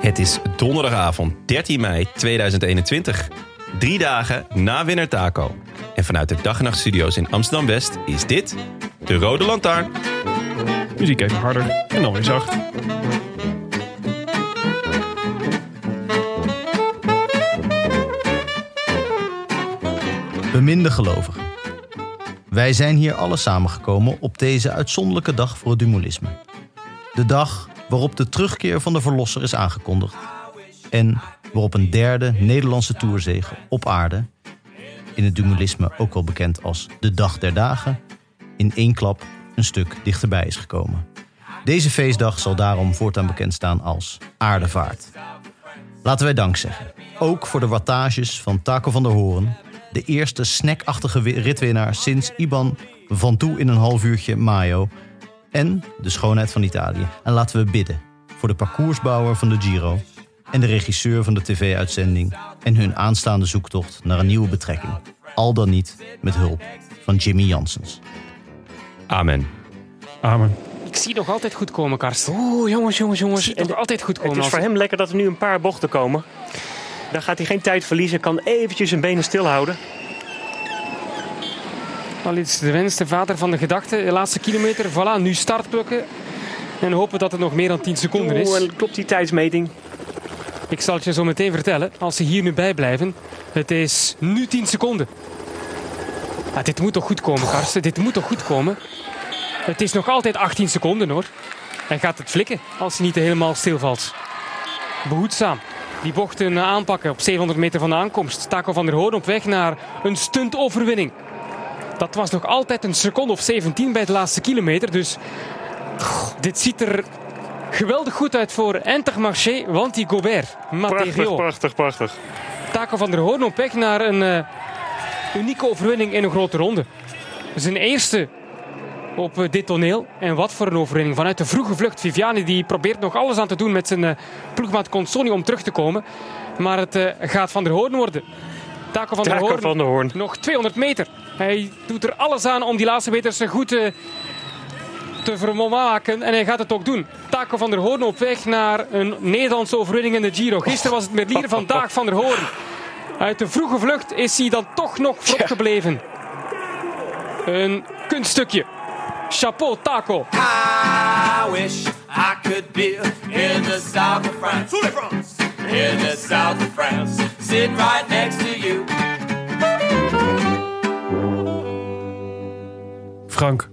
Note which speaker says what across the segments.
Speaker 1: Het is donderdagavond 13 mei 2021. Drie dagen na Winner Taco. En vanuit de dag en nacht studio's in Amsterdam-West is dit de Rode Lantaarn.
Speaker 2: Muziek even harder en dan weer zacht.
Speaker 3: Beminde gelovigen. Wij zijn hier alle samengekomen op deze uitzonderlijke dag voor het dualisme. De dag waarop de terugkeer van de verlosser is aangekondigd. En waarop een derde Nederlandse toerzege op aarde, in het dualisme ook wel bekend als de dag der dagen, in één klap een stuk dichterbij is gekomen. Deze feestdag zal daarom voortaan bekend staan als aardevaart. Laten wij dank zeggen. Ook voor de wattages van Taco van der Hoorn. De eerste snackachtige wi- ritwinnaar sinds Iban van toe in een half uurtje Mayo. En de schoonheid van Italië. En laten we bidden voor de parcoursbouwer van de Giro. En de regisseur van de tv-uitzending. En hun aanstaande zoektocht naar een nieuwe betrekking. Al dan niet met hulp van Jimmy Janssens.
Speaker 1: Amen.
Speaker 2: Amen.
Speaker 4: Ik zie nog altijd goed komen, Karsten. Oeh, jongens, jongens, jongens.
Speaker 5: het
Speaker 4: En nog altijd goed
Speaker 5: Het
Speaker 4: komen.
Speaker 5: is
Speaker 4: als-
Speaker 5: voor hem lekker dat er nu een paar bochten komen. Dan gaat hij geen tijd verliezen, kan eventjes zijn benen stilhouden.
Speaker 4: Al iets de wens, de vader van de gedachte. De laatste kilometer, voilà, nu start plukken. En hopen dat het nog meer dan 10 seconden
Speaker 5: Oeh,
Speaker 4: is.
Speaker 5: en klopt die tijdsmeting?
Speaker 4: Ik zal het je zo meteen vertellen, als ze hier nu bij blijven. Het is nu 10 seconden. Ah, dit moet toch goed komen, Karsten? Dit moet toch goed komen? Het is nog altijd 18 seconden, hoor. Hij gaat het flikken als hij niet helemaal stilvalt. Behoedzaam. Die bochten eh, aanpakken op 700 meter van de aankomst. Taco van der Hoorn op weg naar een stuntoverwinning. Dat was nog altijd een seconde of 17 bij de laatste kilometer. Dus dit ziet er geweldig goed uit voor Entermarché, want die Gobert,
Speaker 5: Prachtig,
Speaker 4: Matteo,
Speaker 5: prachtig, prachtig.
Speaker 4: Taco van der Hoorn op weg naar een eh, unieke overwinning in een grote ronde. Zijn eerste op eh, dit toneel. En wat voor een overwinning. Vanuit de vroege vlucht. Viviani die probeert nog alles aan te doen met zijn eh, ploegmaat Consoni om terug te komen. Maar het eh, gaat van der Hoorn worden. Taco van der
Speaker 5: Taco
Speaker 4: Hoorn.
Speaker 5: van de Hoorn.
Speaker 4: Nog 200 meter. Hij doet er alles aan om die laatste meters goed eh, te vermaken. En hij gaat het ook doen. Taco van der Hoorn op weg naar een Nederlandse overwinning in de Giro. Gisteren was het Merlier, vandaag van der Hoorn. Uit de vroege vlucht is hij dan toch nog vlot gebleven. Een kunststukje. Chapeau, Taco.
Speaker 6: I wish I could be in the south of France. In the south of France. Sitting right next to you.
Speaker 2: Frank.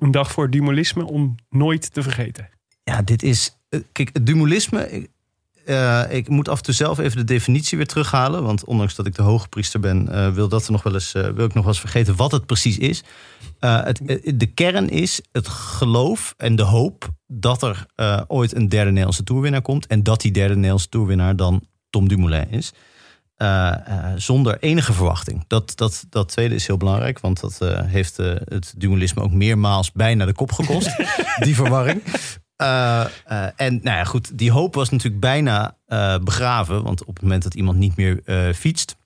Speaker 2: Een dag voor dualisme om nooit te vergeten.
Speaker 3: Ja, dit is. eh, Kijk, het dualisme. Ik, eh, ik moet af en toe zelf even de definitie weer terughalen. Want ondanks dat ik de hoogpriester ben, eh, wil, dat er nog wel eens, eh, wil ik nog wel eens vergeten wat het precies is. Eh, het, eh, de kern is het geloof en de hoop dat er eh, ooit een derde Nederlandse toerwinnaar komt. En dat die derde Nederlandse toerwinnaar dan Tom Dumoulin is. Eh, eh, zonder enige verwachting. Dat, dat, dat tweede is heel belangrijk, want dat eh, heeft eh, het dualisme ook meermaals bijna de kop gekost. die verwarring. Eh, eh, en nou ja, goed, die hoop was natuurlijk bijna eh, begraven. Want op het moment dat iemand niet meer eh, fietst.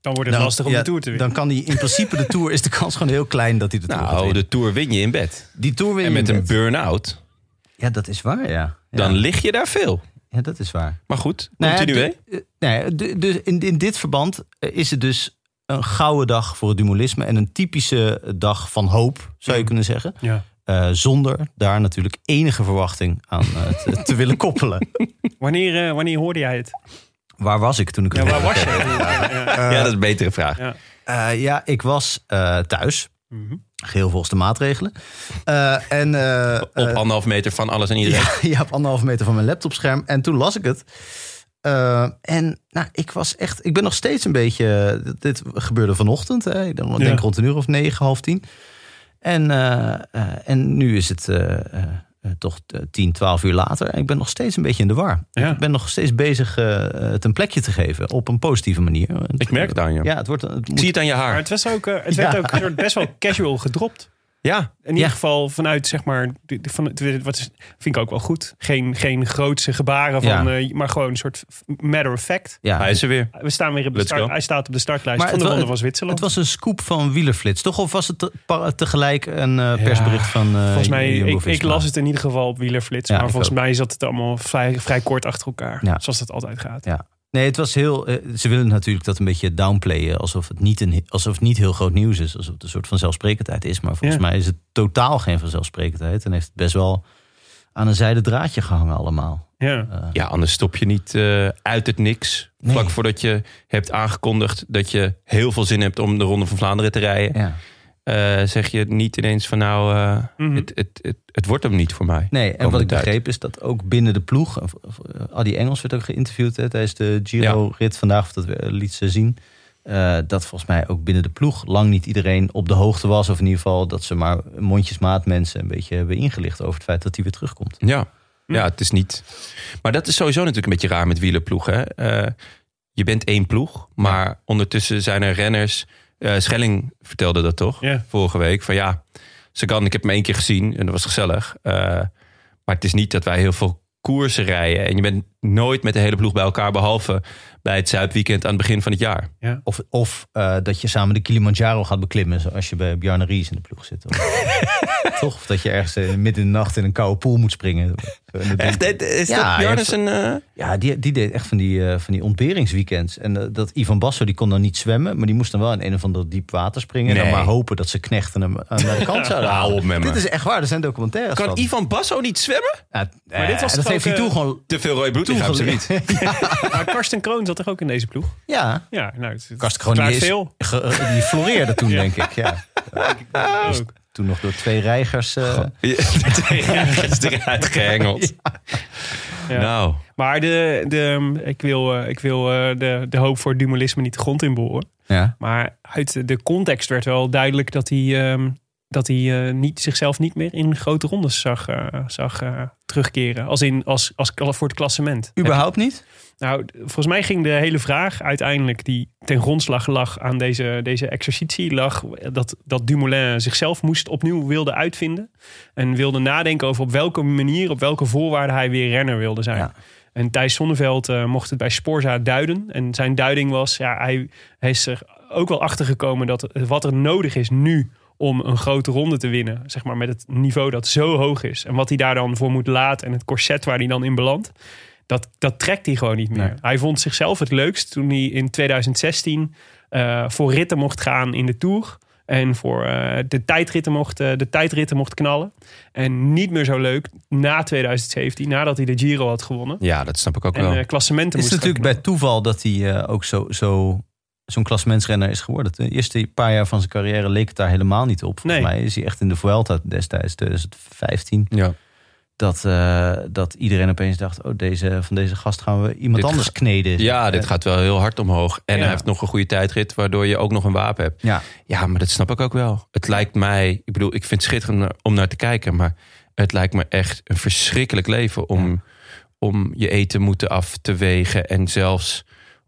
Speaker 2: Dan wordt het
Speaker 3: dan-
Speaker 2: lastig om
Speaker 3: Nou,
Speaker 2: de
Speaker 3: ja,
Speaker 2: Tour te winnen.
Speaker 3: Dan kan hij in principe de tour. Is de kans gewoon heel klein dat hij de tour gaat
Speaker 1: Nou,
Speaker 3: winnen.
Speaker 1: de Tour win je in bed.
Speaker 3: Die tour win
Speaker 1: En
Speaker 3: je
Speaker 1: met
Speaker 3: in
Speaker 1: een
Speaker 3: bed.
Speaker 1: burn-out,
Speaker 3: Ja, dat is waar, ja. Ja,
Speaker 1: dan lig je daar veel.
Speaker 3: ja dat is waar.
Speaker 1: Maar goed,
Speaker 3: Nou ja,
Speaker 1: continu hè?
Speaker 3: du- eh, nou ja, du- dus in, in dit verband eh, is het dus een gouden dag voor het dualisme. En een typische dag van hoop, zou je kunnen zeggen.
Speaker 2: Ja.
Speaker 3: Eh, Eh, zonder daar natuurlijk enige verwachting aan eh, te, te willen koppelen.
Speaker 2: Wanneer, eh, wanneer hoorde jij het?
Speaker 3: Waar was ik toen ik het
Speaker 2: Ja, waar
Speaker 3: hoorde?
Speaker 2: was je?
Speaker 1: ja, dat is een betere vraag.
Speaker 2: Ja.
Speaker 3: Eh, ja, ik was eh, thuis.
Speaker 2: Mhm.
Speaker 3: Geheel volgens de maatregelen. Eh, en, eh,
Speaker 1: Op anderhalf meter van alles en iedereen.
Speaker 3: Ja, ja, op anderhalf meter van mijn laptopscherm. En toen las ik het. Eh, en nou, ik was echt, ik ben nog steeds een beetje. dit- Dit gebeurde vanochtend. Hè. Ik denk
Speaker 2: Ja.
Speaker 3: rond een uur of negen, half tien. En, eh, eh, en nu is het eh, eh, eh, toch eh, tien, twaalf uur later. En ik ben nog steeds een beetje in de war.
Speaker 2: Ja.
Speaker 3: Ik ben nog steeds bezig eh, het een plekje te geven op een positieve manier.
Speaker 1: Ik merk het aan je.
Speaker 3: Ja, het wordt. Het
Speaker 1: Ik
Speaker 3: moet,
Speaker 1: zie het aan je
Speaker 2: Maar
Speaker 1: haar.
Speaker 2: het, was ook, eh, het werd
Speaker 3: Ja.
Speaker 2: ook een soort best wel casual gedropt.
Speaker 1: Ja,
Speaker 2: In ieder
Speaker 3: Ja.
Speaker 2: geval vanuit, zeg maar, de- de- van, het- wat is, vind ik ook wel goed. Geen, geen grootse gebaren, van,
Speaker 3: Ja.
Speaker 2: eh, maar gewoon een soort matter of fact.
Speaker 3: ja,
Speaker 1: hij is er weer.
Speaker 2: We staan weer op de
Speaker 1: Let's
Speaker 2: start,
Speaker 1: go.
Speaker 2: hij staat op de startlijst
Speaker 3: Maar
Speaker 2: van de
Speaker 3: het
Speaker 2: Ronde
Speaker 3: wa-
Speaker 2: van
Speaker 3: Het
Speaker 2: Zwitserland.
Speaker 3: was een scoop van wielerflits, toch? Of was het te- pa- tegelijk een eh, persbericht van. eh,
Speaker 2: volgens mij, ik, ik
Speaker 3: Jumbo-Visma?
Speaker 2: las het in ieder geval op wielerflits.
Speaker 3: Ja,
Speaker 2: maar
Speaker 3: ik
Speaker 2: volgens
Speaker 3: ook.
Speaker 2: mij zat het allemaal vrij, vrij kort achter elkaar.
Speaker 3: Ja.
Speaker 2: Zoals dat altijd gaat.
Speaker 3: Ja. Nee, het was heel. eh, ze willen natuurlijk dat een beetje downplayen. Alsof het niet, een, alsof het niet heel groot nieuws is. Alsof het een soort vanzelfsprekendheid is. Maar volgens
Speaker 2: Ja.
Speaker 3: mij is het totaal geen vanzelfsprekendheid. En heeft het best wel aan een zijde draadje gehangen, allemaal.
Speaker 2: Ja.
Speaker 1: Ja, anders stop je niet eh, uit het niks.
Speaker 3: Ah. Nee.
Speaker 1: Vlak voordat je hebt aangekondigd dat je heel veel zin hebt om de Ronde van Vlaanderen te rijden.
Speaker 3: Ja.
Speaker 1: eh, zeg je niet ineens van nou, eh,
Speaker 2: Mhm.
Speaker 1: het, het, het, het wordt hem niet voor mij.
Speaker 3: Nee, en wat
Speaker 1: Komende
Speaker 3: ik
Speaker 1: tijd.
Speaker 3: begreep is dat ook binnen de ploeg. of- of, eh, Adi Engels werd ook geïnterviewd hè, tijdens de Giro-rit vandaag. Of dat we- eh, liet ze zien. eh, dat volgens mij ook binnen de ploeg lang niet iedereen op de hoogte was. Of in ieder geval dat ze maar mondjesmaat mensen een beetje hebben ingelicht over het feit dat hij weer terugkomt.
Speaker 1: Ja. ja, het is niet. Maar dat is sowieso natuurlijk een beetje raar met wielerploegen. hè. Eh, je bent één ploeg, maar ondertussen zijn er renners. Eh, Schelling vertelde dat toch?
Speaker 2: Ja.
Speaker 1: Vorige week. Van ja, Sagan, ik heb hem één keer gezien en dat was gezellig. Eh, maar het is niet dat wij heel veel koersen rijden. En je bent nooit met de hele ploeg bij elkaar, behalve bij het Zuidweekend aan het begin van het jaar.
Speaker 3: Of, of eh, dat je samen de Kilimanjaro gaat beklimmen, zoals je bij Bjarne Ries in de ploeg zit. Of, Toch? Of dat je ergens eh, midden in de nacht in een koude pool moet springen. Zo in de donker.
Speaker 1: Echt, dit- is
Speaker 3: Ja,
Speaker 1: dat
Speaker 3: hij
Speaker 1: Bjarnes een... eh,
Speaker 3: Ja, die, die deed echt van die, eh, van die ontberingsweekends. En eh, dat Ivan Basso, die kon dan niet zwemmen, maar die moest dan wel in een of ander diep water springen. En
Speaker 1: Nee.
Speaker 3: dan maar hopen dat ze knechten hem aan de kant zouden
Speaker 1: Hou
Speaker 3: halen.
Speaker 1: op met me.
Speaker 3: Dit is echt waar, er zijn documentaires
Speaker 1: kan
Speaker 3: van.
Speaker 1: Ivan Basso niet zwemmen?
Speaker 3: Ja, eh,
Speaker 2: dit was
Speaker 3: dat
Speaker 2: toch
Speaker 3: heeft
Speaker 2: ook,
Speaker 3: hij toen
Speaker 2: eh,
Speaker 3: gewoon...
Speaker 1: Te veel rode bloedlichaam, ze niet.
Speaker 2: Maar Karsten Kroon zat toch ook in deze ploeg?
Speaker 3: Ja,
Speaker 2: Ja, nou, het, het
Speaker 3: Karsten Kroon die,
Speaker 2: verklaart
Speaker 3: is,
Speaker 2: veel.
Speaker 3: ge- die floreerde toen,
Speaker 2: Ja.
Speaker 3: denk ik. Ja. Dus
Speaker 2: Ook.
Speaker 3: toen nog door twee reigers... eh,
Speaker 1: Ja, dat is eruit gehengeld.
Speaker 2: Ja.
Speaker 1: Nou,
Speaker 2: Maar de, de, ik wil, eh, ik wil eh, de, de hoop voor dualisme niet de grond in boren.
Speaker 3: ja.
Speaker 2: Maar uit de context werd wel duidelijk dat hij, ehm, dat hij eh, niet, zichzelf niet meer in grote rondes zag, eh, zag eh, terugkeren. Als, in, als, als kla- voor het klassement.
Speaker 3: Überhaupt niet?
Speaker 2: Nou, d- volgens mij ging de hele vraag uiteindelijk die ten grondslag lag aan deze, deze exercitie, lag dat, dat Dumoulin zichzelf moest opnieuw wilde uitvinden. En wilde nadenken over op welke manier, op welke voorwaarden hij weer renner wilde zijn.
Speaker 3: Ja.
Speaker 2: En Thijs Zonneveld eh, mocht het bij Sporza duiden. En zijn duiding was, ja, hij, hij is er ook wel achter gekomen dat wat er nodig is nu om een grote ronde te winnen, zeg maar met het niveau dat zo hoog is. En wat hij daar dan voor moet laten en het corset waar hij dan in belandt. Dat, dat trekt hij gewoon niet meer.
Speaker 3: Nee.
Speaker 2: Hij vond zichzelf het leukst toen hij in 2016 eh, voor ritten mocht gaan in de Tour. En voor eh, de, tijdritten mocht, eh, de tijdritten mocht knallen. En niet meer zo leuk na 2017, nadat hij de Giro had gewonnen.
Speaker 1: ja, dat snap ik ook
Speaker 2: En
Speaker 1: wel.
Speaker 2: eh, klassementen
Speaker 3: Het is
Speaker 2: moest gaan
Speaker 3: natuurlijk bij toeval dat hij eh, ook zo, zo, zo'n klassementsrenner is geworden. De eerste paar jaar van zijn carrière leek het daar helemaal niet op. Volgens
Speaker 2: Nee.
Speaker 3: mij is hij echt in de Vuelta destijds, 2015...
Speaker 1: ja.
Speaker 3: dat, eh, dat iedereen opeens dacht... Oh, deze, van deze gast gaan we iemand
Speaker 1: Dit
Speaker 3: anders
Speaker 1: ga-
Speaker 3: kneden.
Speaker 1: ja, dit
Speaker 3: Eh,
Speaker 1: gaat wel heel hard omhoog. En
Speaker 3: Ja.
Speaker 1: hij heeft nog een goede tijdrit, waardoor je ook nog een wapen hebt.
Speaker 3: Ja.
Speaker 1: Ja, maar dat snap ik ook wel. Het lijkt mij, ik bedoel, ik vind het schitterend om naar- om naar te kijken, maar het lijkt me echt een verschrikkelijk leven om, om je eten moeten af te wegen en zelfs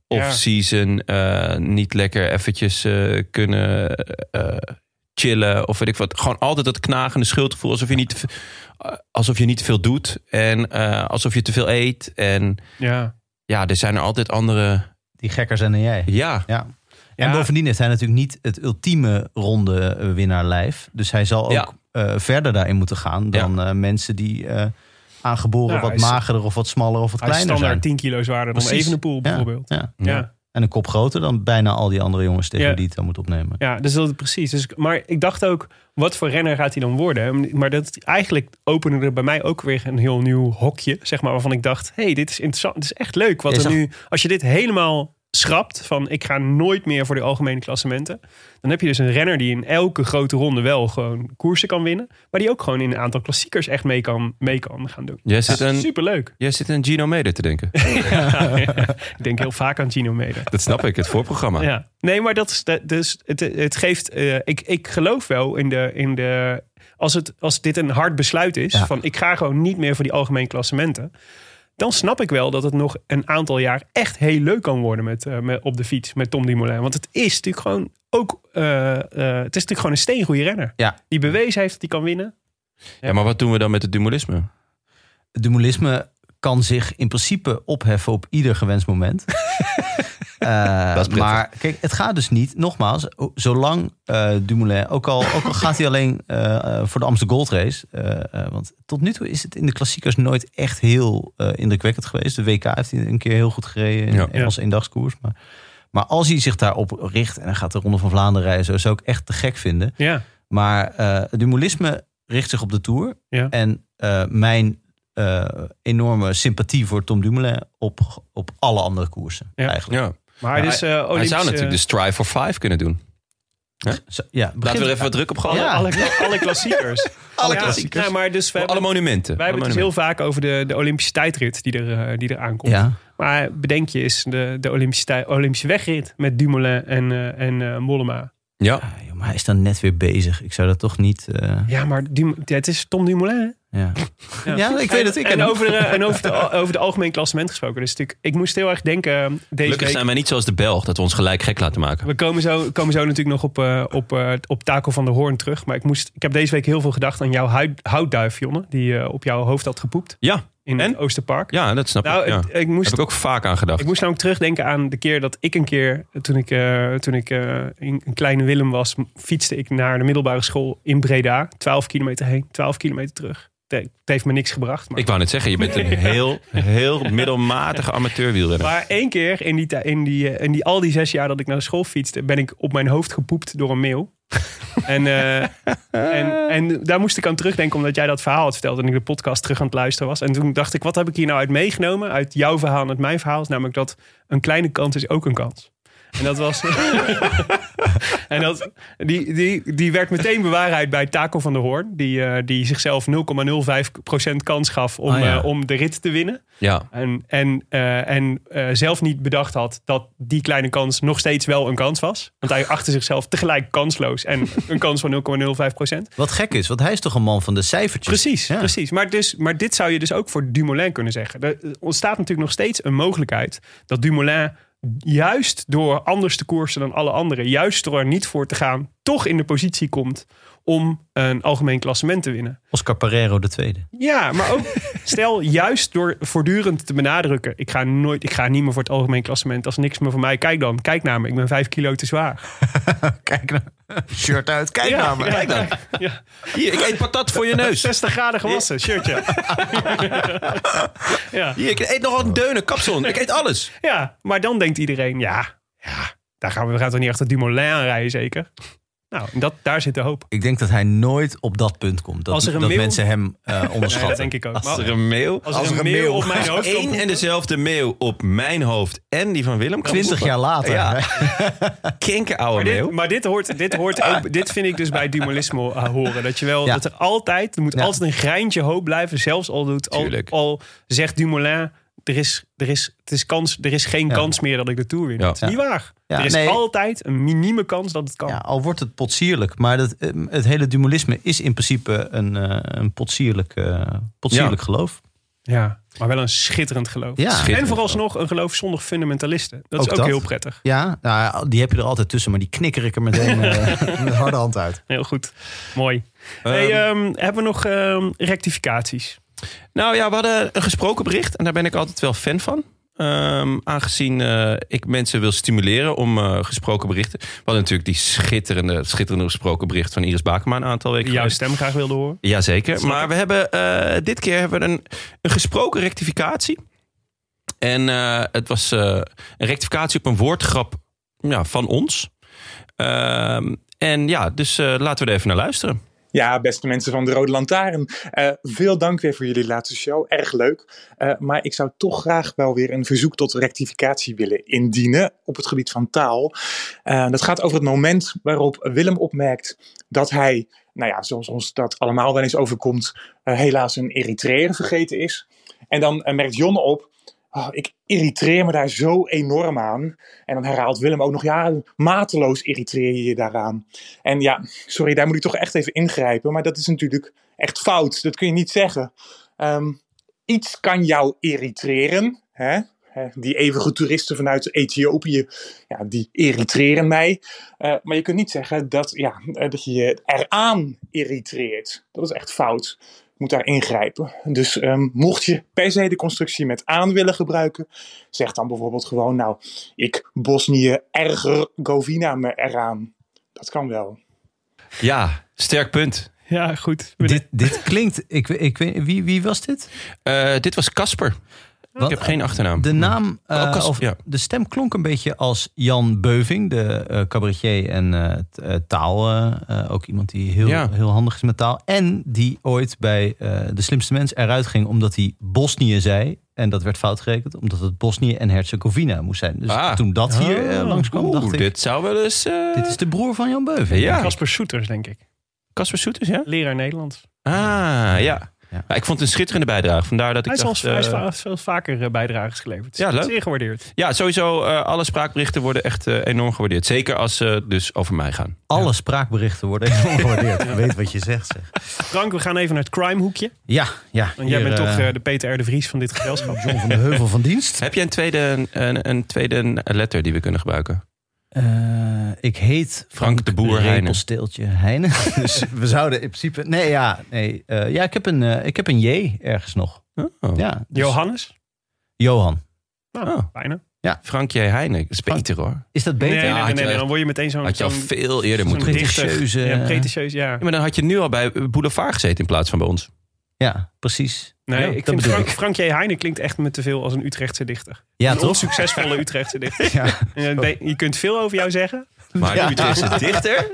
Speaker 1: off-season eh, niet lekker eventjes eh, kunnen eh, chillen of weet ik wat. Gewoon altijd dat knagende schuldgevoel, alsof je niet, te ve- eh, alsof je niet te veel doet en eh, alsof je te veel eet. En
Speaker 2: Ja.
Speaker 1: ja, er zijn er altijd andere.
Speaker 3: Die gekker zijn dan jij.
Speaker 1: Ja,
Speaker 3: Ja.
Speaker 2: Ja.
Speaker 3: En bovendien heeft hij natuurlijk niet het ultieme ronde eh, winnaarlijf. Dus hij zal ook
Speaker 1: Ja.
Speaker 3: eh, verder daarin moeten gaan dan eh, mensen die eh, aangeboren
Speaker 2: Ja,
Speaker 3: wat
Speaker 2: Nou, hij is-
Speaker 3: magerder of wat smaller of wat
Speaker 2: Hij is
Speaker 3: kleiner
Speaker 2: standaard
Speaker 3: zijn.
Speaker 2: 10 kilo zwaarder dan
Speaker 3: Precies.
Speaker 2: Evenepoel
Speaker 3: Ja.
Speaker 2: bijvoorbeeld.
Speaker 3: Ja.
Speaker 2: Ja.
Speaker 1: Ja.
Speaker 3: En een kop groter dan bijna al die andere jongens tegen
Speaker 2: Ja.
Speaker 3: die het dan moet opnemen.
Speaker 2: Ja, dus dat is precies. Dus, maar ik dacht ook, wat voor renner gaat hij dan worden? Maar dat eigenlijk opende er bij mij ook weer een heel nieuw hokje, zeg maar, waarvan ik dacht, hey, dit is interessant, dit is echt leuk. Wat
Speaker 3: Ja,
Speaker 2: er
Speaker 3: zag-
Speaker 2: nu, als je dit helemaal schrapt van, ik ga nooit meer voor de algemene klassementen, dan heb je dus een renner die in elke grote ronde wel gewoon koersen kan winnen, maar die ook gewoon in een aantal klassiekers echt mee kan, mee kan gaan doen.
Speaker 1: Jij zit, een,
Speaker 2: Superleuk.
Speaker 1: jij zit een Gino Meder te denken.
Speaker 2: Ik denk heel vaak aan Gino Meder.
Speaker 1: Dat snap ik, het voorprogramma.
Speaker 2: Ja. Nee, maar dat is dat- dus het, het geeft. eh, ik, ik geloof wel in de. In de als, het, als dit een hard besluit is,
Speaker 3: Ja.
Speaker 2: van ik ga gewoon niet meer voor die algemene klassementen. Dan snap ik wel dat het nog een aantal jaar echt heel leuk kan worden met, eh, met, op de fiets met Tom Dumoulin. Want het is natuurlijk gewoon ook. eh, eh, het is natuurlijk gewoon een steengoede renner.
Speaker 3: Ja.
Speaker 2: Die bewezen heeft dat hij kan winnen.
Speaker 1: Ja, maar wat doen we dan met het dualisme?
Speaker 3: Het dualisme kan zich in principe opheffen op ieder gewenst moment. Eh,
Speaker 1: prettig.
Speaker 3: maar kijk, het gaat dus niet, nogmaals, o- zolang eh Dumoulin, ook al, ook al gaat hij alleen eh, eh, voor de Amsterdam Gold Race, eh, eh, want tot nu toe is het in de klassiekers nooit echt heel eh, indrukwekkend geweest. De WK heeft hij een keer heel goed gereden in
Speaker 1: Ja.
Speaker 3: Engelse eendagskoers, maar, maar als hij zich daarop richt en hij gaat de Ronde van Vlaanderen rijden, zo zou ik echt te gek vinden.
Speaker 2: Ja.
Speaker 3: Maar eh het dualisme richt zich op de Tour.
Speaker 2: Ja.
Speaker 3: En eh, mijn eh, enorme sympathie voor Tom Dumoulin op, op alle andere koersen
Speaker 2: Ja.
Speaker 3: eigenlijk.
Speaker 1: Ja.
Speaker 2: Maar het
Speaker 1: Ja,
Speaker 2: is, eh,
Speaker 1: Hij
Speaker 2: Olympische-
Speaker 1: zou natuurlijk dus- de Strive for Five kunnen doen.
Speaker 3: Zo, ja,
Speaker 1: Laten we
Speaker 3: begin-
Speaker 1: er even wat druk op gaan.
Speaker 3: Ja.
Speaker 2: alle, alle klassiekers. alle
Speaker 1: klassiekers.
Speaker 2: maar dus we
Speaker 1: Voor alle
Speaker 2: hebben-
Speaker 1: monumenten.
Speaker 2: Wij hebben
Speaker 1: Alle
Speaker 2: het dus
Speaker 1: monumenten.
Speaker 2: heel vaak over de, de Olympische tijdrit die er, eh, die er aankomt.
Speaker 3: Ja,
Speaker 2: Maar bedenk je eens de, de Olympische, tij- Olympische wegrit met Dumoulin en, eh, en eh, Mollema.
Speaker 1: Ja,
Speaker 3: Ah, joh, maar hij is dan net weer bezig. Ik zou dat toch niet... eh,
Speaker 2: Ja, maar Dum- het is Tom Dumoulin. hè?
Speaker 3: ja. Ja. ik weet het. Ik ken
Speaker 2: en
Speaker 3: hem.
Speaker 2: over, de, eh, en over, de, over de algemeen klassement gesproken. Dus natuurlijk, ik moest heel erg denken eh, deze
Speaker 1: gelukkig
Speaker 2: week.
Speaker 1: zijn wij niet zoals de Belg dat we ons gelijk gek laten maken.
Speaker 2: We komen zo, komen zo natuurlijk nog op, eh, op, eh, op Taco van der Hoorn terug. Maar ik, moest, ik heb deze week heel veel gedacht aan jouw huid, houtduif, Jonne. Die eh, op jouw hoofd had gepoept
Speaker 1: Ja,
Speaker 2: in
Speaker 1: En?
Speaker 2: het Oosterpark.
Speaker 1: ja dat snap
Speaker 2: Nou,
Speaker 1: ik. Ja.
Speaker 2: het- ik moest
Speaker 1: Heb ik ook vaak aan gedacht.
Speaker 2: Ik moest namelijk terugdenken aan de keer dat ik een keer, toen ik, eh, toen ik eh, in, een kleine Willem was, m- fietste ik naar de middelbare school in Breda. 12 kilometer heen, 12 kilometer terug. Te- Het heeft me niks gebracht. Maar,
Speaker 1: Ik wou net zeggen, je bent een heel, heel middelmatige amateurwielrenner.
Speaker 2: maar één keer in, die, ti- in, die, eh, in die, al die zes jaar dat ik naar de school fietste, ben ik op mijn hoofd gepoept door een meeuw. en, eh, en, en daar moest ik aan terugdenken, omdat jij dat verhaal had verteld en ik de podcast terug aan het luisteren was. En toen dacht ik, wat heb ik hier nou uit meegenomen? Uit jouw verhaal en uit mijn verhaal. Is namelijk dat een kleine kans is ook een kans. En dat was. en dat, die, die, die werd meteen bewaarheid bij Taco van der Hoorn. Die, eh, die zichzelf 0,05% kans gaf om,
Speaker 3: Ah, ja.
Speaker 2: eh, om de rit te winnen.
Speaker 1: Ja,
Speaker 2: En, en, eh, en eh, zelf niet bedacht had dat die kleine kans nog steeds wel een kans was. Want hij achtte zichzelf tegelijk kansloos en een kans van 0,05%.
Speaker 3: Wat gek is, want hij is toch een man van de cijfertjes.
Speaker 2: Precies,
Speaker 3: Ja.
Speaker 2: precies. Maar, dus, maar dit zou je dus ook voor Dumoulin kunnen zeggen. Er eh, ontstaat natuurlijk nog steeds een mogelijkheid dat Dumoulin juist door anders te koersen dan alle anderen, juist door er niet voor te gaan, toch in de positie komt om een algemeen klassement te winnen.
Speaker 3: Oscar Pereiro de tweede.
Speaker 2: Ja, maar ook stel juist door voortdurend te benadrukken: ik ga nooit, ik ga niet meer voor het algemeen klassement. Als niks meer voor mij, kijk dan, kijk naar me. Ik ben vijf kilo te zwaar.
Speaker 3: Kijk nou. Shirt uit, kijk
Speaker 2: Ja,
Speaker 3: naar me.
Speaker 2: ja,
Speaker 3: Kijk nou.
Speaker 2: Ja,
Speaker 1: hier, ik eet patat voor je neus.
Speaker 2: 60 graden gewassen, shirtje. ja.
Speaker 1: Hier, ik eet nog een deun, een kapsalon. Ik eet alles.
Speaker 2: Ja, maar dan denkt iedereen, ja, ja daar gaan we, we gaan toch niet achter Dumoulin aan rijden zeker? Nou, en dat, daar zit de hoop.
Speaker 3: Ik denk dat hij nooit op dat punt komt. Dat,
Speaker 2: Als er een
Speaker 3: dat
Speaker 2: mail-
Speaker 3: mensen hem eh,
Speaker 2: Nee,
Speaker 3: onderschatten.
Speaker 2: dat denk ik ook.
Speaker 1: Als
Speaker 2: Maar
Speaker 1: er een meeuw...
Speaker 2: als, er een mail op mijn hoofd
Speaker 1: Eén
Speaker 2: komt,
Speaker 1: en dezelfde meeuw op mijn hoofd en die van Willem. kan
Speaker 3: 20 jaar later.
Speaker 1: Ja.
Speaker 3: hè?
Speaker 1: Kinken oude
Speaker 2: Maar dit,
Speaker 1: meeuw.
Speaker 2: maar dit hoort, dit hoort ook, dit vind ik dus bij dualisme horen. Dat je wel,
Speaker 3: Ja.
Speaker 2: dat er altijd, er moet
Speaker 3: Ja.
Speaker 2: altijd een greintje hoop blijven. Zelfs al doet, al,
Speaker 1: Tuurlijk.
Speaker 2: al zegt Dumoulin, er is, er is, het is kans, er is geen
Speaker 3: Ja.
Speaker 2: kans meer dat ik de Tour win.
Speaker 1: Ja.
Speaker 2: Dat is niet waar.
Speaker 3: Ja,
Speaker 2: er is
Speaker 3: nee.
Speaker 2: altijd een minieme kans dat het
Speaker 1: Oh.
Speaker 2: kan.
Speaker 3: Ja, al wordt het potsierlijk, maar dat, eh, het hele dualisme is in principe een, eh, een potsierlijk, eh, potsierlijk geloof.
Speaker 2: Ja, maar wel een schitterend geloof.
Speaker 3: Ja. Schitterend
Speaker 2: en vooralsnog een geloof zonder fundamentalisten. Dat
Speaker 3: Ook
Speaker 2: is ook
Speaker 3: dat.
Speaker 2: heel prettig.
Speaker 3: Ja, nou, die heb je er altijd tussen, maar die knikker ik er meteen eh, met harde hand uit.
Speaker 2: Heel goed. Mooi. hey, ehm, hebben we nog ehm, rectificaties?
Speaker 1: Nou ja, we hadden een gesproken bericht. En daar ben ik altijd wel fan van. Ehm, aangezien eh, ik mensen wil stimuleren om eh, gesproken berichten. We hadden natuurlijk die schitterende, schitterende gesproken bericht van Iris Bakema een aantal weken
Speaker 2: Jouw
Speaker 1: geleden.
Speaker 2: stem graag wilde horen.
Speaker 1: Jazeker.
Speaker 2: Snap
Speaker 1: Maar
Speaker 2: ik.
Speaker 1: we hebben, eh, dit keer hebben we een, een gesproken rectificatie. En eh, het was eh, een rectificatie op een woordgrap ja, van ons. Ehm, en ja, dus eh, laten we er even naar luisteren.
Speaker 7: Ja, beste mensen van de Rode Lantaarn. eh, veel dank weer voor jullie laatste show. Erg leuk. Eh, maar ik zou toch graag wel weer een verzoek tot rectificatie willen indienen op het gebied van taal. Eh, dat gaat over het moment waarop Willem opmerkt dat hij, nou ja, zoals ons dat allemaal wel eens overkomt, eh, helaas een Eritreër vergeten is. En dan eh, merkt Jonne op. "Ah, ik irriteer me daar zo enorm aan. En dan herhaalt Willem ook nog, ja, mateloos irriteer je je daaraan. En ja, sorry, daar moet ik toch echt even ingrijpen. Maar dat is natuurlijk echt fout. Dat kun je niet zeggen. Ehm, iets kan jou irriteren. Hè? Hè, Die eeuwige toeristen vanuit Ethiopië, ja, die irriteren mij. Eh, maar je kunt niet zeggen dat, ja, eh, dat je je eraan irriteert. Dat is echt fout. Je moet daar ingrijpen. Dus ehm, mocht je per se de constructie met aan willen gebruiken, zeg dan bijvoorbeeld gewoon, nou, ik Bosnië-Ergovina me eraan. Dat kan wel.
Speaker 1: Ja, sterk punt.
Speaker 2: Ja, goed.
Speaker 3: Dit, dit klinkt. Ik, ik, weet- wie, wie was dit?
Speaker 1: Eh, dit was Casper. Ik
Speaker 3: Want
Speaker 1: heb geen achternaam.
Speaker 3: De naam. eh,
Speaker 1: Kas-
Speaker 3: of
Speaker 1: ja.
Speaker 3: De stem klonk een beetje als Jan Beuving, de eh, cabaretier en eh, t- eh, taal. eh, eh, ook iemand die heel,
Speaker 1: Ja.
Speaker 3: heel handig is met taal. En die ooit bij eh, De Slimste Mens eruit ging omdat hij Bosnië zei. En dat werd fout gerekend, omdat het Bosnië en Herzegovina moest zijn. Dus
Speaker 1: Ah.
Speaker 3: toen dat hier eh, langskwam,
Speaker 1: Oeh,
Speaker 3: dacht ik. Dit.
Speaker 1: Dit zou wel eens... eh,
Speaker 3: is de broer van Jan Beuving.
Speaker 1: Ja.
Speaker 2: Casper Soeters, denk ik.
Speaker 1: Casper Soeters, ja?
Speaker 2: Leraar Nederlands.
Speaker 1: Ah, ja.
Speaker 3: Ja.
Speaker 1: Maar ik vond het een schitterende bijdrage. Vandaar dat
Speaker 2: Hij
Speaker 1: ik
Speaker 2: is al
Speaker 1: dacht...
Speaker 2: hij is
Speaker 1: eh,
Speaker 2: va- veel vaker eh, bijdrages geleverd.
Speaker 1: Ja, leuk.
Speaker 2: Zeer gewaardeerd.
Speaker 1: ja, sowieso. eh, alle spraakberichten worden echt eh, enorm gewaardeerd. Zeker als ze dus over mij gaan.
Speaker 3: Alle spraakberichten worden enorm gewaardeerd. Je Weet wat je zegt, zeg.
Speaker 2: Frank, we gaan even naar het crime hoekje.
Speaker 3: Ja, ja.
Speaker 2: Want jij
Speaker 3: hier,
Speaker 2: bent toch
Speaker 3: eh,
Speaker 2: eh, de Peter R. de Vries van dit gezelschap.
Speaker 3: John van de Heuvel van Dienst.
Speaker 1: Heb jij een tweede, een, een tweede letter die we kunnen gebruiken?
Speaker 3: Eh, ik heet Frank,
Speaker 1: de Boer Heijnen.
Speaker 3: Repelsteeltje Heijnen. dus we zouden in principe... Nee, ja, nee, eh, ja ik, heb een, eh, ik heb een J ergens nog.
Speaker 1: Oh.
Speaker 3: Ja, dus-
Speaker 2: Johannes?
Speaker 3: Johan.
Speaker 2: Nou,
Speaker 1: Oh.
Speaker 2: bijna.
Speaker 1: Frank J. Heijnen. Dat is
Speaker 3: Frank-
Speaker 1: beter hoor.
Speaker 3: Is dat
Speaker 2: Nee,
Speaker 3: beter?
Speaker 2: nee, nee,
Speaker 1: had
Speaker 2: nee,
Speaker 1: je
Speaker 2: nee,
Speaker 1: echt-
Speaker 2: Dan word je meteen zo'n...
Speaker 1: Had je al
Speaker 2: zo'n-
Speaker 1: veel eerder
Speaker 2: zo'n
Speaker 1: moeten doen.
Speaker 2: dichter.
Speaker 3: Pretentieuze,
Speaker 2: Ja,
Speaker 3: eh,
Speaker 2: pretentieus, ja.
Speaker 1: Ja, maar dan had je nu al bij Boulevard gezeten in plaats van bij ons.
Speaker 3: Ja, precies.
Speaker 2: Nee,
Speaker 3: Ja,
Speaker 2: ik
Speaker 3: dat
Speaker 2: vind
Speaker 3: bedoel
Speaker 2: Frank,
Speaker 3: ik.
Speaker 2: Frank J. Heijnen klinkt echt me te veel als een Utrechtse dichter.
Speaker 3: Ja,
Speaker 2: een
Speaker 3: toch? Oh.
Speaker 2: onsuccesvolle Utrechtse dichter.
Speaker 3: Ja.
Speaker 2: En dan ben- Je kunt veel over jou zeggen.
Speaker 1: Maar
Speaker 3: Ja.
Speaker 1: nu is het dichter.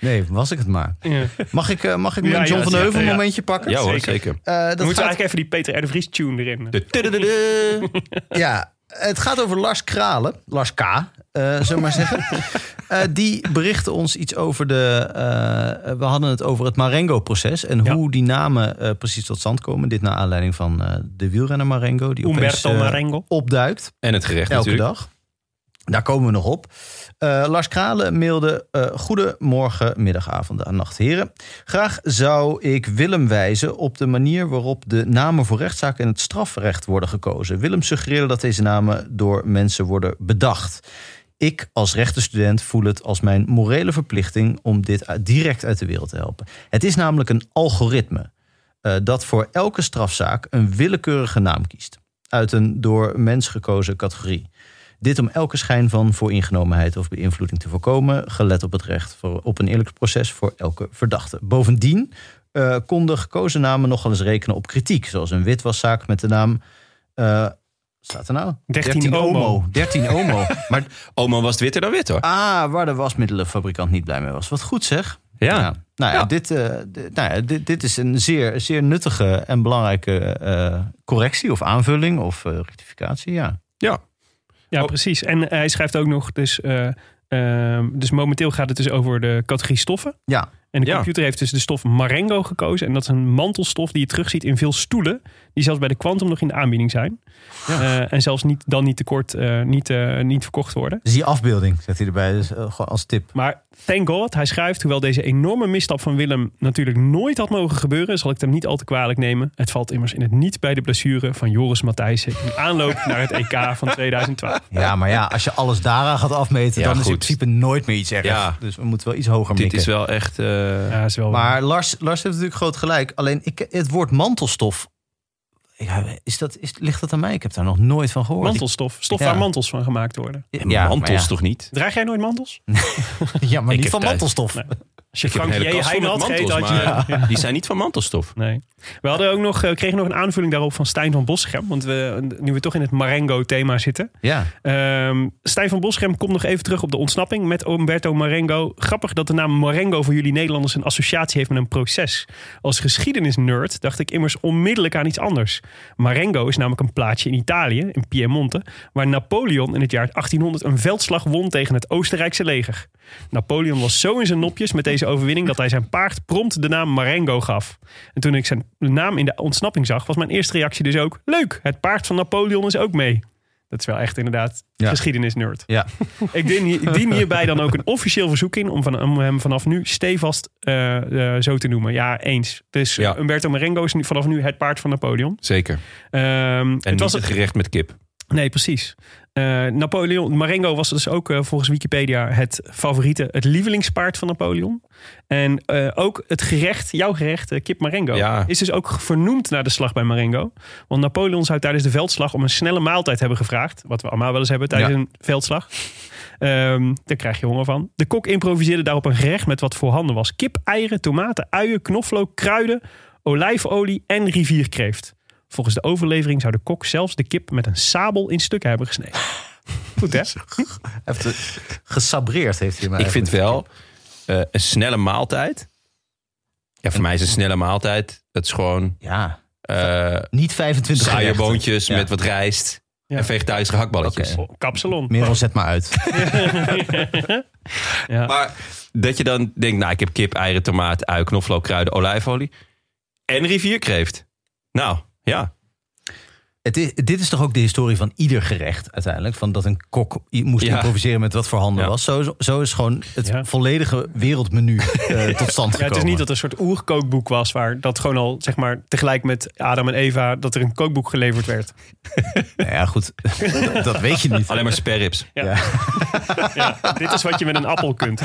Speaker 3: Nee, was ik het maar.
Speaker 2: Ja.
Speaker 3: Mag ik, eh, mag ik mijn
Speaker 2: Ja,
Speaker 3: John
Speaker 2: ja,
Speaker 3: van de
Speaker 2: ja,
Speaker 3: Heuvel
Speaker 2: ja.
Speaker 3: momentje pakken?
Speaker 1: Ja hoor,
Speaker 2: Zeker.
Speaker 1: zeker.
Speaker 3: Eh,
Speaker 2: Dan
Speaker 3: dat
Speaker 2: moeten we
Speaker 3: gaat,
Speaker 2: eigenlijk even die Peter R. de Vries tune erin. eh,
Speaker 1: De tudududu.
Speaker 3: ja, het gaat over Lars Kralen. Lars K, eh zullen we maar zeggen. Eh, die berichtte ons iets over de... eh, we hadden het over het Marengo-proces. En
Speaker 2: Ja.
Speaker 3: hoe die namen eh, precies tot stand komen. Dit naar aanleiding van eh, de wielrenner Marengo. Die opeens,
Speaker 2: Umberto
Speaker 3: eh,
Speaker 2: Marengo.
Speaker 3: opduikt.
Speaker 1: En het gerecht
Speaker 3: Elke
Speaker 1: natuurlijk.
Speaker 3: dag. Daar komen we nog op. Eh, Lars Kralen mailde... eh Goedemorgen, middagavond en nacht, heren. Graag zou ik Willem wijzen op de manier waarop de namen voor rechtszaken en het strafrecht worden gekozen. Willem suggereerde dat deze namen door mensen worden bedacht. Ik als rechtenstudent voel het als mijn morele verplichting om dit uit- direct uit de wereld te helpen. Het is namelijk een algoritme eh, dat voor elke strafzaak een willekeurige naam kiest. Uit een door mens gekozen categorie. Dit om elke schijn van vooringenomenheid of beïnvloeding te voorkomen, gelet op het recht voor, op een eerlijk proces voor elke verdachte. Bovendien eh, konden gekozen namen nogal eens rekenen op kritiek, zoals een witwaszaak met de naam. eh, staat er nou?
Speaker 2: 13 Omo.
Speaker 3: 13 Omo. maar
Speaker 1: Oma Oh, was het witter dan wit hoor.
Speaker 3: Ah, waar de wasmiddelenfabrikant niet blij mee was. Wat goed zeg.
Speaker 1: Ja.
Speaker 3: Nou ja,
Speaker 1: Ja.
Speaker 3: Dit, eh, dit- nou ja, dit, dit is een zeer, zeer nuttige en belangrijke eh, correctie of aanvulling of eh, rectificatie. Ja.
Speaker 2: Ja,
Speaker 1: Oh.
Speaker 2: precies. En eh, hij schrijft ook nog, dus, eh, ehm, dus momenteel gaat het dus over de categorie stoffen.
Speaker 3: Ja.
Speaker 2: En de
Speaker 1: Ja.
Speaker 2: computer heeft dus de stof Marengo gekozen. En dat is een mantelstof die je terugziet in veel stoelen. Die zelfs bij de Quantum nog in de aanbieding zijn. Eh, en zelfs niet, dan niet tekort, eh, niet, eh, niet verkocht worden.
Speaker 3: Zie afbeelding, zet hij erbij dus, eh, gewoon als tip.
Speaker 2: Maar thank God, hij schrijft, hoewel deze enorme misstap van Willem natuurlijk nooit had mogen gebeuren, zal ik het hem niet al te kwalijk nemen. Het valt immers in het niet bij de blessure van Joris Matthijssen in aanloop naar het EK van 2012.
Speaker 3: Ja, maar ja, als je alles daaraan gaat afmeten,
Speaker 1: Ja,
Speaker 3: dan is in
Speaker 1: goed.
Speaker 3: principe nooit meer iets erg.
Speaker 1: Ja.
Speaker 3: Dus we moeten wel iets hoger
Speaker 1: Dit
Speaker 3: mikken.
Speaker 1: is wel echt... eh,
Speaker 2: Ja, is wel
Speaker 3: Maar Lars, Lars heeft natuurlijk groot gelijk. Alleen ik, het woord mantelstof, ja, is dat, is, ligt dat aan mij? Ik heb daar nog nooit van gehoord.
Speaker 2: mantelstof. Stof
Speaker 3: Ja.
Speaker 2: waar mantels van gemaakt worden.
Speaker 3: Ja,
Speaker 1: mantels
Speaker 3: maar ja.
Speaker 1: toch niet?
Speaker 2: Draag jij nooit mantels?
Speaker 3: Ja, maar
Speaker 1: Ik
Speaker 3: niet
Speaker 1: heb
Speaker 3: van
Speaker 1: thuis-
Speaker 3: mantelstof.
Speaker 2: Nee. Als je
Speaker 1: Ik heb een
Speaker 2: Frank
Speaker 1: hele
Speaker 2: J.
Speaker 1: kast vol
Speaker 2: Heijn
Speaker 1: met
Speaker 2: had
Speaker 1: mantels,
Speaker 2: gegeten, had je...
Speaker 1: maar die zijn niet van mantelstof.
Speaker 2: Nee. We hadden ook nog, eh, kregen nog een aanvulling daarop van Stijn van Boschem. Want we, nu we toch in het Marengo-thema zitten.
Speaker 3: Ja,
Speaker 2: Ehm, Stijn van Boschem komt nog even terug op de ontsnapping met Umberto Marengo. Grappig dat de naam Marengo voor jullie Nederlanders een associatie heeft met een proces. Als geschiedenisnerd dacht ik immers onmiddellijk aan iets anders. Marengo is namelijk een plaatsje in Italië, in Piemonte, waar Napoleon in het jaar 1800 een veldslag won tegen het Oostenrijkse leger. Napoleon was zo in zijn nopjes met deze overwinning dat hij zijn paard prompt de naam Marengo gaf. En toen ik zijn naam in de ontsnapping zag, was mijn eerste reactie dus ook: leuk, het paard van Napoleon is ook mee. Dat is wel echt inderdaad
Speaker 3: Ja.
Speaker 2: geschiedenisnerd.
Speaker 3: Ja.
Speaker 2: Ik dien, hier- ik dien hierbij dan ook een officieel verzoek in om, van, om hem vanaf nu stevast eh, eh, zo te noemen. Ja, eens. Dus
Speaker 1: Ja.
Speaker 2: Umberto Marengo is nu, vanaf nu het paard van Napoleon.
Speaker 1: Zeker.
Speaker 2: Ehm,
Speaker 1: En
Speaker 2: het was
Speaker 1: niet het gerecht met kip.
Speaker 2: Nee, precies. Eh, Napoleon, Marengo was dus ook eh, volgens Wikipedia het favoriete, het lievelingspaard van Napoleon. En eh, ook het gerecht, jouw gerecht, eh, kip Marengo,
Speaker 1: Ja.
Speaker 2: is dus ook vernoemd naar de slag bij Marengo. Want Napoleon zou tijdens de veldslag om een snelle maaltijd hebben gevraagd. Wat we allemaal wel eens hebben tijdens
Speaker 3: Ja.
Speaker 2: een veldslag. Ehm, daar krijg je honger van. De kok improviseerde daarop een gerecht met wat voorhanden was. Kip, eieren, tomaten, uien, knoflook, kruiden, olijfolie en rivierkreeft. Volgens de overlevering zou de kok zelfs de kip met een sabel in stukken hebben gesneden. Goed hè?
Speaker 3: Hij heeft het gesabreerd heeft hij mij.
Speaker 1: Ik vind wel eh, een snelle maaltijd. Ja, voor mij is een snelle maaltijd. Dat is gewoon
Speaker 3: Ja,
Speaker 1: eh
Speaker 3: niet 25
Speaker 1: saaie
Speaker 3: gerechten.
Speaker 1: boontjes
Speaker 3: Ja.
Speaker 1: met wat rijst.
Speaker 2: Ja.
Speaker 1: En vegetarische hakballetjes.
Speaker 3: Oké.
Speaker 2: Oh, Kapsalon.
Speaker 3: Merel, zet maar uit.
Speaker 1: Maar dat je dan denkt, nou ik heb kip, eieren, tomaat, ui, knoflook, kruiden, olijfolie. En rivierkreeft. Nou, ja.
Speaker 3: Het is, dit is toch ook de historie van ieder gerecht uiteindelijk? Van dat een kok i- moest
Speaker 1: Ja.
Speaker 3: improviseren met wat voor handen
Speaker 1: Ja.
Speaker 3: was. Zo, zo is gewoon het
Speaker 2: Ja.
Speaker 3: volledige wereldmenu eh, tot stand gekomen.
Speaker 2: Ja, het is niet dat er een soort oerkookboek was waar dat gewoon al zeg maar tegelijk met Adam en Eva dat er een kookboek geleverd werd.
Speaker 3: Nou ja, goed, dat weet je niet.
Speaker 1: Alleen maar sperrips.
Speaker 2: Dit is wat je met een appel kunt.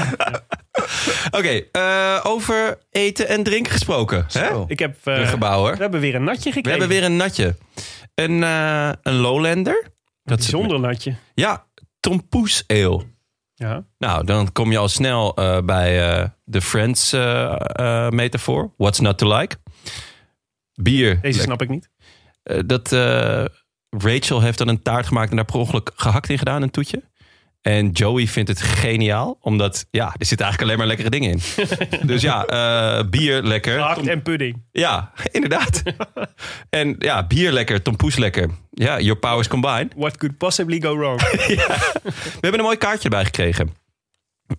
Speaker 1: Oké, eh, over eten en drinken gesproken. Hè?
Speaker 3: Zo.
Speaker 2: Ik heb, eh,
Speaker 1: De gebouwen.
Speaker 2: we hebben weer een natje gekregen.
Speaker 1: We hebben weer een natje. Een, eh, een Lowlander.
Speaker 2: een
Speaker 1: is-
Speaker 2: bijzonder natje.
Speaker 1: Ja, tompoes ale.
Speaker 2: Ja.
Speaker 1: Nou, dan kom je al snel eh, bij eh, de Friends eh, eh, metafoor. What's not to like? Bier.
Speaker 2: Deze
Speaker 1: Lek-
Speaker 2: snap ik niet.
Speaker 1: eh, dat eh, Rachel heeft dan een taart gemaakt en daar per ongeluk gehakt in gedaan, een toetje. En Joey vindt het geniaal, omdat ja, er zitten eigenlijk alleen maar lekkere dingen in. dus ja, eh, bier lekker.
Speaker 2: Gehakt en pudding.
Speaker 1: Ja, inderdaad. en ja, bier lekker, tompoes lekker. Ja, your powers combined.
Speaker 2: What could possibly go wrong?
Speaker 1: We hebben een mooi kaartje erbij gekregen.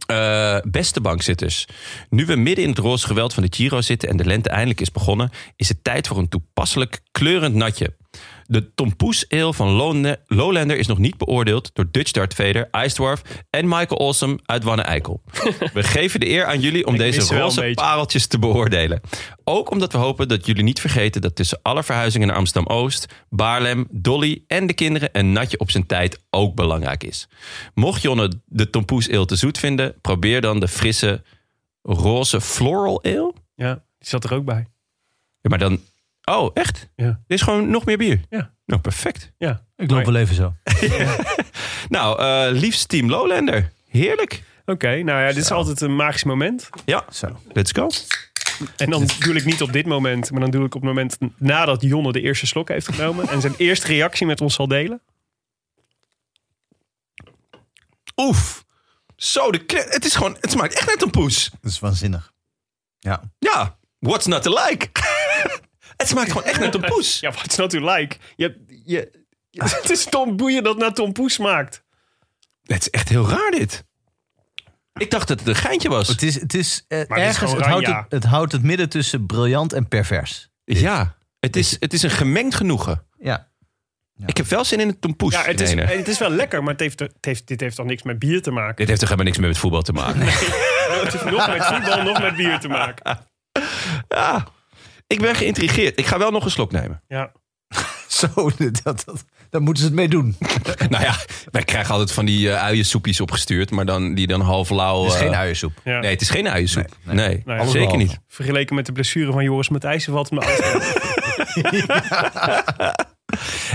Speaker 1: Eh, beste bankzitters, nu we midden in het roze geweld van de Giro zitten en de lente eindelijk is begonnen, is het tijd voor een toepasselijk kleurend natje. De Tompoes Ale van Lone- Lowlander is nog niet beoordeeld door Dutch Dart Vader, Ice Dwarf en Michael Awesome uit Wanne-Eikel. We geven de eer aan jullie om
Speaker 2: Ik mis
Speaker 1: deze
Speaker 2: ze wel een
Speaker 1: roze
Speaker 2: beetje.
Speaker 1: pareltjes te beoordelen. Ook omdat we hopen dat jullie niet vergeten dat tussen alle verhuizingen naar Amsterdam-Oost, Baarlem, Dolly en de kinderen een natje op zijn tijd ook belangrijk is. Mocht Jonne de Tompoes Ale te zoet vinden, probeer dan de frisse roze floral ale.
Speaker 2: Ja, die zat er ook bij.
Speaker 1: Ja, maar dan... Oh, echt?
Speaker 2: Ja.
Speaker 1: Dit is gewoon nog meer bier?
Speaker 2: Ja.
Speaker 1: Nou, perfect.
Speaker 2: Ja.
Speaker 3: Ik loop wel even zo.
Speaker 1: Nou, eh, liefst Team Lowlander. Heerlijk.
Speaker 2: Oké, nou ja, dit is altijd een magisch moment.
Speaker 1: Ja,
Speaker 3: Zo.
Speaker 1: let's go.
Speaker 2: En dan doe ik niet op dit moment, maar dan doe ik op het moment nadat Jonne de eerste slok heeft genomen en zijn eerste reactie met ons zal delen.
Speaker 1: Oef. Zo, de kle- het is gewoon... Het smaakt echt net een poes.
Speaker 3: Dat is waanzinnig. Ja.
Speaker 1: Ja, what's not to like? het smaakt gewoon echt net een poes.
Speaker 2: Ja, what's not to nou like? Je, je, het is Tom Boeien dat naar Tom Poes maakt.
Speaker 1: Het is echt heel raar dit. Ik dacht dat het een geintje was.
Speaker 3: Het is, het is eh,
Speaker 2: het is
Speaker 3: ergens,
Speaker 2: gewoon
Speaker 3: het houdt
Speaker 2: Ranja.
Speaker 3: het, het houdt het midden tussen briljant en pervers.
Speaker 1: Ja, het is, het is een gemengd genoegen.
Speaker 3: Ja.
Speaker 1: Ik heb wel zin in een tompoes.
Speaker 2: Ja, het is,
Speaker 1: Irene.
Speaker 2: het is wel lekker, maar het heeft, het heeft, dit heeft al niks met bier te maken.
Speaker 1: Dit heeft toch helemaal niks meer met voetbal te maken?
Speaker 2: Het heeft nog met voetbal, nog met bier te maken.
Speaker 1: Ja, ik ben geïntrigeerd. Ik ga wel nog een slok nemen.
Speaker 2: Ja.
Speaker 3: Zo, dat, dat, daar moeten ze het mee doen. Het
Speaker 1: Nou ja, wij krijgen altijd van die eh uiensoepjes opgestuurd, maar dan die dan half lauw.
Speaker 3: is
Speaker 1: eh,
Speaker 3: geen uiensoep.
Speaker 2: ja.
Speaker 1: Nee, het is geen uiensoep. Nee,
Speaker 2: Nee,
Speaker 1: zeker
Speaker 3: behalve.
Speaker 1: niet.
Speaker 2: Vergeleken met de blessure van Joris Matthijssen valt het me af.
Speaker 1: Eh,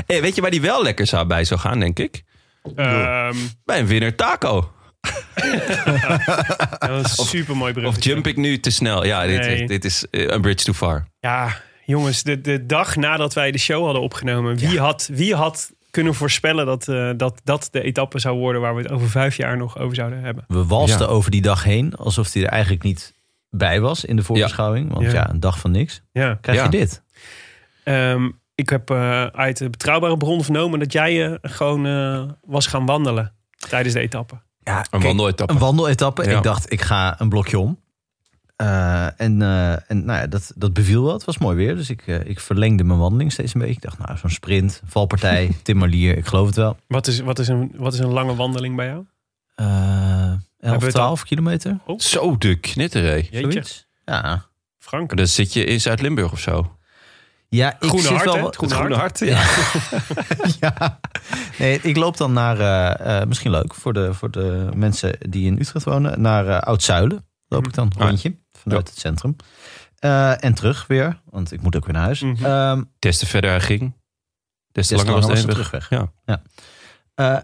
Speaker 1: Hey, weet je waar die wel lekker zou bij zou gaan, denk ik?
Speaker 2: Ehm,
Speaker 1: Bij een winner taco.
Speaker 2: Dat is een super mooi brug.
Speaker 1: Of jump ik nu te snel? Ja, dit,
Speaker 2: Nee.
Speaker 1: is- dit is eh, a bridge too far.
Speaker 2: Ja, jongens, de, de dag nadat wij de show hadden opgenomen, wie, had, wie had kunnen voorspellen dat, eh, dat dat de etappe zou worden waar we het over vijf jaar nog over zouden hebben?
Speaker 3: We
Speaker 1: Ja.
Speaker 3: walsten over die dag heen, alsof die er eigenlijk niet bij was in de voorbeschouwing. Want
Speaker 2: Ja.
Speaker 3: ja, een dag van niks.
Speaker 2: Ja.
Speaker 3: Krijg
Speaker 1: Ja.
Speaker 3: je dit?
Speaker 2: Ehm, ik heb eh, uit de betrouwbare bron vernomen dat jij eh, gewoon eh, was gaan wandelen tijdens de etappe.
Speaker 3: Ja,
Speaker 1: Een wandeletappe.
Speaker 3: Een wandeletappe.
Speaker 1: Ja.
Speaker 3: Ik dacht, ik ga een blokje om. Eh, en eh, en nou ja, dat, dat beviel wel. Het was mooi weer. Dus ik, eh, ik verlengde mijn wandeling steeds een beetje. Ik dacht, nou, zo'n sprint, valpartij, timmerlier, ik geloof het wel.
Speaker 2: Wat is, wat, is een, wat is een lange wandeling bij jou?
Speaker 3: Eh 11,
Speaker 2: we het al?
Speaker 3: 12 kilometer.
Speaker 1: Zo de knitteré.
Speaker 2: Jeetje.
Speaker 3: Zoiets. Ja.
Speaker 2: Frank.
Speaker 1: Dan zit je in Zuid-Limburg of zo.
Speaker 3: Ja, ik
Speaker 2: Groene
Speaker 3: zit
Speaker 2: hart,
Speaker 3: wel
Speaker 2: hè?
Speaker 3: wat-
Speaker 2: Het groene hart.
Speaker 1: ja.
Speaker 3: ja. Nee, ik loop dan naar, eh, eh, misschien leuk voor de, voor de mensen die in Utrecht wonen, naar eh Oud-Zuilen. Loop ik dan
Speaker 1: Ah.
Speaker 3: een rondje vanuit het centrum. Eh, en terug weer, want ik moet ook weer naar huis.
Speaker 2: Mhm.
Speaker 3: Ehm,
Speaker 1: Des te verder hij ging, des te
Speaker 3: Des te
Speaker 1: langer was de
Speaker 3: langer was de
Speaker 1: heenweg. Ja.
Speaker 3: Eh,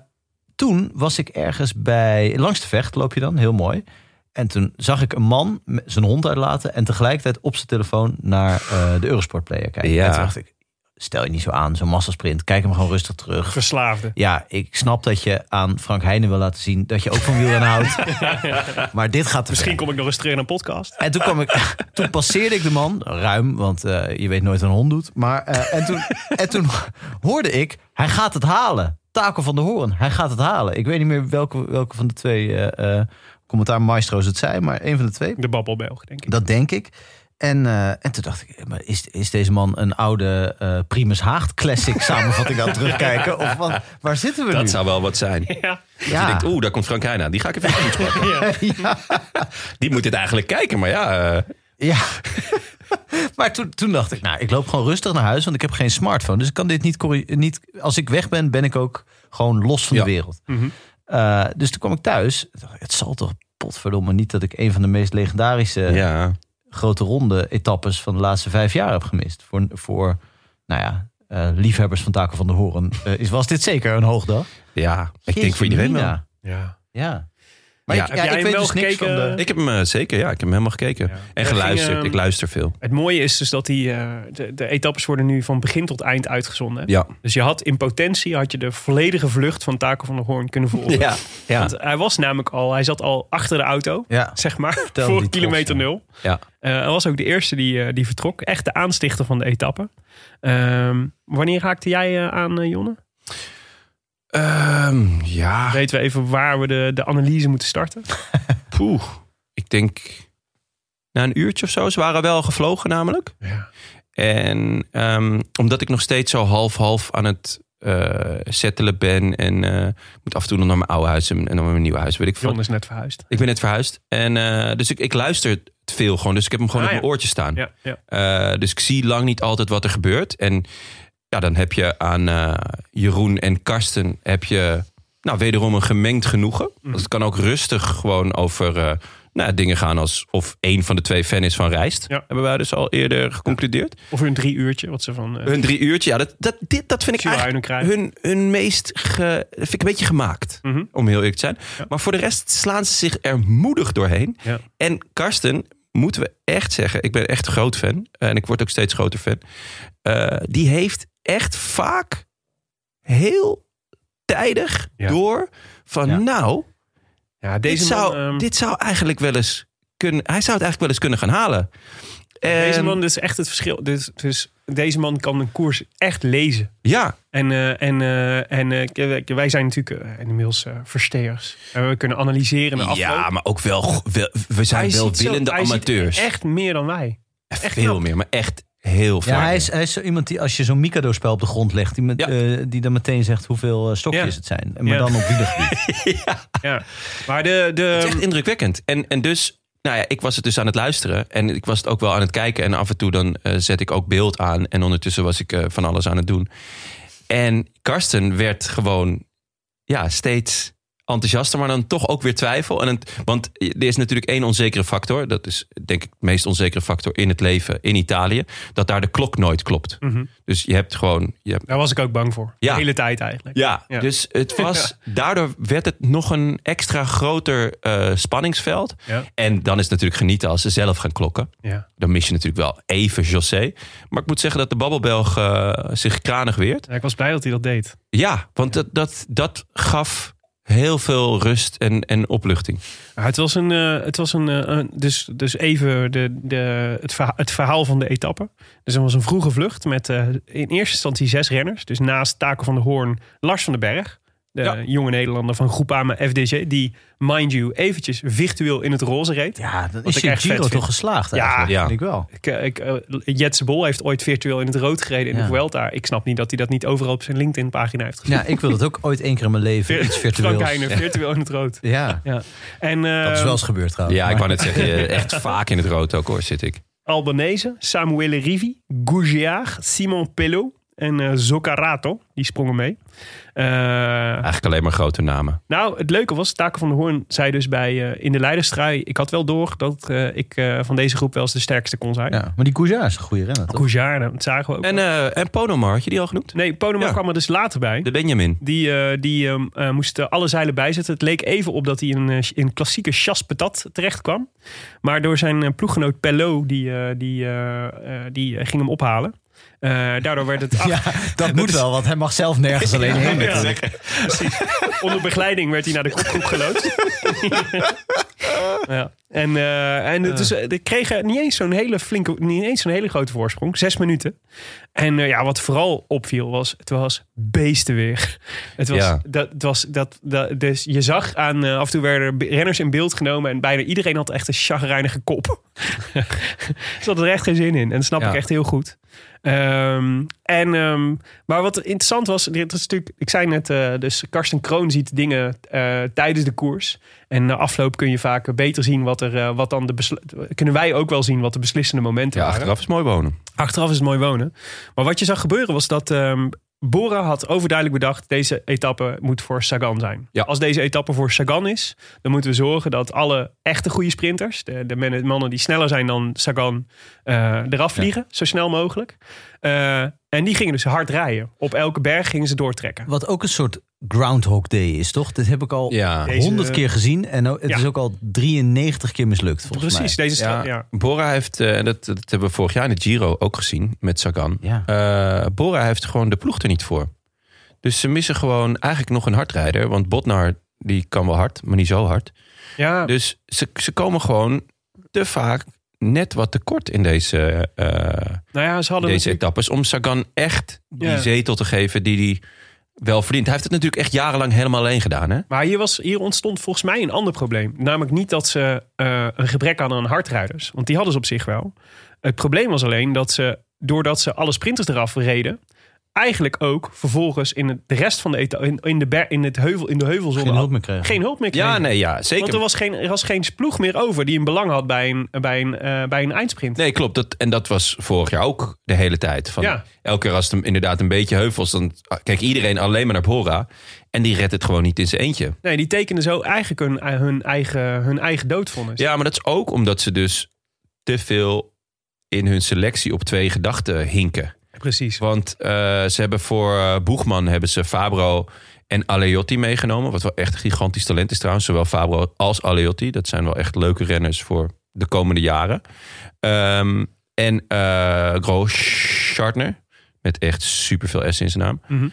Speaker 3: toen was ik ergens bij. Langs de vecht loop je dan, heel mooi. En toen zag ik een man met zijn hond uitlaten. en tegelijkertijd op zijn telefoon naar eh, de Eurosportplayer kijken.
Speaker 1: Ja.
Speaker 3: En toen dacht ik: stel je niet zo aan, zo'n massasprint. Kijk hem gewoon rustig terug.
Speaker 2: Verslaafde.
Speaker 3: Ja, ik snap dat je aan Frank Heijnen wil laten zien dat je ook van wielrennen houdt. Maar dit gaat te
Speaker 2: Misschien
Speaker 3: ver.
Speaker 2: kom ik nog eens terug in een podcast.
Speaker 3: En toen, kwam ik, toen passeerde ik de man, ruim, want eh, je weet nooit wat een hond doet. Maar, eh, en, toen, en toen hoorde ik, hij gaat het halen. Taco van de Hoorn, hij gaat het halen. Ik weet niet meer welke, welke van de twee eh eh commentaar maestro's het zijn, maar een van de twee.
Speaker 2: De babbelbelg, denk ik.
Speaker 3: Dat denk ik. En, eh, en toen dacht ik, maar is, is deze man een oude eh, Primus Haagd classic samenvatting aan het terugkijken? Of wat, waar zitten we nu?
Speaker 1: Dat zou wel wat zijn.
Speaker 2: Ja.
Speaker 1: Je denkt, oeh, daar komt Frank Heijn aan. Die ga ik even goed pakken. Die moet dit eigenlijk kijken, maar ja. eh,
Speaker 3: Ja. maar toen, toen dacht ik, nou, ik loop gewoon rustig naar huis, want ik heb geen smartphone. Dus ik kan dit niet, corri- niet als ik weg ben, ben ik ook gewoon los van
Speaker 1: Ja. Mhm.
Speaker 3: de wereld. Eh, dus toen kwam ik thuis. Ik dacht, Het zal toch potverdomme niet dat ik een van de meest legendarische
Speaker 1: ja.
Speaker 3: grote ronde etappes van de laatste vijf jaar heb gemist. Voor, voor nou ja, eh, liefhebbers van Taken van de Horen eh, is was dit zeker een hoogdag.
Speaker 1: Ja, ik denk
Speaker 3: Jeetje
Speaker 1: voor iedereen wel.
Speaker 3: mina. Ja. Maar
Speaker 1: Ja.
Speaker 3: ik,
Speaker 1: Heb
Speaker 3: ja,
Speaker 2: jij
Speaker 3: ik
Speaker 2: hem
Speaker 3: weet
Speaker 2: wel
Speaker 3: dus niks van
Speaker 2: gekeken?
Speaker 3: de...
Speaker 1: Ik heb hem eh, zeker, ja. Ik heb hem helemaal gekeken.
Speaker 2: Ja.
Speaker 1: En
Speaker 2: Er
Speaker 1: geluisterd.
Speaker 2: ging, ehm,
Speaker 1: Ik luister veel.
Speaker 2: Het mooie is dus dat die, eh, de, de etappes worden nu van begin tot eind uitgezonden. hè?
Speaker 1: Ja.
Speaker 2: Dus je had in potentie had je de volledige vlucht van Taco van der Hoorn kunnen volgen.
Speaker 1: Ja. ja.
Speaker 2: Want hij was namelijk al, hij zat al achter de auto,
Speaker 3: Ja.
Speaker 2: zeg maar,
Speaker 3: Vertel
Speaker 2: voor
Speaker 3: die
Speaker 2: kilometer
Speaker 3: trots,
Speaker 2: nul.
Speaker 1: Ja.
Speaker 2: Eh, hij was ook de eerste die, eh, die vertrok. Echt de aanstichter van de etappe. Ehm, wanneer haakte jij eh, aan, eh, Jonne?
Speaker 1: Ehm, ja.
Speaker 2: Weten we even waar we de, de analyse moeten starten?
Speaker 1: Poeh. Ik denk na een uurtje of zo. Ze waren wel gevlogen namelijk.
Speaker 2: Ja.
Speaker 1: En ehm, omdat ik nog steeds zo half-half aan het eh settelen ben. En eh, ik moet af en toe nog naar mijn oude huis en, en dan weer mijn nieuwe huis. Weet ik veel.
Speaker 2: Jonne is net verhuisd.
Speaker 1: Ik ben net verhuisd. En, eh, dus ik, ik luister veel gewoon. Dus ik heb hem gewoon
Speaker 2: Ah,
Speaker 1: op
Speaker 2: ja.
Speaker 1: mijn oortje staan.
Speaker 2: Ja, ja.
Speaker 1: Eh, dus ik zie lang niet altijd wat er gebeurt. En ja, dan heb je aan eh, Jeroen en Karsten heb je, nou, wederom een gemengd genoegen. Dus het kan ook rustig gewoon over eh, nou, ja, dingen gaan als of één van de twee fan is van Rijst.
Speaker 2: Ja.
Speaker 1: Hebben wij dus al eerder geconcludeerd.
Speaker 2: Of een drie uurtje, wat ze van... eh,
Speaker 1: Hun drie uurtje, ja, dat, dat, dit, dat vind ik
Speaker 2: Tjua
Speaker 1: eigenlijk
Speaker 2: Uinenkrijg.
Speaker 1: hun, hun meest ge, dat vind ik een beetje gemaakt.
Speaker 2: mhm.
Speaker 1: Om heel eerlijk te zijn. Maar voor de rest slaan ze zich er moedig doorheen.
Speaker 2: Ja.
Speaker 1: En Karsten, moeten we echt zeggen. Ik ben echt een groot fan. En ik word ook steeds groter fan. Eh, die heeft echt vaak heel tijdig
Speaker 2: Ja.
Speaker 1: door van
Speaker 3: Ja.
Speaker 1: nou,
Speaker 2: Ja,
Speaker 1: dit,
Speaker 2: deze man,
Speaker 1: zou,
Speaker 2: ehm,
Speaker 1: dit zou eigenlijk wel eens kunnen. Hij zou het eigenlijk wel eens kunnen gaan halen.
Speaker 2: Deze
Speaker 1: En-
Speaker 2: man is echt het verschil. Dus, dus deze man kan een koers echt lezen.
Speaker 1: Ja,
Speaker 2: En, eh, en, eh, en eh, k- k- wij zijn natuurlijk eh, inmiddels eh versteers. En we kunnen analyseren de afloop.
Speaker 1: ja, maar ook wel, wel- we zijn
Speaker 2: Hij ziet
Speaker 1: wel
Speaker 2: zo-
Speaker 1: willende
Speaker 2: hij ziet
Speaker 1: amateurs.
Speaker 2: Echt meer dan wij. echt
Speaker 1: veel
Speaker 2: knap.
Speaker 1: meer, maar echt heel veel.
Speaker 3: Ja, hij is, hij is zo iemand die als je zo'n Mikado-spel op de grond legt, die, met,
Speaker 1: Ja.
Speaker 3: eh, die dan meteen zegt hoeveel eh, stokjes
Speaker 2: Ja.
Speaker 3: het zijn. Maar
Speaker 2: Ja.
Speaker 3: dan op wielergebied.
Speaker 2: Ja. Maar de,
Speaker 1: Het
Speaker 2: de,
Speaker 1: is echt indrukwekkend. En, en dus, nou ja, ik was het dus aan het luisteren. En ik was het ook wel aan het kijken. En af en toe dan eh, zet ik ook beeld aan. En ondertussen was ik eh, van alles aan het doen. En Karsten werd gewoon ja, steeds enthousiaster, maar dan toch ook weer twijfel. En een- want er is natuurlijk één onzekere factor. Dat is denk ik de meest onzekere factor in het leven in Italië. Dat daar de klok nooit klopt.
Speaker 2: Mhm.
Speaker 1: Dus je hebt gewoon... Je hebt,
Speaker 2: Daar was ik ook bang voor.
Speaker 1: Ja.
Speaker 2: De hele tijd eigenlijk.
Speaker 1: ja,
Speaker 2: Ja.
Speaker 1: dus het was... Daardoor werd het nog een extra groter eh, spanningsveld.
Speaker 2: Ja.
Speaker 1: En dan is het natuurlijk genieten als ze zelf gaan klokken.
Speaker 2: Ja.
Speaker 1: Dan mis je natuurlijk wel even José. Maar ik moet zeggen dat de Babbelbelg eh, zich kranig weert.
Speaker 2: Ja, Ik was blij dat hij dat deed.
Speaker 1: Ja, want dat, dat, dat gaf heel veel rust en, en opluchting.
Speaker 2: Ja, het was een. eh, het was een, eh, een- dus, dus even de, de, het, verha- het verhaal van de etappe. Dus er was een vroege vlucht met eh, in eerste instantie zes renners. Dus naast Taco van der Hoorn, Lars van den Berg. De
Speaker 1: Ja.
Speaker 2: jonge Nederlander van Groep Ama FDG. Die, mind you, eventjes virtueel in het roze reed.
Speaker 3: Ja, dan
Speaker 2: Wat
Speaker 3: is
Speaker 2: ik
Speaker 3: je
Speaker 2: echt vet
Speaker 3: Giro
Speaker 2: vind.
Speaker 3: toch geslaagd
Speaker 2: Ja,
Speaker 3: eigenlijk,
Speaker 1: ja.
Speaker 3: vind ik wel.
Speaker 2: Ik, eh, ik, eh, Jetse Bol heeft ooit virtueel in het rood gereden in
Speaker 3: Ja.
Speaker 2: de Vuelta. Ik snap niet dat hij dat niet overal op zijn LinkedIn-pagina heeft gezet.
Speaker 3: Ja, ik wil dat ook ooit één keer in mijn leven, iets
Speaker 2: Frank
Speaker 3: virtueels.
Speaker 2: Heijnen, virtueel in het rood.
Speaker 3: Ja,
Speaker 2: Ja. En
Speaker 3: dat is
Speaker 2: eh
Speaker 3: wel eens gebeurd trouwens.
Speaker 1: Ja, ik
Speaker 3: Maar-
Speaker 1: wou net zeggen, je- echt vaak in het rood ook hoor, zit ik.
Speaker 2: Albanese, Samuele Rivi, Gougiard, Simon Pello en eh Zoccarato. Die sprongen mee. Eh,
Speaker 1: Eigenlijk alleen maar grote namen.
Speaker 2: nou, het leuke was, Taco van der Hoorn zei dus bij, eh, in de leiderstrui... ik had wel door dat eh, ik eh, van deze groep wel eens de sterkste kon zijn.
Speaker 3: Ja, maar die Cousin is een goede renner, toch?
Speaker 2: Gougiard, dat zagen we ook.
Speaker 1: En, eh en Ponomar, had je die al genoemd?
Speaker 2: nee, Ponema
Speaker 1: Ja.
Speaker 2: kwam er dus later bij.
Speaker 1: De Benjamin.
Speaker 2: Die, eh, die ehm, eh, moest eh, alle zeilen bijzetten. Het leek even op dat hij in een eh, in klassieke chasse patat terecht kwam. Maar door zijn eh, ploeggenoot Pello, die, eh, die, eh, eh, die eh, ging hem ophalen. Eh, daardoor werd het
Speaker 3: Ja, dat moet wel, want hij mag zelf nergens alleen heen
Speaker 2: Ja,
Speaker 3: natuurlijk.
Speaker 2: precies. Onder begeleiding werd hij naar de kopgroep geloodst. ja. En, eh en dus, ik kreeg niet eens zo'n hele flinke, niet eens zo'n hele grote voorsprong. Zes minuten. En eh, ja, wat vooral opviel was, het was beestenweer. Het was,
Speaker 1: Ja.
Speaker 2: dat, het was dat, dat, dus je zag aan, eh, af en toe werden be- renners in beeld genomen en bijna iedereen had echt een chagrijnige kop. Ze hadden er echt geen zin in. En dat snap
Speaker 1: Ja.
Speaker 2: ik echt heel goed. Ehm, en, ehm, maar wat interessant was, dit is natuurlijk, ik zei net, eh, dus Karsten Kroon ziet dingen eh, tijdens de koers. En na afloop kun je vaak beter zien wat er, eh, wat dan de beslu- kunnen wij ook wel zien wat de beslissende momenten
Speaker 1: Ja,
Speaker 2: waren.
Speaker 1: achteraf is mooi wonen.
Speaker 2: Achteraf is het mooi wonen. Maar wat je zag gebeuren was dat ehm, Bora had overduidelijk bedacht... deze etappe moet voor Sagan zijn.
Speaker 1: Ja.
Speaker 2: Als deze etappe voor Sagan is... dan moeten we zorgen dat alle echte goede sprinters... de, de men- mannen die sneller zijn dan Sagan... eh, eraf vliegen, zo snel mogelijk. Eh, en die gingen dus hard rijden. Op elke berg gingen ze doortrekken.
Speaker 3: Wat ook een soort Groundhog Day is, toch? Dit heb ik al
Speaker 1: Ja.
Speaker 2: Deze- eh,
Speaker 3: honderd keer gezien en nou- het
Speaker 2: Ja.
Speaker 3: is ook al 93 keer mislukt volgens
Speaker 2: Precies,
Speaker 3: mij.
Speaker 2: deze stra-
Speaker 1: Ja,
Speaker 2: ja.
Speaker 1: Bora heeft, eh, en dat, dat hebben we vorig jaar in de Giro ook gezien met Sagan.
Speaker 3: Ja.
Speaker 1: Eh, Bora heeft gewoon de ploeg er niet voor. Dus ze missen gewoon eigenlijk nog een hardrijder. Want Botnar, die kan wel hard, maar niet zo hard.
Speaker 2: Ja,
Speaker 1: Dus ze, ze komen gewoon te vaak net wat tekort in deze, eh,
Speaker 2: nou ja, ze hadden
Speaker 1: deze
Speaker 2: natuurlijk-
Speaker 1: etappes. Om Sagan echt die
Speaker 2: Ja.
Speaker 1: zetel te geven die hij wel verdient. Hij heeft het natuurlijk echt jarenlang helemaal alleen gedaan. Hè?
Speaker 2: Maar hier, was, hier ontstond volgens mij een ander probleem. Namelijk niet dat ze eh, een gebrek hadden aan hardrijders. Want die hadden ze op zich wel. Het probleem was alleen dat ze, doordat ze alle sprinters eraf reden... eigenlijk ook vervolgens in het, de rest van de etappe... in, in, de, ber- in, het heuvel, in de heuvelzone...
Speaker 3: Geen hulp meer kregen.
Speaker 2: geen hulp meer kregen.
Speaker 1: Ja, nee, ja,
Speaker 2: Want er
Speaker 1: zeker.
Speaker 2: was, geen, er was geen ploeg meer over die een belang had bij een, bij een, eh, bij een eindsprint.
Speaker 1: Nee, klopt. Dat, en dat was vorig jaar ook de hele tijd. Van
Speaker 2: Ja.
Speaker 1: Elke keer als het hem inderdaad een beetje heuvels, dan kijkt iedereen alleen maar naar Bora. En die redt het gewoon niet in zijn eentje.
Speaker 2: Nee, die tekenden zo eigenlijk hun, hun, eigen, hun eigen doodvonnis.
Speaker 1: Ja, maar dat is ook omdat ze dus te veel in hun selectie op twee gedachten hinken.
Speaker 2: Precies.
Speaker 1: Want eh, ze hebben voor eh, Boegman hebben ze Fabro en Aleotti meegenomen. Wat wel echt een gigantisch talent is trouwens. Zowel Fabro als Aleotti. Dat zijn wel echt leuke renners voor de komende jaren. Ehm, en eh Grosschartner. Met echt superveel S in zijn naam.
Speaker 2: Mhm.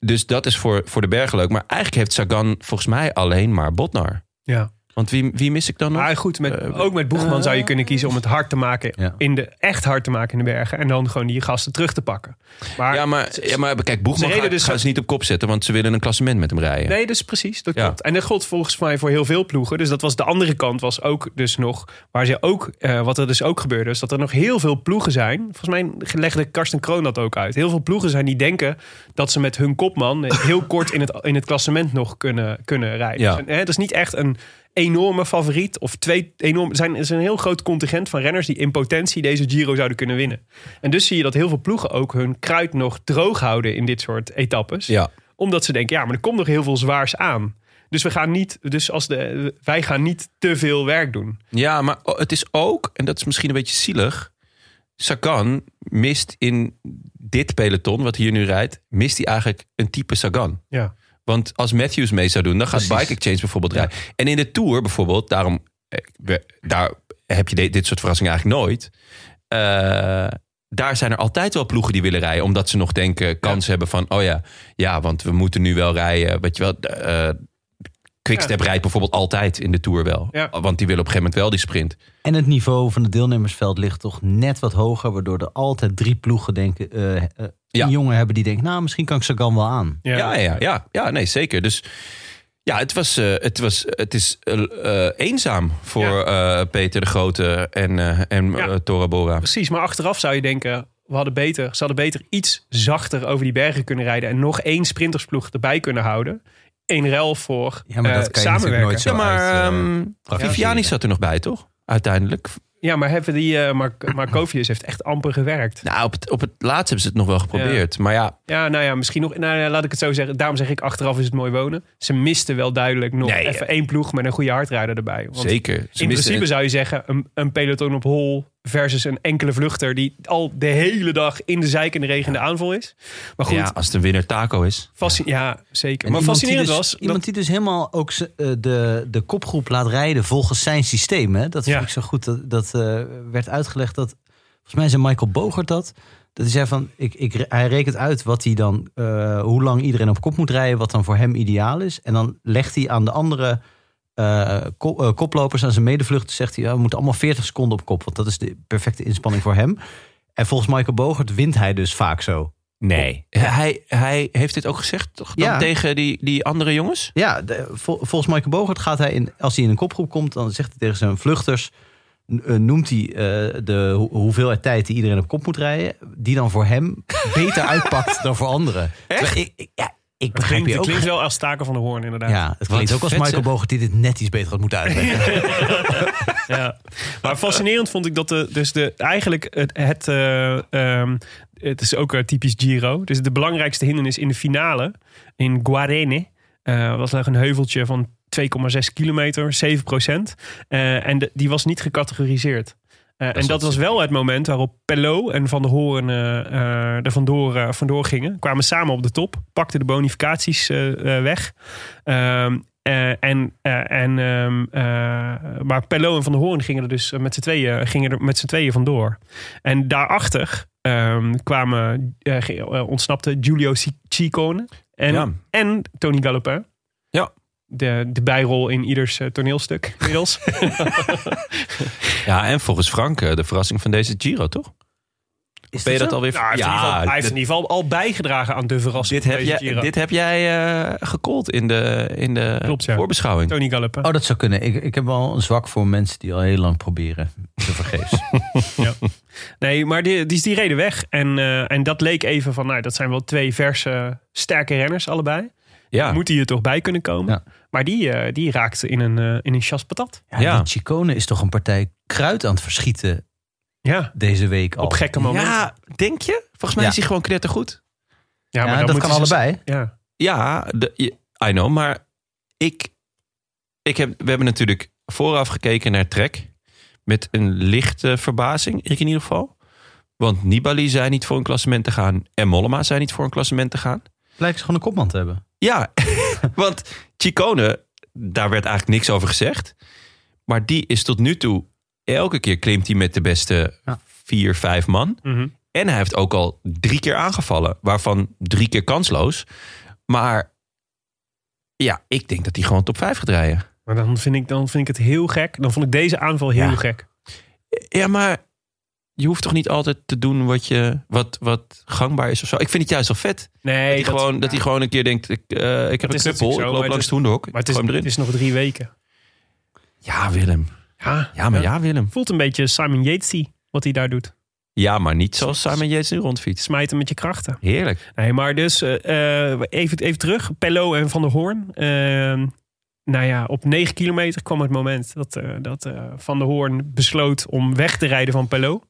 Speaker 1: Dus dat is voor, voor de bergen leuk. Maar eigenlijk heeft Sagan volgens mij alleen maar Botnar.
Speaker 2: Ja.
Speaker 1: Want wie, wie mis ik dan nog?
Speaker 2: Maar goed, met,
Speaker 1: Eh,
Speaker 2: ook met Boegman zou je kunnen kiezen om het hard te maken.
Speaker 3: Ja.
Speaker 2: In de, echt hard te maken in de bergen. En dan gewoon die gasten terug te pakken. Maar,
Speaker 1: Ja, maar, ja, maar kijk, Boegman
Speaker 2: ze reden
Speaker 1: gaan,
Speaker 2: dus-
Speaker 1: gaan ze niet op kop zetten. Want ze willen een klassement met hem rijden.
Speaker 2: Nee, dus precies. Dat
Speaker 1: Ja.
Speaker 2: klopt. En dat gold volgens mij voor heel veel ploegen. Dus dat was de andere kant was ook dus nog... Waar ze ook, eh, wat er dus ook gebeurde, is dat er nog heel veel ploegen zijn. Volgens mij legde Karsten Kroon dat ook uit. Heel veel ploegen zijn die denken dat ze met hun kopman... heel kort in het, in het klassement nog kunnen, kunnen rijden.
Speaker 1: Ja.
Speaker 2: Dus, hè, het is niet echt een enorme favoriet of twee enorm zijn er is een heel groot contingent van renners die in potentie deze Giro zouden kunnen winnen. En dus zie je dat heel veel ploegen ook hun kruid nog droog houden in dit soort etappes
Speaker 1: Ja.
Speaker 2: Omdat ze denken, ja, maar er komt nog heel veel zwaars aan. Dus, we gaan niet, dus als de, wij gaan niet te veel werk doen.
Speaker 1: Ja, maar o- het is ook, en dat is misschien een beetje zielig. Sagan mist in dit peloton, wat hier nu rijdt, mist hij eigenlijk een type Sagan.
Speaker 2: Ja.
Speaker 1: Want als Matthews mee zou doen, dan gaat
Speaker 3: Precies.
Speaker 1: Bike Exchange bijvoorbeeld rijden. En in de Tour bijvoorbeeld, daarom eh, we- daar heb je de- dit soort verrassingen eigenlijk nooit. Eh, daar zijn er altijd wel ploegen die willen rijden. Omdat ze nog denken, kans hebben van... oh ja, ja, want we moeten nu wel rijden. Weet je wel, eh, Quickstep rijdt bijvoorbeeld altijd in de Tour wel.
Speaker 2: Ja.
Speaker 1: Want die willen op een gegeven moment wel die sprint.
Speaker 3: En het niveau van het deelnemersveld ligt toch net wat hoger, waardoor er altijd drie ploegen denken, eh eh, een
Speaker 1: Ja.
Speaker 3: jongen hebben die denkt, nou misschien kan ik Sagan wel aan.
Speaker 2: Ja.
Speaker 1: Ja, ja, ja, ja, ja nee, zeker. Dus ja, het, was, eh, het, was, het is eh, eh, eenzaam voor eh, Peter de Grote en, eh, en
Speaker 2: Ja.
Speaker 1: eh, Tora Bora.
Speaker 2: Precies, maar achteraf zou je denken... We hadden beter, ze hadden beter iets zachter over die bergen kunnen rijden... en nog één sprintersploeg erbij kunnen houden. In ruil voor
Speaker 3: Ja, maar
Speaker 2: eh,
Speaker 3: dat kan je
Speaker 2: samenwerken.
Speaker 3: natuurlijk nooit zo
Speaker 1: Ja, maar
Speaker 3: uit, eh,
Speaker 1: ehm Viviani zat er nog bij, toch? Uiteindelijk.
Speaker 2: Ja, maar, hebben die, eh, maar, maar Kovius heeft echt amper gewerkt.
Speaker 1: Nou, op het, op het laatst hebben ze het nog wel geprobeerd. Maar ja,
Speaker 2: Ja, nou ja, misschien nog. Nou, ja, laat ik het zo zeggen. Daarom zeg ik achteraf is het mooi wonen. Ze misten wel duidelijk nog
Speaker 1: Nee,
Speaker 3: eh.
Speaker 2: even één ploeg met een goede hardrijder erbij. Want
Speaker 1: zeker. Ze misten
Speaker 2: in principe
Speaker 1: het.
Speaker 2: zou je zeggen: een, een peloton op hol versus een enkele vluchter die al de hele dag in de zijk en de regen in de aanval is. Maar goed,
Speaker 1: Ja,
Speaker 2: ja,
Speaker 1: als het een winnaar taco is.
Speaker 2: ja zeker.
Speaker 3: En
Speaker 2: maar
Speaker 3: iemand die
Speaker 2: fascinerend
Speaker 3: dus-
Speaker 2: was.
Speaker 3: Iemand die dus helemaal ook ze- eh, de, de kopgroep laat rijden volgens zijn systeem. Hè? Dat
Speaker 2: Ja.
Speaker 3: vind ik zo goed. Dat, dat eh, werd uitgelegd dat, volgens mij zei Michael Bogert dat. Dat hij zei van, ik, ik, re- hij rekent uit wat hij dan, eh, hoe lang iedereen op kop moet rijden. Wat dan voor hem ideaal is. En dan legt hij aan de andere eh, ko- eh, koplopers, aan zijn medevluchten, zegt hij, ja, we moeten allemaal 40 seconden op kop. Want dat is de perfecte inspanning voor hem. En volgens Michael Bogert wint hij dus vaak zo.
Speaker 1: Nee. Eh, Hij, hij heeft dit ook gezegd, toch? Dan
Speaker 3: Ja.
Speaker 1: tegen die, die andere jongens?
Speaker 3: Ja, de- vol- volgens Michael Bogert gaat hij in, als hij in een kopgroep komt, dan zegt hij tegen zijn vluchters, n- eh, noemt hij eh, de ho- hoeveelheid tijd die iedereen op kop moet rijden, die dan voor hem beter uitpakt dan voor anderen. Terwijl Ik, ik- ja, ik
Speaker 2: Het
Speaker 3: begrijp
Speaker 2: klinkt,
Speaker 3: je
Speaker 2: het
Speaker 3: ook.
Speaker 2: klinkt wel als staken van de hoorn, inderdaad.
Speaker 3: Ja, het klinkt
Speaker 1: Wat
Speaker 3: ook als
Speaker 1: vet,
Speaker 3: Michael
Speaker 1: zeg.
Speaker 3: Bogert die dit net iets beter had moeten uitleggen.
Speaker 2: Ja. Maar fascinerend vond ik dat de, dus de, eigenlijk het, het, eh, ehm, het is ook eh, typisch Giro. Dus de belangrijkste hindernis in de finale in Guarene eh, was nog een heuveltje van 2,6 kilometer, 7 procent. Eh, en de- die was niet gecategoriseerd. Eh, en dat was wel het moment waarop Pello en Van der Hoorn eh, eh, er vandoor, eh, vandoor gingen. Kwamen samen op de top, pakten de bonificaties eh, eh, weg. Ehm, eh, en, eh, en, ehm, eh, maar Pello en Van der Hoorn gingen er dus met z'n tweeën, gingen er met z'n tweeën vandoor. En daarachter ehm, kwamen, eh, ge- eh, ontsnapte Giulio Ci- Ciccone en,
Speaker 1: Ja.
Speaker 2: en Tony Gallopin.
Speaker 1: Ja.
Speaker 2: De, de bijrol in ieders eh, toneelstuk inmiddels.
Speaker 1: Ja, en volgens Frank eh, de verrassing van deze Giro, toch?
Speaker 3: Is
Speaker 1: Ben je dat
Speaker 3: zo?
Speaker 1: alweer...
Speaker 2: Nou, hij heeft, in, ieder geval, hij heeft in ieder geval al bijgedragen aan de verrassing
Speaker 1: dit, heb
Speaker 2: van deze
Speaker 1: jij,
Speaker 2: Giro.
Speaker 1: dit heb jij eh, gecallt in de, in de
Speaker 2: Klopt, ja.
Speaker 1: voorbeschouwing.
Speaker 2: Tony Gallopin.
Speaker 3: Oh, dat zou kunnen. Ik, ik heb wel een zwak voor mensen die al heel lang proberen te vergeefs.
Speaker 2: Nee, maar die, die, die reden weg. En, eh, en dat leek even van, nou, dat zijn wel twee verse, sterke renners allebei.
Speaker 1: Ja.
Speaker 2: Moet die er toch bij kunnen komen?
Speaker 3: Ja.
Speaker 2: Maar die, eh, die raakte in een, eh in een chas patat.
Speaker 3: Ja,
Speaker 1: Ja.
Speaker 3: Die Chicone is toch een partij kruid aan het verschieten
Speaker 2: Ja,
Speaker 3: deze week al.
Speaker 2: op gekke momenten. Ja,
Speaker 1: ja, Ah, denk je? Volgens mij
Speaker 3: Ja.
Speaker 1: is hij gewoon knettergoed.
Speaker 3: Ja,
Speaker 2: maar dan
Speaker 3: dat
Speaker 2: moeten
Speaker 3: kan
Speaker 2: ze-
Speaker 3: allebei.
Speaker 2: Ja,
Speaker 1: Ja, de, je- I know, maar ik, ik heb, we hebben natuurlijk vooraf gekeken naar Trek. Met een lichte verbazing, ik in ieder geval. Want Nibali zei niet voor een klassement te gaan. En Mollema zei niet voor een klassement te gaan.
Speaker 3: Lijkt ze gewoon een kopman te hebben.
Speaker 1: Ja, want Chicone, daar werd eigenlijk niks over gezegd. Maar die is tot nu toe, elke keer klimt hij met de beste
Speaker 3: Ja.
Speaker 1: vier, vijf man.
Speaker 2: mhm.
Speaker 1: En hij heeft ook al drie keer aangevallen, waarvan drie keer kansloos. Maar ja, ik denk dat hij gewoon top 5 gaat rijden.
Speaker 2: maar dan vind, ik, dan vind ik het heel gek. Dan vond ik deze aanval heel
Speaker 1: Ja.
Speaker 2: gek.
Speaker 1: Ja, maar je hoeft toch niet altijd te doen wat, je, wat, wat gangbaar is of zo. Ik vind het juist wel vet.
Speaker 2: Nee,
Speaker 1: dat, hij gewoon, dat hij gewoon een keer denkt, ik, eh, ik heb een knuppel,
Speaker 2: is natuurlijk zo,
Speaker 1: ik
Speaker 2: maar
Speaker 1: loop
Speaker 2: het
Speaker 1: langs
Speaker 2: is-
Speaker 1: de hoenderhok. ik
Speaker 2: Maar het is,
Speaker 1: gooi hem
Speaker 2: het
Speaker 1: erin.
Speaker 2: is nog drie weken.
Speaker 1: Ja, Willem.
Speaker 2: Ja,
Speaker 1: Ja, maar ja, Willem.
Speaker 2: Voelt een beetje Simon Yatesy wat hij daar doet.
Speaker 1: Ja, maar niet zoals Simon Yates nu rondfietst.
Speaker 2: Smijten met je krachten.
Speaker 1: Heerlijk.
Speaker 2: Nee, maar dus eh, eh, even, even terug. Pello en Van der Hoorn. Eh, nou ja, op 9 kilometer kwam het moment dat, eh, dat eh, Van der Hoorn besloot om weg te rijden van Pello.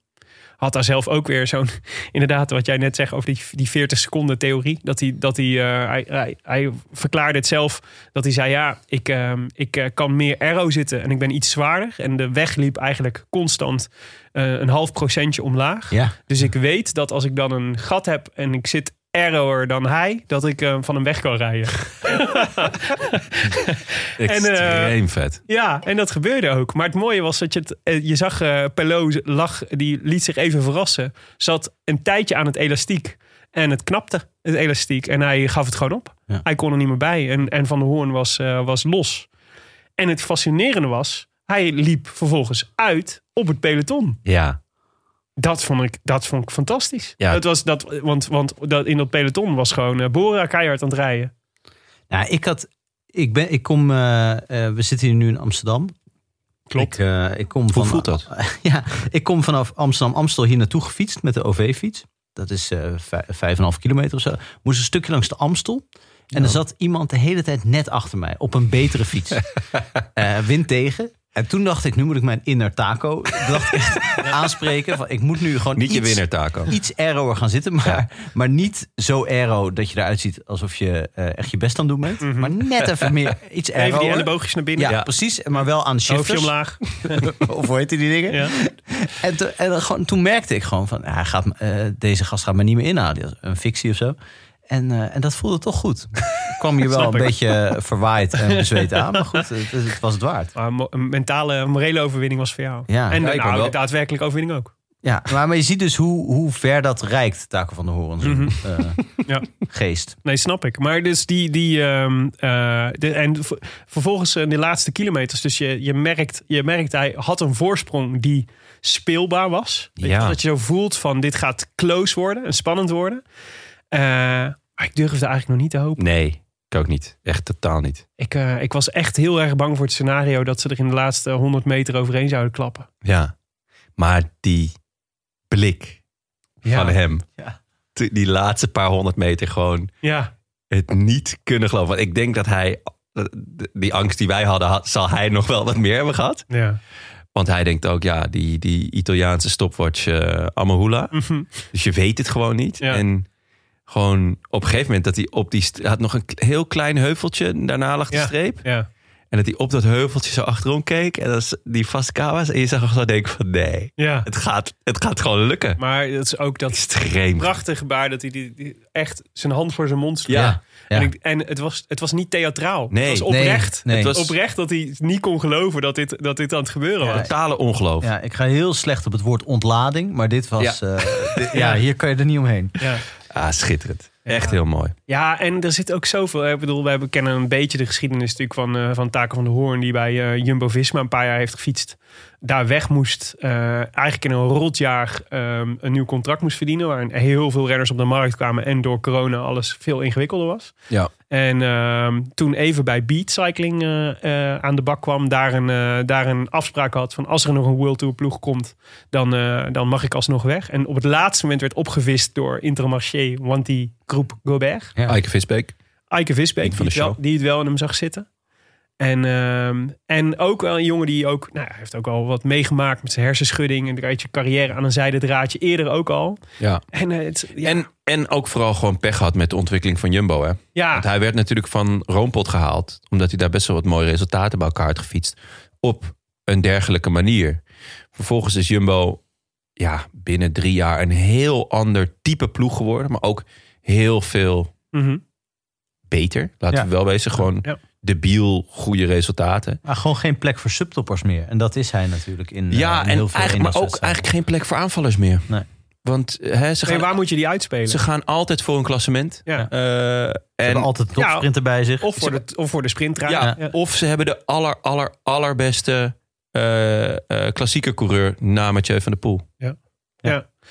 Speaker 2: had daar zelf ook weer zo'n... Inderdaad, wat jij net zegt over die, die 40 seconden theorie. Dat, hij, dat hij, eh, hij, hij, hij verklaarde het zelf. Dat hij zei, ja, ik, ehm, ik eh, kan meer aero zitten en ik ben iets zwaarder. En de weg liep eigenlijk constant eh, een half procentje omlaag.
Speaker 3: Ja.
Speaker 2: Dus ik weet dat als ik dan een gat heb en ik zit erroer dan hij, dat ik eh, van hem weg kan rijden.
Speaker 1: Extreem
Speaker 3: eh,
Speaker 1: vet.
Speaker 2: Ja, en dat gebeurde ook. Maar het mooie was dat je het, eh, je zag eh Pelot lag, die liet zich even verrassen. Zat een tijdje aan het elastiek en het knapte het elastiek en hij gaf het gewoon op.
Speaker 3: Ja.
Speaker 2: Hij kon er niet meer bij en, en Van der Hoorn was, eh, was los. En het fascinerende was, hij liep vervolgens uit op het peloton.
Speaker 1: Ja.
Speaker 2: Dat vond ik, dat vond ik fantastisch.
Speaker 1: Ja.
Speaker 2: Dat was dat, want want dat, in dat peloton was gewoon eh, Bora keihard aan het rijden.
Speaker 3: Nou, ik had. Ik, ben, ik kom. eh, eh, we zitten hier nu in Amsterdam.
Speaker 2: Klopt.
Speaker 3: Ik, eh, ik kom
Speaker 1: Hoe
Speaker 3: van,
Speaker 1: voelt dat?
Speaker 3: ja, ik kom vanaf Amsterdam-Amstel hier naartoe gefietst met de OV-fiets. Dat is eh, vij- vijf en een half kilometer of zo. Moest een stukje langs de Amstel. En er zat iemand de hele tijd net achter mij op een betere fiets. Eh, wind tegen. En toen dacht ik, nu moet ik mijn inner taco dacht ik, echt aanspreken. Van, ik moet nu gewoon
Speaker 1: Niet je
Speaker 3: iets-
Speaker 1: winnaar taco.
Speaker 2: Oh.
Speaker 3: iets aeroer gaan zitten. Maar, maar niet zo aero dat je eruit ziet alsof je eh, echt je best aan het doen bent. Maar net even meer iets aero.
Speaker 2: Mhm. Even die elleboogjes naar binnen.
Speaker 3: Ja, precies. Maar wel aan
Speaker 2: Hoofdje
Speaker 3: shifters.
Speaker 2: omlaag.
Speaker 3: Of hoe heet die dingen?
Speaker 2: Ja.
Speaker 3: En, toen- en dan gewoon, toen merkte ik gewoon van... ja, Hij gaat, me- eh, deze gast gaat me niet meer inhalen. Een fictie of zo. En, eh, en dat voelde toch goed. Ik kwam je wel een
Speaker 2: Snap ik.
Speaker 3: beetje eh, verwaaid en bezweet aan. Maar goed, het, het was het waard.
Speaker 2: Maar mo- een mentale, morele overwinning was voor jou.
Speaker 3: Ja.
Speaker 2: en
Speaker 3: Ja,
Speaker 2: de
Speaker 1: ik kan wel.
Speaker 2: daadwerkelijke overwinning ook.
Speaker 3: Ja, maar, maar je ziet dus hoe, hoe ver dat reikt, Taco van de Horen. zo'n, eh,
Speaker 2: Mhm. Ja.
Speaker 3: Geest.
Speaker 2: Nee, snap ik. Maar dus die. die ehm, eh, de, en v- vervolgens eh, de laatste kilometers. Dus je, je, merkt, je merkt, hij had een voorsprong die speelbaar was. Weet je
Speaker 1: Ja.
Speaker 2: wel, Dat je zo voelt van dit gaat close worden en spannend worden. Eh, maar ik durfde eigenlijk nog niet te hopen.
Speaker 1: Nee, ik ook niet. Echt totaal niet.
Speaker 2: Ik, eh, ik was echt heel erg bang voor het scenario dat ze er in de laatste 100 meter overheen zouden klappen.
Speaker 1: Ja. Maar die blik van hem.
Speaker 3: Ja.
Speaker 1: T- Die laatste paar honderd meter gewoon
Speaker 2: Ja.
Speaker 1: het niet kunnen geloven. Want ik denk dat hij, die angst die wij hadden, had- zal hij nog wel wat meer hebben gehad.
Speaker 2: ja.
Speaker 1: Want hij denkt ook, ja, die, die Italiaanse stopwatch eh Amahula.
Speaker 2: Mhm.
Speaker 1: Dus je weet het gewoon niet.
Speaker 2: Ja.
Speaker 1: En gewoon op een gegeven moment dat hij op die... st- hij had nog een k- heel klein heuveltje, en daarna lag de
Speaker 2: Ja.
Speaker 1: streep.
Speaker 2: ja.
Speaker 1: En dat hij op dat heuveltje zo achterom keek. En dat is die vaste camera's. En je zag hem zo denken van, nee,
Speaker 2: Ja.
Speaker 1: het gaat, het gaat gewoon lukken.
Speaker 2: Maar het is ook dat
Speaker 1: Extreem.
Speaker 2: prachtige gebaar dat hij die, die- echt zijn hand voor zijn mond sloeg.
Speaker 1: Ja.
Speaker 3: Ja.
Speaker 2: En, ik- en het, was, het was niet theatraal.
Speaker 1: Nee,
Speaker 2: het was
Speaker 3: nee,
Speaker 2: oprecht.
Speaker 3: nee.
Speaker 2: Het
Speaker 1: Het
Speaker 2: was
Speaker 1: was-
Speaker 2: oprecht dat hij niet kon geloven dat dit, dat dit aan het gebeuren was.
Speaker 1: Totale ongeloof.
Speaker 3: Ja, ik ga heel slecht op het woord ontlading. Maar dit was... Ja, ja hier kan je er niet omheen.
Speaker 2: Ja.
Speaker 1: Ah, schitterend. Echt heel mooi.
Speaker 2: ja, en er zit ook zoveel. Ik bedoel, we hebben- kennen een beetje de geschiedenis natuurlijk van, eh, van Taco van de Hoorn, die bij eh, Jumbo Visma een paar jaar heeft gefietst. Daar weg moest. eh, eigenlijk in een rotjaar ehm, een nieuw contract moest verdienen. Waarin heel veel renners op de markt kwamen. En door corona alles veel ingewikkelder was.
Speaker 1: Ja.
Speaker 2: En ehm, toen even bij Beat Cycling eh, eh, aan de bak kwam, daar een, eh, daar een afspraak had van als er nog een World Tour ploeg komt, dan, eh, dan mag ik alsnog weg. En op het laatste moment werd opgevist door Intermarché, want die groep Gobert,
Speaker 3: Ja.
Speaker 1: Eike Visbeek.
Speaker 2: Eike Visbeek,
Speaker 1: Vriend van
Speaker 2: die,
Speaker 1: de
Speaker 2: het wel-
Speaker 1: show.
Speaker 2: die het wel in hem zag zitten. En, ehm, en ook wel een jongen die ook, nou, hij heeft ook al wat meegemaakt met zijn hersenschudding. En een beetje carrière aan een zijde draadje eerder ook al.
Speaker 1: Ja.
Speaker 2: En, eh, het, ja,
Speaker 1: En, en ook vooral gewoon pech gehad met de ontwikkeling van Jumbo. Hè?
Speaker 2: ja,
Speaker 1: Want hij werd natuurlijk van Roompot gehaald. Omdat hij daar best wel wat mooie resultaten bij elkaar had gefietst. Op een dergelijke manier. Vervolgens is Jumbo ja, binnen drie jaar een heel ander type ploeg geworden. Maar ook heel veel
Speaker 2: mhm.
Speaker 1: beter. Laten
Speaker 3: Ja.
Speaker 1: we wel wezen. Gewoon
Speaker 2: Ja.
Speaker 1: debiel goede resultaten.
Speaker 3: Maar gewoon geen plek voor subtoppers meer. En dat is hij natuurlijk in, eh,
Speaker 1: ja,
Speaker 3: in
Speaker 1: en
Speaker 3: heel
Speaker 1: eigenlijk,
Speaker 3: veel
Speaker 1: maar ook
Speaker 3: eendagswedstrijden.
Speaker 1: eigenlijk geen plek voor aanvallers meer.
Speaker 3: Nee.
Speaker 1: Want hè, ze,
Speaker 2: Nee,
Speaker 1: gaan,
Speaker 2: waar moet je die uitspelen?
Speaker 1: ze gaan altijd voor een klassement.
Speaker 2: Ja.
Speaker 1: Eh,
Speaker 3: Ze
Speaker 1: en
Speaker 3: hebben altijd een topsprinter bij zich.
Speaker 2: Of voor, de, of voor de sprintraad.
Speaker 1: Ja, Of ze hebben de aller, aller, allerbeste eh eh klassieke coureur na Mathieu van der Poel.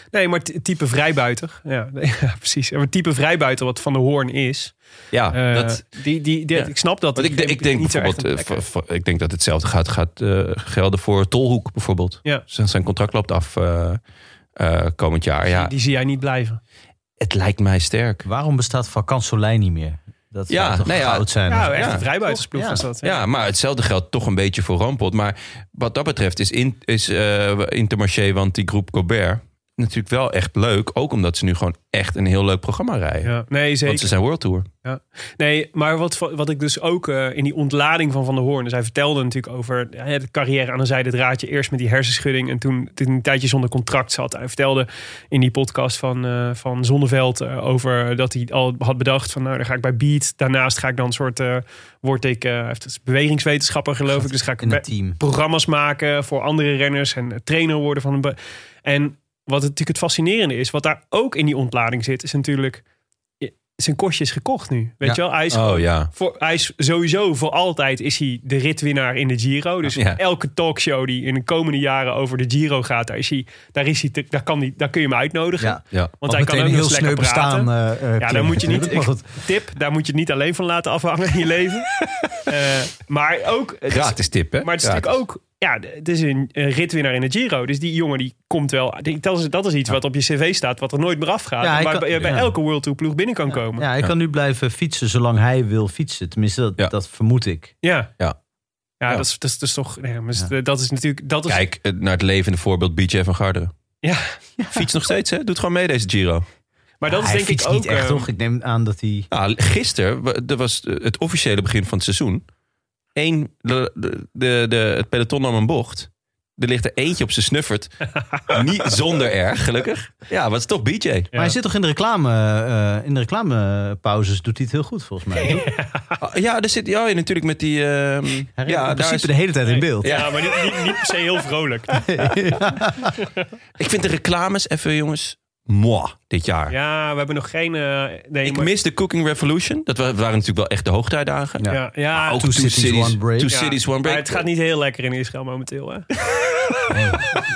Speaker 2: Nee, maar ty- type vrijbuiter. Ja, nee, ja, precies. Maar type vrijbuiter wat Van de Hoorn is.
Speaker 1: Ja,
Speaker 2: eh,
Speaker 1: dat,
Speaker 2: die, die, die-
Speaker 1: ja.
Speaker 2: Ik snap dat.
Speaker 1: want ik, ik denk
Speaker 2: niet zo echt
Speaker 1: bijvoorbeeld, eh,
Speaker 2: een plek
Speaker 1: voor- voor- ik denk dat hetzelfde gaat, gaat eh, gelden voor Tolhoek bijvoorbeeld.
Speaker 2: Ja.
Speaker 1: Zijn, zijn contract loopt af eh, eh, komend jaar.
Speaker 2: heb.
Speaker 1: Ja,
Speaker 2: Die zie jij niet blijven.
Speaker 1: het lijkt mij sterk.
Speaker 3: Waarom bestaat Vakant Soleil niet meer? Dat zou
Speaker 1: Ja,
Speaker 3: toch
Speaker 1: nee, ja.
Speaker 3: goud zijn?
Speaker 2: nou Ja, echt
Speaker 1: ja.
Speaker 2: een vrijbuitersploeg
Speaker 3: Ja.
Speaker 2: was dat.
Speaker 1: Ja, maar hetzelfde geldt toch een beetje voor Rampot. Maar wat dat betreft is, in, is eh, Intermarché, want die groep Gobert... natuurlijk wel echt leuk. Ook omdat ze nu gewoon echt een heel leuk programma rijden.
Speaker 2: Ja. Nee,
Speaker 1: Want ze
Speaker 2: zeker.
Speaker 1: zijn World Tour.
Speaker 2: Nee, maar wat, wat ik dus ook eh, in die ontlading van Van der Hoorn... Dus hij vertelde natuurlijk over ja, de carrière aan de zijde draadje. Eerst met die hersenschudding en toen, toen hij een tijdje zonder contract zat. Hij vertelde in die podcast van, eh, van Zonneveld eh, over dat hij al had bedacht... van nou, dan ga ik bij Beat. Daarnaast ga ik dan een soort... eh, word ik eh, hij is bewegingswetenschapper geloof ik. Dus ga ik
Speaker 3: in
Speaker 2: bij-
Speaker 3: het team.
Speaker 2: programma's maken voor andere renners en eh, trainer worden van een. be- En wat het, natuurlijk het fascinerende is, wat daar ook in die ontlading zit, is natuurlijk. eh, Zijn kostje is gekocht nu. Weet
Speaker 3: Ja.
Speaker 2: je wel, hij is,
Speaker 1: Oh ja.
Speaker 2: voor, hij is sowieso voor altijd is hij de ritwinnaar in de Giro. Dus
Speaker 1: Ja.
Speaker 2: elke talkshow die in de komende jaren over de Giro gaat, daar, is hij, daar, is hij te- daar, kan hij, daar kun je hem uitnodigen.
Speaker 3: Ja.
Speaker 1: ja.
Speaker 2: Want hij kan ook heel snel praten.
Speaker 3: bestaan. eh,
Speaker 2: Ja, daar moet je niet. Tip, daar moet je het niet alleen van laten afhangen in je leven. Eh, maar ook. het is-
Speaker 1: Gratis tip, hè?
Speaker 2: maar het is
Speaker 1: Gratis.
Speaker 2: natuurlijk ook... Ja, d- het is een, een ritwinnaar in de Giro. Dus die jongen die komt wel... die- Dat is, dat is iets wat op je cv staat, wat er nooit meer afgaat.
Speaker 3: Ja,
Speaker 2: en
Speaker 3: hij
Speaker 2: waar
Speaker 3: kan-
Speaker 2: bij, bij
Speaker 3: ja.
Speaker 2: elke World Tour ploeg binnen kan komen. Ja.
Speaker 3: Ja, hij kan nu blijven fietsen zolang hij wil fietsen. Tenminste, dat,
Speaker 1: Ja.
Speaker 3: dat vermoed ik.
Speaker 2: Ja,
Speaker 1: Ja.
Speaker 2: Ja,
Speaker 1: Ja.
Speaker 2: Dat, is, dat, is, dat is toch... Nee, maar is- Dat is natuurlijk... Dat is,
Speaker 1: Kijk eh, naar het levende voorbeeld BJ van Garderen.
Speaker 2: Ja.
Speaker 1: Fiets nog steeds, hè? Doet gewoon mee deze Giro.
Speaker 2: Maar dat
Speaker 3: Ja,
Speaker 2: is
Speaker 3: hij
Speaker 2: denk ik
Speaker 3: fietst
Speaker 2: ook...
Speaker 3: niet echt,
Speaker 2: eh,
Speaker 3: toch? Ik neem aan dat hij...
Speaker 1: Nou, gisteren, wa- dat was eh, het officiële begin van het seizoen. Eén, de, de, de, de- het peloton nam een bocht. Er ligt er eentje op zijn snuffert. Niet zonder erg, gelukkig. Ja, wat is toch BJ?
Speaker 3: Maar hij zit toch in de reclame... eh, in de reclamepauzes doet hij het heel goed, volgens mij. toch?
Speaker 1: Ah, Ja, daar zit ja, natuurlijk met die... ehm,
Speaker 3: Hij ja,
Speaker 1: ja,
Speaker 3: in
Speaker 1: daar
Speaker 3: principe
Speaker 1: is,
Speaker 3: de hele tijd in beeld.
Speaker 2: Ja, maar niet, niet, niet per se heel vrolijk.
Speaker 1: ik vind de reclames even, jongens, moi dit jaar.
Speaker 2: Ja, we hebben nog geen... eh, nee,
Speaker 1: ik
Speaker 2: maar-
Speaker 1: mis de Cooking Revolution. Dat wa- waren natuurlijk wel echt de hoogtijdagen.
Speaker 3: Ja.
Speaker 2: Ja, ja,
Speaker 1: Ook
Speaker 3: Two Cities, One Break.
Speaker 1: Two
Speaker 2: ja.
Speaker 1: Cities, One Break.
Speaker 2: Maar het gaat niet heel lekker in Israël momenteel, hè?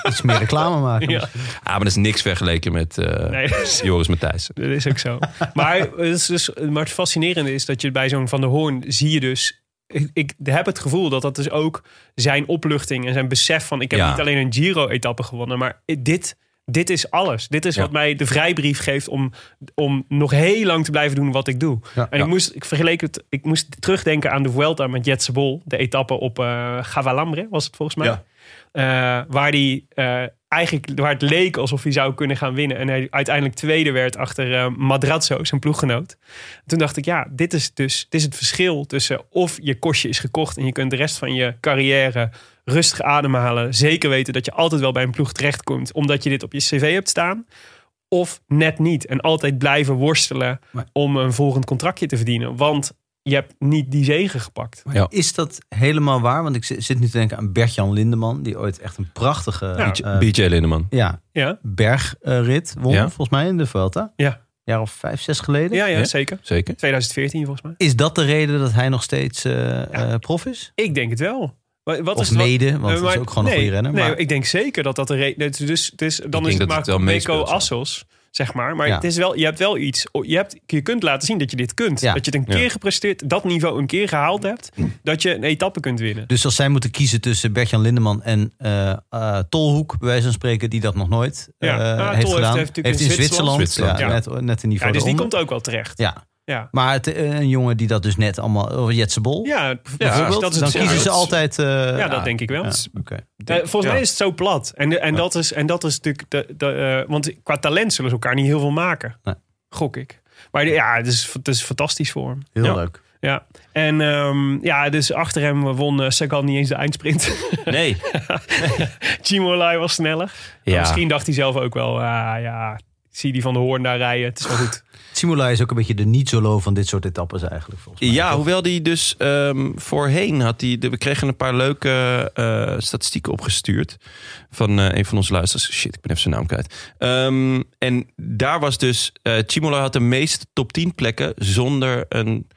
Speaker 3: Iets meer reclame maken.
Speaker 2: Ja.
Speaker 1: Ah, maar dat is niks vergeleken met eh,
Speaker 2: Nee, dat is-
Speaker 1: Joris Matthijssen.
Speaker 2: Dat is ook zo. maar, het is dus, maar het fascinerende is dat je bij zo'n Van der Hoorn zie je dus... Ik, ik heb het gevoel dat dat dus ook zijn opluchting en zijn besef van... ik heb
Speaker 1: Ja.
Speaker 2: niet alleen een Giro-etappe gewonnen, maar dit, dit is alles. Dit is
Speaker 1: Ja.
Speaker 2: wat mij de vrijbrief geeft om, om nog heel lang te blijven doen wat ik doe.
Speaker 3: Ja.
Speaker 2: en
Speaker 1: Ja.
Speaker 2: ik moest, ik vergeleek het, ik moest terugdenken aan de Vuelta met Jetse Bol. De etappe op eh Gavalambre was het volgens mij.
Speaker 1: Ja.
Speaker 2: Eh, waar die eh, eigenlijk waar het leek alsof hij zou kunnen gaan winnen. En hij uiteindelijk tweede werd achter eh Madrazzo, zijn ploeggenoot. Toen dacht ik, ja, dit is dus dit is het verschil tussen of je kostje is gekocht en je kunt de rest van je carrière rustig ademhalen. Zeker weten dat je altijd wel bij een ploeg terechtkomt, omdat je dit op je cv hebt staan. Of net niet. En altijd blijven worstelen
Speaker 3: Maar-
Speaker 2: om een volgend contractje te verdienen. Want je hebt niet die zegen gepakt.
Speaker 3: Maar
Speaker 1: Ja.
Speaker 3: Is dat helemaal waar? Want ik zi- zit nu te denken aan Bert-Jan Lindeman, die ooit echt een prachtige eh,
Speaker 1: BJ Lindeman.
Speaker 3: ja,
Speaker 2: Ja,
Speaker 3: bergrit won,
Speaker 1: Ja.
Speaker 3: volgens mij, in de Vuelta.
Speaker 2: Ja.
Speaker 3: Een jaar of vijf, zes geleden.
Speaker 2: ja, ja,
Speaker 1: Ja?
Speaker 2: zeker.
Speaker 1: Zeker.
Speaker 2: 2014 volgens mij.
Speaker 3: Is dat de reden dat hij nog steeds eh, eh, prof is?
Speaker 2: Ik denk het wel. Wat, wat
Speaker 3: Of
Speaker 2: is het wat-
Speaker 3: mede, want
Speaker 2: Nee,
Speaker 3: dat is
Speaker 2: maar-
Speaker 3: ook gewoon een
Speaker 2: nee,
Speaker 3: goede renner.
Speaker 2: Nee,
Speaker 3: maar,
Speaker 2: ik denk zeker dat dat de reden is. Dus, dus dan
Speaker 1: denk
Speaker 2: is
Speaker 1: dat
Speaker 2: het
Speaker 1: het wel
Speaker 2: maar Meko
Speaker 1: meespeelt, ja.
Speaker 2: Assos, zeg maar. Maar
Speaker 3: Ja.
Speaker 2: het is wel, je hebt wel iets. Je, hebt, je kunt laten zien dat je dit kunt.
Speaker 3: Ja.
Speaker 2: Dat je het een
Speaker 1: Ja.
Speaker 2: keer gepresteerd, dat niveau een keer gehaald hebt. Dat je een etappe kunt winnen.
Speaker 3: Dus als zij moeten kiezen tussen Bert-Jan Lindeman en eh, eh, Tolhoek, bij wijze van spreken, die dat nog nooit eh,
Speaker 2: Ja. Ah, Tol
Speaker 3: heeft
Speaker 2: heeft-
Speaker 3: gedaan.
Speaker 2: heeft natuurlijk
Speaker 3: in
Speaker 2: in
Speaker 3: Zwitserland,
Speaker 1: Zwitserland,
Speaker 3: ja,
Speaker 2: ja.
Speaker 3: Net, net een
Speaker 2: Ja,
Speaker 3: niveau
Speaker 2: dus die
Speaker 3: eronder.
Speaker 2: komt ook wel terecht.
Speaker 3: Ja.
Speaker 2: Ja.
Speaker 3: Maar het, eh, een jongen die dat dus net allemaal... Oh, Jetse Bol.
Speaker 2: Ja, ja,
Speaker 3: bijvoorbeeld,
Speaker 2: dat is
Speaker 3: dan
Speaker 2: het
Speaker 3: kiezen ze
Speaker 2: ja, dat-
Speaker 3: altijd... eh,
Speaker 2: Ja, dat denk ik wel.
Speaker 3: Ja, oké.
Speaker 2: Eh, volgens mij is het zo plat. En, de- en, dat, is, en dat is natuurlijk. De, de, eh, want qua talent zullen ze elkaar niet heel veel maken.
Speaker 3: Nee.
Speaker 2: Gok ik. Maar de- ja, het is, het is fantastisch voor hem.
Speaker 3: Heel
Speaker 2: Ja.
Speaker 3: leuk.
Speaker 2: Ja, en ehm, ja, dus achter hem won eh, Sagan niet eens de eindsprint.
Speaker 1: Nee.
Speaker 2: Chimolai was sneller. Maar
Speaker 1: Ja.
Speaker 2: Misschien dacht hij zelf ook wel, ah, ja, ik zie die van de Hoorn daar rijden, het is wel goed.
Speaker 3: Simula is ook een beetje de niet-solo van dit soort etappes eigenlijk. Volgens mij.
Speaker 1: Ja, hoewel die dus ehm, voorheen had die, de- we kregen een paar leuke eh, statistieken opgestuurd van eh, een van onze luisteraars. Shit, ik ben even zijn naam kwijt. Ehm, en daar was dus eh Chimola had de meeste top 10 plekken zonder een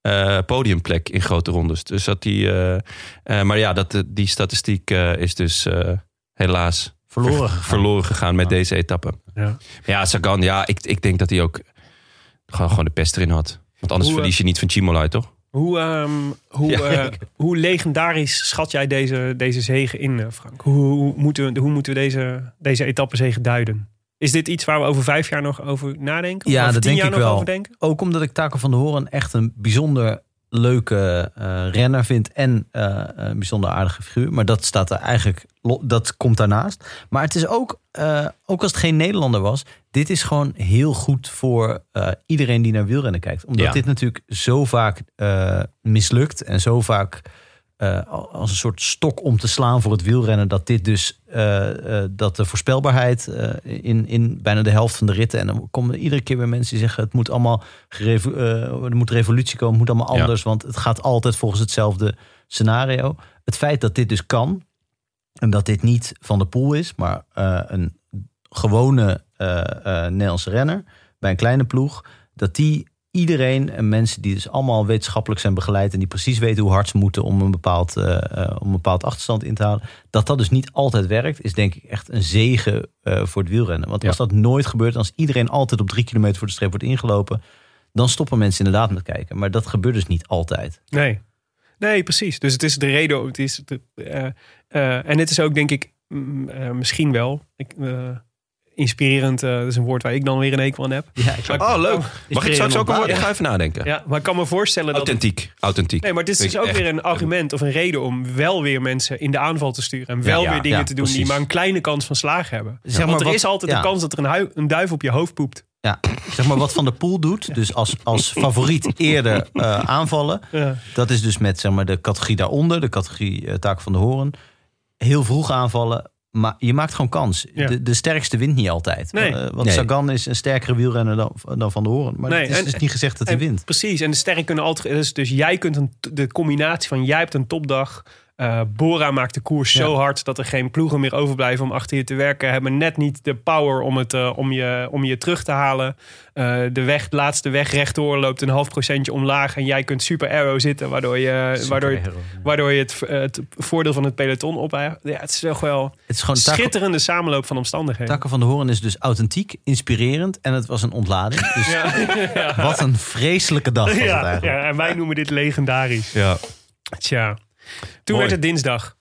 Speaker 1: eh, podiumplek in grote rondes. Dus dat die, eh, eh, maar ja, dat, eh, die statistiek eh, is dus eh, helaas
Speaker 3: Verloren
Speaker 1: ver-
Speaker 3: gegaan.
Speaker 1: verloren gegaan met
Speaker 3: Ja.
Speaker 1: deze etappe.
Speaker 2: Ja.
Speaker 1: Maar ja, Sagan, ja, ik, ik denk dat hij ook gewoon, gewoon de pest erin had. Want anders
Speaker 2: Hoe, eh,
Speaker 1: verlies je niet van Chimola, toch?
Speaker 2: Hoe, ehm, hoe,
Speaker 1: Ja,
Speaker 2: eh, hoe legendarisch schat jij deze, deze zegen in, eh, Frank? Hoe, hoe moeten we, hoe moeten we deze, deze etappezegen duiden? Is dit iets waar we over vijf jaar nog over nadenken? Of
Speaker 3: Ja,
Speaker 2: over
Speaker 3: dat
Speaker 2: tien
Speaker 3: denk
Speaker 2: jaar
Speaker 3: ik
Speaker 2: nog
Speaker 3: wel.
Speaker 2: over denken?
Speaker 3: Ook omdat ik Taco van der Hoorn echt een bijzonder leuke eh, renner vindt en eh, een bijzonder aardige figuur. Maar dat staat er eigenlijk, lo- dat komt daarnaast. Maar het is ook, eh, ook als het geen Nederlander was, dit is gewoon heel goed voor eh, iedereen die naar wielrennen kijkt. Omdat
Speaker 1: Ja.
Speaker 3: dit natuurlijk zo vaak eh, mislukt en zo vaak eh, al- als een soort stok om te slaan voor het wielrennen. Dat dit dus, eh, eh, dat de voorspelbaarheid eh, in, in bijna de helft van de ritten. En dan komen er iedere keer weer mensen die zeggen: het moet allemaal, gerevo- eh, er moet revolutie komen, het moet allemaal
Speaker 1: Ja.
Speaker 3: anders. Want het gaat altijd volgens hetzelfde scenario. Het feit dat dit dus kan, en dat dit niet van de pool is, maar eh, een gewone eh, eh, Nederlandse renner bij een kleine ploeg, dat die iedereen en mensen die dus allemaal wetenschappelijk zijn begeleid en die precies weten hoe hard ze moeten om een bepaald, eh, eh, om een bepaald achterstand in te halen, dat dat dus niet altijd werkt, is denk ik echt een zegen eh, voor het wielrennen. Want
Speaker 1: Ja.
Speaker 3: als dat nooit gebeurt, als iedereen altijd op drie kilometer voor de streep wordt ingelopen, dan stoppen mensen inderdaad met kijken. Maar dat gebeurt dus niet altijd.
Speaker 2: Nee. Nee, precies. Dus het is de reden. Het is de, eh, eh, en het is ook, denk ik, mm, eh, misschien wel ik, eh, inspirerend. eh, dat is een woord waar ik dan weer een hekel aan heb.
Speaker 3: Ja,
Speaker 1: Oh, leuk. Mag ik straks ook een woord? Ik
Speaker 3: Ja.
Speaker 1: ga even nadenken.
Speaker 2: Ja, maar ik kan me voorstellen dat.
Speaker 1: Authentiek. Authentiek.
Speaker 2: Nee, maar het is
Speaker 1: Vind
Speaker 2: dus
Speaker 1: ik
Speaker 2: ook
Speaker 1: echt-
Speaker 2: weer een argument of een reden om wel weer mensen in de aanval te sturen. En wel
Speaker 1: Ja,
Speaker 2: weer dingen
Speaker 3: ja,
Speaker 2: te doen die
Speaker 3: precies.
Speaker 2: maar een kleine kans van slagen hebben.
Speaker 3: Zeg
Speaker 2: Want
Speaker 3: maar
Speaker 2: er
Speaker 3: wat-
Speaker 2: is altijd
Speaker 3: ja.
Speaker 2: een kans dat er een, hui- een duif op je hoofd poept.
Speaker 3: Ja, zeg maar wat Van der Poel doet, dus als, als favoriet eerder eh, aanvallen.
Speaker 2: Ja.
Speaker 3: Dat is dus met zeg maar, de categorie daaronder, de categorie eh, taak van de horen. Heel vroeg aanvallen, maar je maakt gewoon kans.
Speaker 2: Ja.
Speaker 3: De, de sterkste wint niet altijd.
Speaker 2: Nee.
Speaker 3: Eh, want
Speaker 1: Nee.
Speaker 3: Sagan is een sterkere wielrenner dan, dan Van de Horen. Maar
Speaker 2: Nee,
Speaker 3: het is
Speaker 2: en-
Speaker 3: dus niet gezegd dat hij
Speaker 2: En
Speaker 3: wint.
Speaker 2: Precies, en de sterren kunnen altijd. Dus, dus jij kunt een, de combinatie van jij hebt een topdag. eh, Bora maakt de koers zo
Speaker 3: Ja.
Speaker 2: hard dat er geen ploegen meer overblijven om achter je te werken. Hebben net niet de power om, het, eh, om, je, om je terug te halen. Eh, de weg, de laatste weg rechtdoor loopt een half procentje omlaag. En jij kunt super arrow zitten, waardoor je, waardoor je, waardoor je het, eh, het voordeel van het peloton op. Ja, het is toch wel
Speaker 3: Het is gewoon
Speaker 2: een
Speaker 3: taak,
Speaker 2: schitterende samenloop van omstandigheden.
Speaker 3: Takken van de Horen is dus authentiek, inspirerend en het was een ontlading. Dus wat een vreselijke dag was het
Speaker 2: Ja,
Speaker 3: eigenlijk.
Speaker 2: ja, en wij noemen dit legendarisch.
Speaker 1: Ja.
Speaker 2: Tja. Toen
Speaker 1: Mooi.
Speaker 2: werd het dinsdag.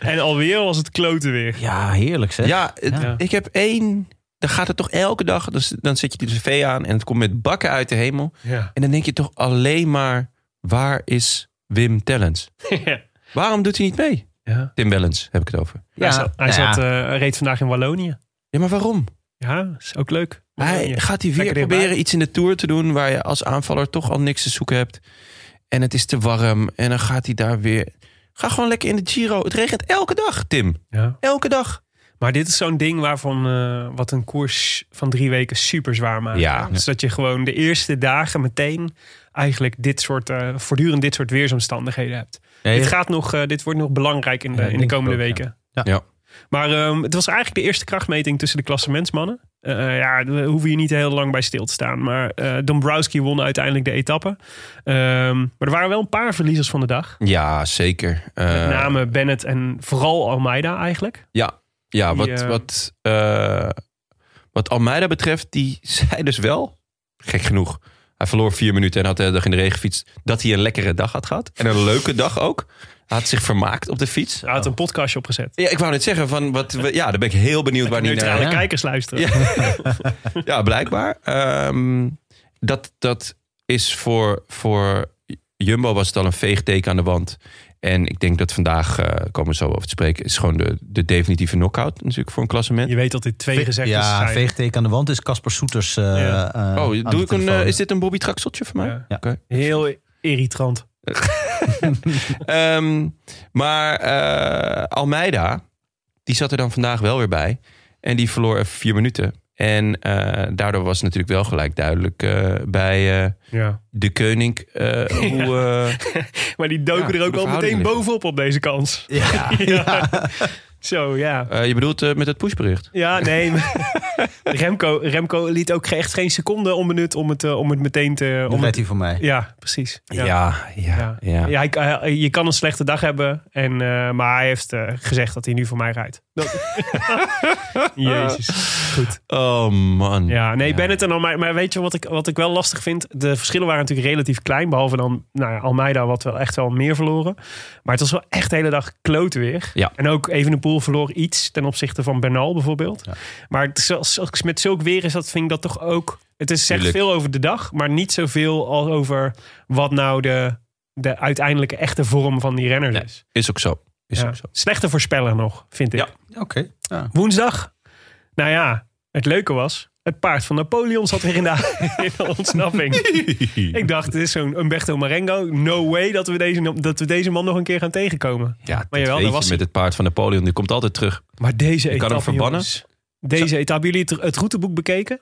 Speaker 2: en alweer was het kloten weer.
Speaker 3: Ja, heerlijk zeg.
Speaker 1: Ja, het-
Speaker 2: Ja.
Speaker 1: ik heb één... Dan gaat het toch elke dag... Dan, dan zet je die tv aan en het komt met bakken uit de hemel.
Speaker 2: Ja.
Speaker 1: En dan denk je toch alleen maar... Waar is Wim Tellens? Waarom doet hij niet mee?
Speaker 2: ja.
Speaker 1: Tim Wellens heb ik het over.
Speaker 2: Hij zat, hij
Speaker 3: nou ja.
Speaker 2: zat, eh, reed vandaag in Wallonië.
Speaker 1: Ja, maar waarom?
Speaker 2: Ja, is ook leuk.
Speaker 1: Hij,
Speaker 2: Wallonië.
Speaker 1: gaat hij weer
Speaker 2: Lekker dichtbij.
Speaker 1: proberen iets in de Tour te doen... waar je als aanvaller toch al niks te zoeken hebt. En het is te warm. En dan gaat hij daar weer... Ga gewoon lekker in de Giro. Het regent elke dag, Tim.
Speaker 2: Ja.
Speaker 1: Elke dag.
Speaker 2: Maar dit is zo'n ding waarvan eh, wat een koers van drie weken super zwaar maakt.
Speaker 1: Ja.
Speaker 2: Dus dat je gewoon de eerste dagen meteen eigenlijk dit soort, eh, voortdurend dit soort weersomstandigheden hebt.
Speaker 3: Nee,
Speaker 2: Dit, gaat nog, eh, dit wordt nog belangrijk in de,
Speaker 3: Ja,
Speaker 2: in de
Speaker 3: denk ik
Speaker 2: komende
Speaker 3: ook, ja.
Speaker 2: weken.
Speaker 3: Ja.
Speaker 1: Ja.
Speaker 2: Maar ehm, het was eigenlijk de eerste krachtmeting tussen de klassementsmannen. Eh ja, daar hoeven hier niet heel lang bij stil te staan. Maar eh Dombrowski won uiteindelijk de etappe. Ehm, maar er waren wel een paar verliezers van de dag.
Speaker 1: Ja, zeker.
Speaker 2: Met
Speaker 1: Eh,
Speaker 2: name Bennett en vooral Almeida eigenlijk.
Speaker 1: Ja, ja
Speaker 2: Die,
Speaker 1: wat,
Speaker 2: eh,
Speaker 1: wat, eh, wat Almeida betreft, die zei dus wel, gek genoeg, hij verloor vier minuten en had de hele dag in de regen gefietst, dat hij een lekkere dag had gehad. En een leuke dag ook. Hij had zich vermaakt op de fiets.
Speaker 2: Hij
Speaker 3: Oh.
Speaker 2: had een podcastje opgezet.
Speaker 1: Ja, ik wou net zeggen, van wat, we- ja, daar ben ik heel benieuwd waar die
Speaker 2: Neutrale
Speaker 1: naar...
Speaker 2: kijkers luisteren.
Speaker 1: Ja. Ja, blijkbaar. Ehm, dat, dat is voor, voor Jumbo was het al een veegteken aan de wand. En ik denk dat vandaag, eh, komen we zo over te spreken, is gewoon de, de definitieve knockout natuurlijk voor een klassement.
Speaker 2: Je weet dat dit twee
Speaker 3: Ve-
Speaker 2: gezegd is.
Speaker 3: ja, veegteken aan de wand is Casper Soeters. eh,
Speaker 2: Ja.
Speaker 3: eh, aan
Speaker 1: Oh,
Speaker 3: de
Speaker 1: doe ik een,
Speaker 3: telefoon.
Speaker 1: eh, is dit een Bobby Traxeltje voor mij?
Speaker 2: Ja.
Speaker 3: Ja.
Speaker 1: Oké.
Speaker 2: Heel irritant.
Speaker 1: Ehm, maar eh, Almeida, die zat er dan vandaag wel weer bij. En die verloor even vier minuten. En eh, daardoor was natuurlijk wel gelijk duidelijk eh, bij eh,
Speaker 2: Ja.
Speaker 1: de koning eh, hoe... eh,
Speaker 2: Maar die doken
Speaker 1: Ja,
Speaker 2: er
Speaker 1: de
Speaker 2: ook wel meteen
Speaker 1: verhoudingen liggen.
Speaker 2: bovenop op deze kans.
Speaker 3: Ja.
Speaker 2: Ja. Zo, ja.
Speaker 1: eh, je bedoelt eh, met het pushbericht?
Speaker 2: Ja, nee. Remco, Remco liet ook ge- echt geen seconde onbenut om het, eh, om het meteen te...
Speaker 3: Nu
Speaker 2: Om
Speaker 3: rijdt
Speaker 2: het,
Speaker 3: hij voor mij.
Speaker 2: ja, precies.
Speaker 1: Ja, ja, Ah, ja.
Speaker 2: Ja. Ja, hij- hij- je kan een slechte dag hebben, en, eh, maar hij heeft eh, gezegd dat hij nu voor mij rijdt. Dat- Jezus. Goed.
Speaker 1: Oh man.
Speaker 2: Ja, nee, Bennett en Almeida. Maar weet je wat ik, wat ik wel lastig vind? De verschillen waren natuurlijk relatief klein. Behalve dan nou ja, Almeida, wat wel echt wel meer verloren. Maar het was wel echt de hele dag klote weer.
Speaker 1: Ja.
Speaker 2: En ook even een Boel verloor iets ten opzichte van Bernal bijvoorbeeld.
Speaker 3: Ja.
Speaker 2: Maar het is, als- als- met zulk weer is dat, vind ik dat toch ook... Het is, zegt
Speaker 1: Tuurlijk.
Speaker 2: veel over de dag, maar niet zoveel als over wat nou de, de uiteindelijke echte vorm van die renner
Speaker 1: Nee,
Speaker 2: is.
Speaker 1: is ook zo. Is
Speaker 2: Ja.
Speaker 1: ook zo.
Speaker 2: Slechte voorspeller nog, vind ik.
Speaker 1: Ja.
Speaker 3: Oké. Ja.
Speaker 2: Woensdag. Nou ja, het leuke was... Het paard van Napoleon zat weer in de, in de ontsnapping. ik dacht, dit is zo'n Umberto Marengo. No way dat we, deze, dat we deze man nog een keer gaan tegenkomen.
Speaker 1: Ja,
Speaker 2: jawel,
Speaker 1: maar
Speaker 2: daar
Speaker 1: weet je
Speaker 2: was
Speaker 1: met het paard van Napoleon. Die komt altijd terug.
Speaker 2: Maar deze
Speaker 1: Ik kan hem
Speaker 2: etappe,
Speaker 1: verbannen.
Speaker 2: jongens. deze etappe, hebben jullie het, het routeboek bekeken?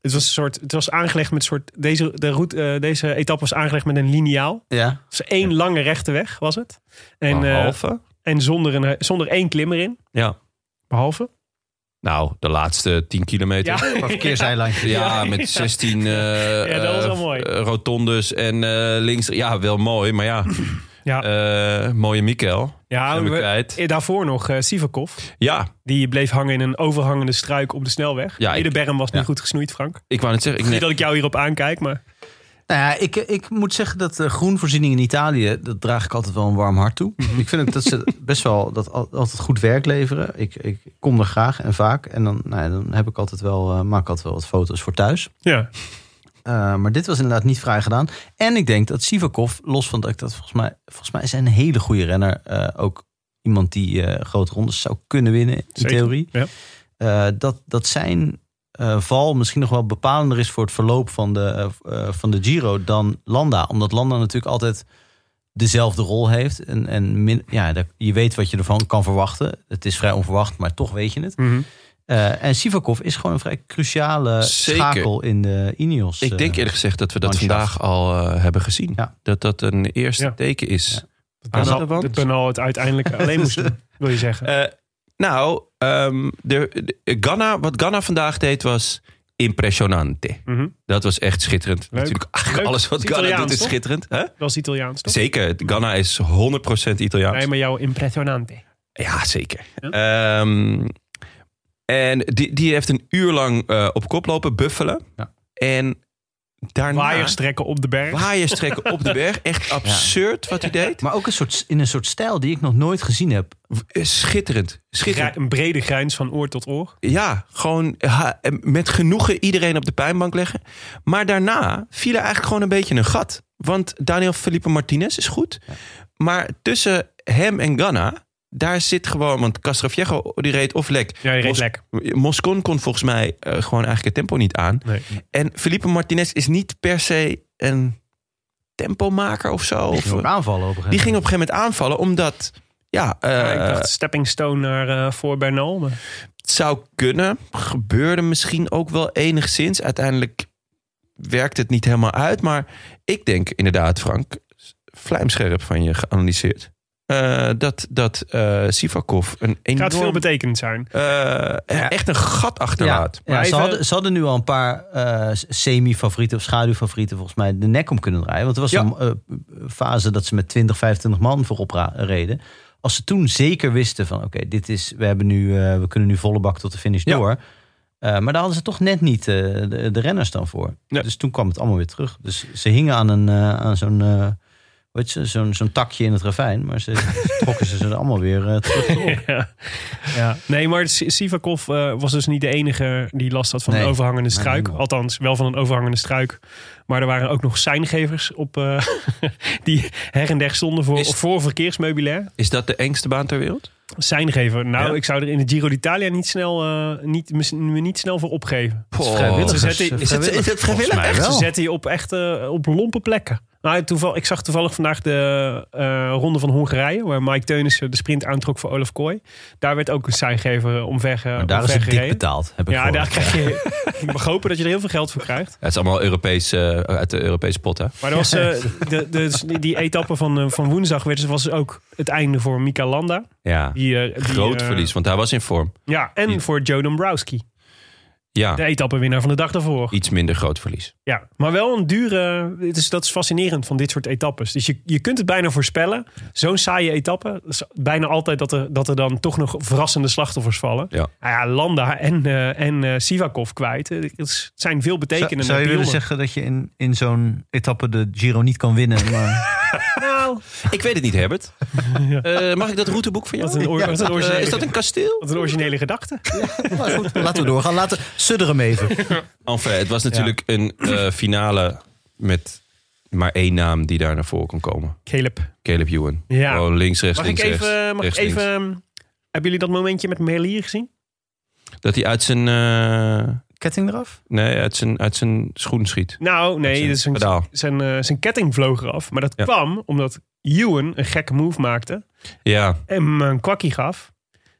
Speaker 2: Het was, een soort, het was aangelegd met een soort. Deze, de route, eh, deze etappe was aangelegd met een liniaal.
Speaker 3: ja.
Speaker 2: Dus één lange rechte weg was het. En,
Speaker 1: Een
Speaker 2: eh,
Speaker 1: halve.
Speaker 2: en zonder, een, zonder één klim erin.
Speaker 1: Ja.
Speaker 2: Behalve.
Speaker 1: Nou, de laatste 10 kilometer. Ja.
Speaker 3: Een verkeerseilandje.
Speaker 1: met 16 eh
Speaker 2: dat was wel
Speaker 1: eh,
Speaker 2: mooi.
Speaker 1: eh, rotondes en eh, links. Ja, wel mooi, maar ja.
Speaker 2: Ja.
Speaker 1: Eh, mooie Mikkel.
Speaker 2: Ja,
Speaker 1: Zijn we
Speaker 2: we-
Speaker 1: kwijt.
Speaker 2: eh, daarvoor nog eh, Sivakov.
Speaker 1: Ja,
Speaker 2: Die bleef hangen in een overhangende struik op de snelweg.
Speaker 1: Ja,
Speaker 2: Ja,
Speaker 1: ik-
Speaker 2: de berm was
Speaker 1: ja.
Speaker 2: niet goed gesnoeid, Frank.
Speaker 1: ik wou net zeggen. Ik,
Speaker 2: Niet dat ik jou hierop aankijk, maar
Speaker 3: Nou ja, ik, ik moet zeggen dat eh, groenvoorziening in Italië, dat draag ik altijd wel een warm hart toe. ik vind ook dat ze best wel dat al- altijd goed werk leveren. Ik, ik kom er graag en vaak. En dan, nou ja, dan heb ik altijd wel, eh, maak ik altijd wel wat foto's voor thuis.
Speaker 2: ja.
Speaker 3: Eh, maar dit was inderdaad niet vrij gedaan. En ik denk dat Sivakov, los van dat ik dat volgens mij, volgens mij is hij een hele goede renner. eh, ook iemand die eh grote rondes zou kunnen winnen, in
Speaker 2: Zeker,
Speaker 3: theorie.
Speaker 2: ja.
Speaker 3: Eh, dat, dat zijn eh, val misschien nog wel bepalender is voor het verloop van de, eh, eh, van de Giro dan Landa. Omdat Landa natuurlijk altijd dezelfde rol heeft. En, en min- ja, daar- je weet wat je ervan kan verwachten. Het is vrij onverwacht, maar toch weet je het.
Speaker 2: Mhm.
Speaker 3: Eh, en Sivakov is gewoon een vrij cruciale
Speaker 1: Zeker.
Speaker 3: schakel in de Ineos.
Speaker 1: ik denk
Speaker 3: eh,
Speaker 1: eerlijk gezegd dat we dat
Speaker 3: Manschaft.
Speaker 1: vandaag al eh, hebben gezien.
Speaker 3: Ja.
Speaker 1: Dat dat een eerste
Speaker 2: Ja.
Speaker 1: teken is.
Speaker 2: Dat
Speaker 1: Aan de
Speaker 2: Bernal,
Speaker 1: wand.
Speaker 2: dat Bernal het uiteindelijk alleen moest doen, wil je zeggen.
Speaker 1: Eh, nou, ehm, de, de- Ghana, wat Ghana vandaag deed was impressionante.
Speaker 2: Mhm.
Speaker 1: Dat was echt schitterend.
Speaker 2: Leuk.
Speaker 1: Natuurlijk, eigenlijk
Speaker 2: Leuk.
Speaker 1: alles wat
Speaker 2: Het is
Speaker 1: Ghana doet
Speaker 2: Italiaans,
Speaker 1: is
Speaker 2: toch?
Speaker 1: schitterend. Hè?
Speaker 2: Dat is Italiaans, toch?
Speaker 1: Zeker, Ghana is 100% Italiaans.
Speaker 2: Nee, maar jouw impressionante.
Speaker 1: Ja, zeker. Ehm, en die, die heeft een uur lang eh, op kop lopen buffelen.
Speaker 3: Ja.
Speaker 1: En daarna
Speaker 2: Waaiers trekken op de berg.
Speaker 1: waaiers trekken op de berg. Echt absurd wat hij deed.
Speaker 3: Maar ook een soort, in een soort stijl die ik nog nooit gezien heb.
Speaker 1: Eh, Schitterend.
Speaker 2: Grij-
Speaker 1: Schitterend.
Speaker 2: een brede grijns van oor tot oor.
Speaker 1: Ja, gewoon eh, ha- met genoegen iedereen op de pijnbank leggen. Maar daarna viel er eigenlijk gewoon een beetje een gat. Want Daniel Felipe Martinez is goed. Maar tussen hem en Ghana, daar zit gewoon... Want Castroviejo, die reed of lek.
Speaker 2: Ja, je reed
Speaker 1: Mos-
Speaker 2: lek.
Speaker 1: Moscon kon volgens mij eh, gewoon eigenlijk het tempo niet aan.
Speaker 2: Nee.
Speaker 1: En Felipe Martinez is niet per se een tempomaker of zo.
Speaker 3: Die
Speaker 1: Of, eh,
Speaker 3: ging ook aanvallen op een
Speaker 1: die
Speaker 3: gegeven
Speaker 1: ging op een gegeven moment aanvallen, omdat... Ja, eh,
Speaker 2: Ja, ik dacht stepping stone naar eh, voor Bernal. maar-
Speaker 1: het zou kunnen. Gebeurde misschien ook wel enigszins. Uiteindelijk werkt het niet helemaal uit. Maar ik denk inderdaad, Frank, vlijmscherp van je geanalyseerd. eh, dat dat eh, Sivakov een
Speaker 2: Gaat veel
Speaker 1: enorm...
Speaker 2: betekend zijn.
Speaker 1: eh, echt een gat achterlaat.
Speaker 3: moment. Ja,
Speaker 2: Maar
Speaker 3: ze,
Speaker 2: even-
Speaker 3: hadden, ze hadden nu al een paar eh, semi-favorieten of schaduwfavorieten volgens mij de nek om kunnen draaien. Want er was
Speaker 1: Ja.
Speaker 3: een eh, fase dat ze met 20, 25 man voorop ra- reden. Als ze toen zeker wisten van oké, dit is, we, hebben nu, eh, we kunnen nu volle bak tot de finish
Speaker 1: Ja.
Speaker 3: door. Eh, maar daar hadden ze toch net niet eh, de, de renners dan voor.
Speaker 1: Nee.
Speaker 3: Dus toen kwam het allemaal weer terug. Dus ze hingen aan, een, eh, aan zo'n, eh, hoe heet ze, zo'n, zo'n takje in het ravijn. Maar ze trokken ze ze er allemaal weer eh, terug.
Speaker 2: ja. ja. Nee, maar S- Sivakov eh, was dus niet de enige die last had van
Speaker 3: Nee.
Speaker 2: een overhangende
Speaker 3: Nee,
Speaker 2: struik.
Speaker 3: helemaal.
Speaker 2: Althans, wel van een overhangende struik. Maar er waren ook nog seingevers op, eh, die her en der stonden voor,
Speaker 1: Is-
Speaker 2: voor verkeersmeubilair.
Speaker 1: Is dat de engste baan ter wereld?
Speaker 2: Seingever. Nou,
Speaker 1: Ja?
Speaker 2: ik zou er in de Giro d'Italia niet snel, eh, niet, mis- me niet snel voor opgeven.
Speaker 3: vrijwilligers.
Speaker 2: Ze zetten-
Speaker 3: eh,
Speaker 2: is het- is het
Speaker 3: vrijwilligers. Volgens
Speaker 1: vrijwillig?
Speaker 3: mij
Speaker 2: Ze
Speaker 3: wel.
Speaker 2: zetten je op echt eh, op lompe plekken. Nou, toeval, ik zag toevallig vandaag de eh, ronde van Hongarije, waar Mike Teunissen de sprint aantrok voor Olaf Kooi. Daar werd ook een seingever omver, eh,
Speaker 3: Maar daar is
Speaker 2: omver
Speaker 3: het dik
Speaker 2: gereden.
Speaker 3: betaald, heb ik
Speaker 2: Ja,
Speaker 3: gehoord.
Speaker 2: daar krijg je. ik mag hopen dat je er heel veel geld voor krijgt.
Speaker 1: Ja, het is allemaal Europees, eh, uit de Europese pot, hè?
Speaker 2: Maar er was, eh, de, de, die- die etappe van, eh, van woensdag werd, was ook het einde voor Mika Landa.
Speaker 1: Ja.
Speaker 2: Die, eh, die,
Speaker 1: Groot
Speaker 2: eh,
Speaker 1: verlies, want hij was in vorm.
Speaker 2: Ja, en
Speaker 1: Die-
Speaker 2: voor Joe Dombrowski,
Speaker 1: Ja,
Speaker 2: de etappenwinnaar van de dag daarvoor.
Speaker 1: iets minder groot verlies.
Speaker 2: Ja, maar wel een dure. Het is, dat is fascinerend van dit soort etappes. Dus je, je kunt het bijna voorspellen. Zo'n saaie etappe. dat is bijna altijd dat er, dat er dan toch nog verrassende slachtoffers vallen.
Speaker 1: Ja.
Speaker 2: Nou ja, Landa en, eh, en eh, Sivakov kwijt. Eh, Het is- zijn veel
Speaker 3: Zou,
Speaker 2: betekenende
Speaker 3: zou je willen
Speaker 2: pionnen.
Speaker 3: zeggen dat je in, in zo'n etappe de Giro niet kan winnen, maar
Speaker 1: Ik weet het niet, Herbert. Eh, mag ik dat routeboek van jou?
Speaker 2: Wat een, oor- wat een
Speaker 1: Eh,
Speaker 2: originele,
Speaker 1: is dat een kasteel?
Speaker 2: wat een originele gedachte.
Speaker 3: Maar goed, laten we doorgaan. Laten sudder hem even.
Speaker 1: Enfin, het was natuurlijk een eh, finale met maar één naam die daar naar voren kon komen.
Speaker 2: Caleb.
Speaker 1: Caleb Ewan.
Speaker 2: Ja.
Speaker 1: Gewoon links, rechts,
Speaker 2: Mag ik
Speaker 1: links,
Speaker 2: even...
Speaker 1: rechts,
Speaker 2: Mag ik
Speaker 1: rechts,
Speaker 2: even
Speaker 1: links.
Speaker 2: ehm, hebben jullie dat momentje met Merlier gezien?
Speaker 1: Dat hij uit zijn, eh,
Speaker 3: Ketting eraf?
Speaker 1: nee, uit zijn, uit zijn schoen schiet.
Speaker 2: Nou, nee.
Speaker 1: Uit
Speaker 2: Dat is
Speaker 1: zijn
Speaker 2: een,
Speaker 1: pedaal.
Speaker 2: zijn, eh, zijn ketting vloog eraf. Maar dat
Speaker 1: Ja.
Speaker 2: kwam omdat Ewan een gekke move maakte.
Speaker 1: Ja,
Speaker 2: Hem een kwakkie gaf.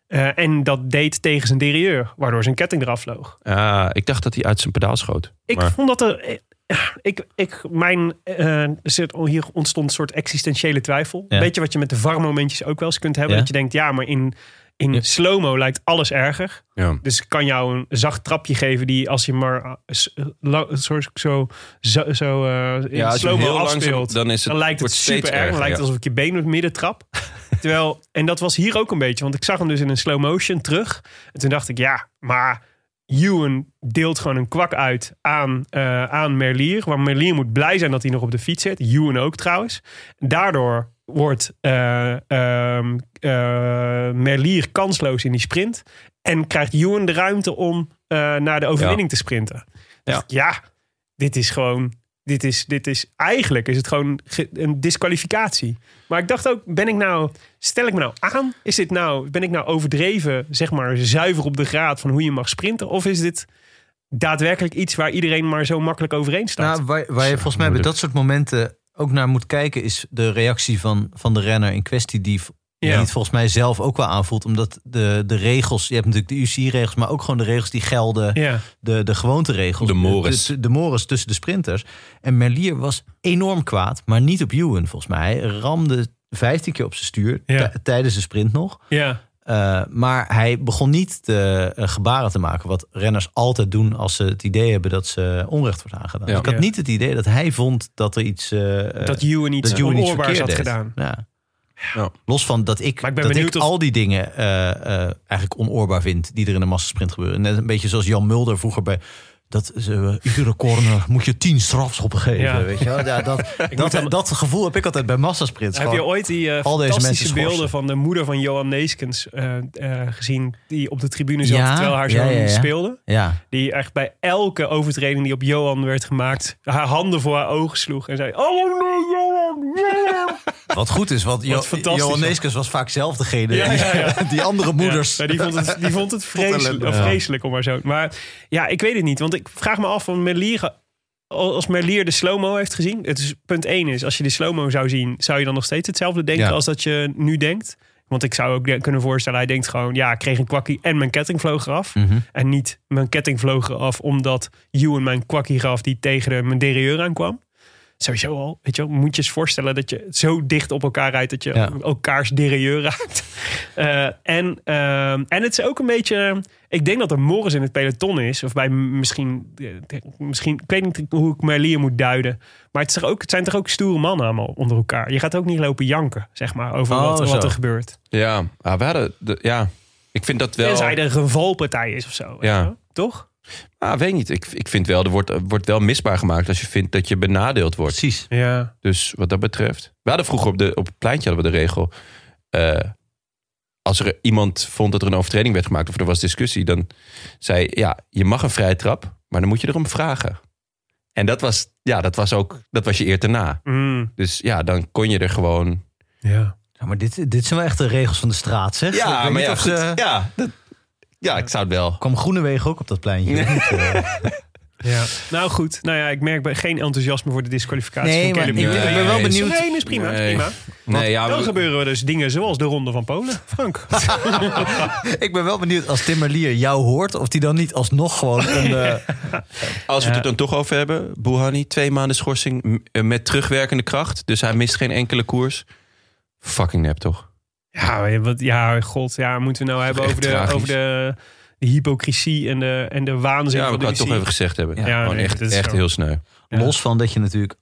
Speaker 2: eh, en dat deed tegen zijn derieur. Waardoor zijn ketting eraf vloog.
Speaker 1: ah, ik dacht dat hij uit zijn pedaal schoot.
Speaker 2: Ik
Speaker 1: Maar-
Speaker 2: vond dat er... eh, Ik, ik, mijn, eh, er zit- hier ontstond een soort existentiële twijfel.
Speaker 1: Ja.
Speaker 2: Weet je wat je met de VAR-momentjes ook wel eens kunt hebben?
Speaker 1: Ja.
Speaker 2: Dat je denkt, ja, maar in, in
Speaker 1: Ja.
Speaker 2: slow-mo lijkt alles erger.
Speaker 1: Ja.
Speaker 2: Dus ik kan jou een zacht trapje geven die als je maar eh, s- la- zo, zo, zo, zo eh, in
Speaker 1: Ja, als je hem
Speaker 2: slow-mo
Speaker 1: heel langzaam-
Speaker 2: afspeelt.
Speaker 1: dan is het,
Speaker 2: Dan lijkt het
Speaker 1: wordt steeds
Speaker 2: super erg. Dan lijkt
Speaker 1: erger,
Speaker 2: het alsof ik je been door het midden trap. Terwijl, en dat was hier ook een beetje. Want ik zag hem dus in een slow motion terug. En toen dacht ik, ja, maar Ewan deelt gewoon een kwak uit aan, eh, aan Merlier. Waar Merlier moet blij zijn dat hij nog op de fiets zit. Ewan ook trouwens. Daardoor wordt eh, ehm, eh, Merlier kansloos in die sprint. En krijgt Ewan de ruimte om eh, naar de overwinning te sprinten.
Speaker 1: Ja.
Speaker 2: Ja. ja, dit is gewoon... Dit is, dit is, eigenlijk is het gewoon ge- een disqualificatie. Maar ik dacht ook, ben ik nou, stel ik me nou aan? Is dit nou, ben ik nou overdreven, zeg maar, zuiver op de graad van hoe je mag sprinten? Of is dit daadwerkelijk iets waar iedereen maar zo makkelijk overeen staat?
Speaker 3: Nou, waar, waar je volgens mij bij
Speaker 1: moeilijk.
Speaker 3: dat soort momenten ook naar moet kijken... is de reactie van, van de renner in kwestie die...
Speaker 2: Ja.
Speaker 3: Die het volgens mij zelf ook wel aanvoelt. Omdat de, de regels, je hebt natuurlijk de UC-regels... maar ook gewoon de regels die gelden
Speaker 2: ja.
Speaker 3: de, de gewoonteregels.
Speaker 1: De mores.
Speaker 3: De, de, de mores tussen de sprinters. En Merlier was enorm kwaad, maar niet op Ewan volgens mij. Hij ramde 15 keer op zijn stuur
Speaker 2: Ja.
Speaker 3: t- tijdens de sprint nog.
Speaker 2: ja.
Speaker 3: Eh, maar hij begon niet te, eh, gebaren te maken. Wat renners altijd doen als ze het idee hebben dat ze onrecht wordt aangedaan.
Speaker 1: Ja.
Speaker 3: Dus ik had
Speaker 2: Ja.
Speaker 3: niet het idee dat hij vond dat er iets. eh, eh,
Speaker 2: dat Ewan iets
Speaker 3: dat Ewan iets
Speaker 2: onoorbaars
Speaker 3: verkeerd
Speaker 2: had
Speaker 3: deed.
Speaker 2: gedaan.
Speaker 3: Ja.
Speaker 1: Ja.
Speaker 3: Los van dat ik,
Speaker 2: Maar ik ben
Speaker 3: dat
Speaker 2: benieuwd
Speaker 3: ik
Speaker 2: of-
Speaker 3: al die dingen eh, eh, eigenlijk onoorbaar vind die er in een massasprint gebeuren. Net een beetje zoals Jan Mulder vroeger bij dat is, eh, iedere corner moet je tien strafschoppen geven.
Speaker 2: Ja.
Speaker 3: Weet je wel? Ja, dat, dat, dat gevoel heb ik altijd bij massasprints.
Speaker 2: Heb je
Speaker 3: Gewoon-
Speaker 2: ooit die eh,
Speaker 3: al deze
Speaker 2: fantastische
Speaker 3: mensen
Speaker 2: beelden
Speaker 3: schorsen.
Speaker 2: van de moeder van Johan Neeskens eh, eh, gezien? Die op de tribune zat
Speaker 3: Ja,
Speaker 2: terwijl haar
Speaker 3: ja,
Speaker 2: zoon
Speaker 3: ja, ja.
Speaker 2: speelde.
Speaker 3: Ja.
Speaker 2: Die echt bij elke overtreding die op Johan werd gemaakt, haar handen voor haar ogen sloeg. En zei, oh nee, Johan, Johan.
Speaker 3: Wat goed is, want jo
Speaker 2: fantastisch,
Speaker 3: Johan
Speaker 2: ja.
Speaker 3: Neeskens was vaak zelf degene
Speaker 2: Ja,
Speaker 3: die,
Speaker 2: ja, ja.
Speaker 3: die andere moeders.
Speaker 2: Ja, die vond het, die vond het vreselijk,
Speaker 3: ellende.
Speaker 2: of
Speaker 3: Ja.
Speaker 2: vreselijk om maar zo. Maar ja, ik weet het niet. Want ik vraag me af van Merlier. Als Merlier de slow-mo heeft gezien. Het is, punt 1 is, als je de slow-mo zou zien, zou je dan nog steeds hetzelfde denken
Speaker 3: Ja.
Speaker 2: als dat je nu denkt? Want ik zou ook de- kunnen voorstellen, hij denkt gewoon, ja, ik kreeg een kwakkie en mijn ketting vloog eraf.
Speaker 3: Mhm.
Speaker 2: En niet mijn ketting vloog eraf omdat Ewan mijn kwakkie gaf die tegen de, mijn derieur aankwam. Sowieso al, weet je wel, moet je eens voorstellen dat je zo dicht op elkaar rijdt dat je
Speaker 3: Ja.
Speaker 2: elkaars derieur raakt. Eh, en, ehm, en het is ook een beetje, ik denk dat er Morris in het peloton is, of bij m- misschien, eh, misschien ik weet niet hoe ik Merlier moet duiden. Maar het, is toch ook, het zijn toch ook stoere mannen allemaal onder elkaar. Je gaat ook niet lopen janken, zeg maar, over
Speaker 3: Oh,
Speaker 2: wat, wat
Speaker 3: zo.
Speaker 2: er gebeurt.
Speaker 1: Ja, ah, we hadden de- ja, ik vind dat wel.
Speaker 2: Tenzij er een valpartij is of zo, weet
Speaker 1: Ja.
Speaker 2: je wel. toch?
Speaker 1: Ah, weet niet. Ik, ik vind wel, er wordt, er wordt wel misbaar gemaakt als je vindt dat je benadeeld wordt.
Speaker 3: Precies.
Speaker 2: Ja.
Speaker 1: Dus wat dat betreft. We hadden vroeger op, de, op het pleintje hadden we de regel. eh, als er iemand vond dat er een overtreding werd gemaakt of er was discussie, dan zei ja, je mag een vrije trap, maar dan moet je erom vragen. En dat was, ja, dat was ook, dat was je eer te na.
Speaker 2: Mm,
Speaker 1: Dus ja, dan kon je er gewoon.
Speaker 2: ja.
Speaker 3: Ja, maar dit, dit zijn wel echt de regels van de straat, zeg. Ik weet niet of ze-
Speaker 1: ja, dat- ja, ik zou het wel.
Speaker 3: Kwam Groenewegen ook op dat pleintje? Eh,
Speaker 2: ja. Nou goed, nou ja, ik merk bij- geen enthousiasme voor de disqualificatie
Speaker 3: Nee,
Speaker 2: van
Speaker 3: maar
Speaker 2: Caleb
Speaker 3: ik-
Speaker 2: Ewan.
Speaker 3: ik ben wel
Speaker 2: Nee,
Speaker 3: benieuwd-
Speaker 2: sereen is prima, is
Speaker 1: Nee.
Speaker 2: prima.
Speaker 1: Nee, ja,
Speaker 2: Dan
Speaker 1: we-
Speaker 2: gebeuren er dus dingen zoals de Ronde van Polen, Frank.
Speaker 3: ik ben wel benieuwd als Timmerlier jou hoort... of die dan niet alsnog gewoon een... eh,
Speaker 1: Als we het er dan toch over hebben, Bouhanni, twee maanden schorsing m- eh, met terugwerkende kracht. Dus hij mist geen enkele koers. Fucking nep, toch?
Speaker 2: Ja, wat, ja, god, ja, moeten we nou hebben
Speaker 1: echt
Speaker 2: over de,
Speaker 1: tragisch.
Speaker 2: over de, de hypocrisie en de, en de waanzin
Speaker 1: Ja, we
Speaker 2: van
Speaker 1: kunnen
Speaker 2: de
Speaker 1: het toch
Speaker 2: UCI?
Speaker 1: even gezegd hebben.
Speaker 2: Ja,
Speaker 1: Gewoon
Speaker 2: nee,
Speaker 1: echt,
Speaker 2: dat is
Speaker 1: echt
Speaker 2: zo.
Speaker 1: heel sneu.
Speaker 2: Ja.
Speaker 3: Los van dat je natuurlijk...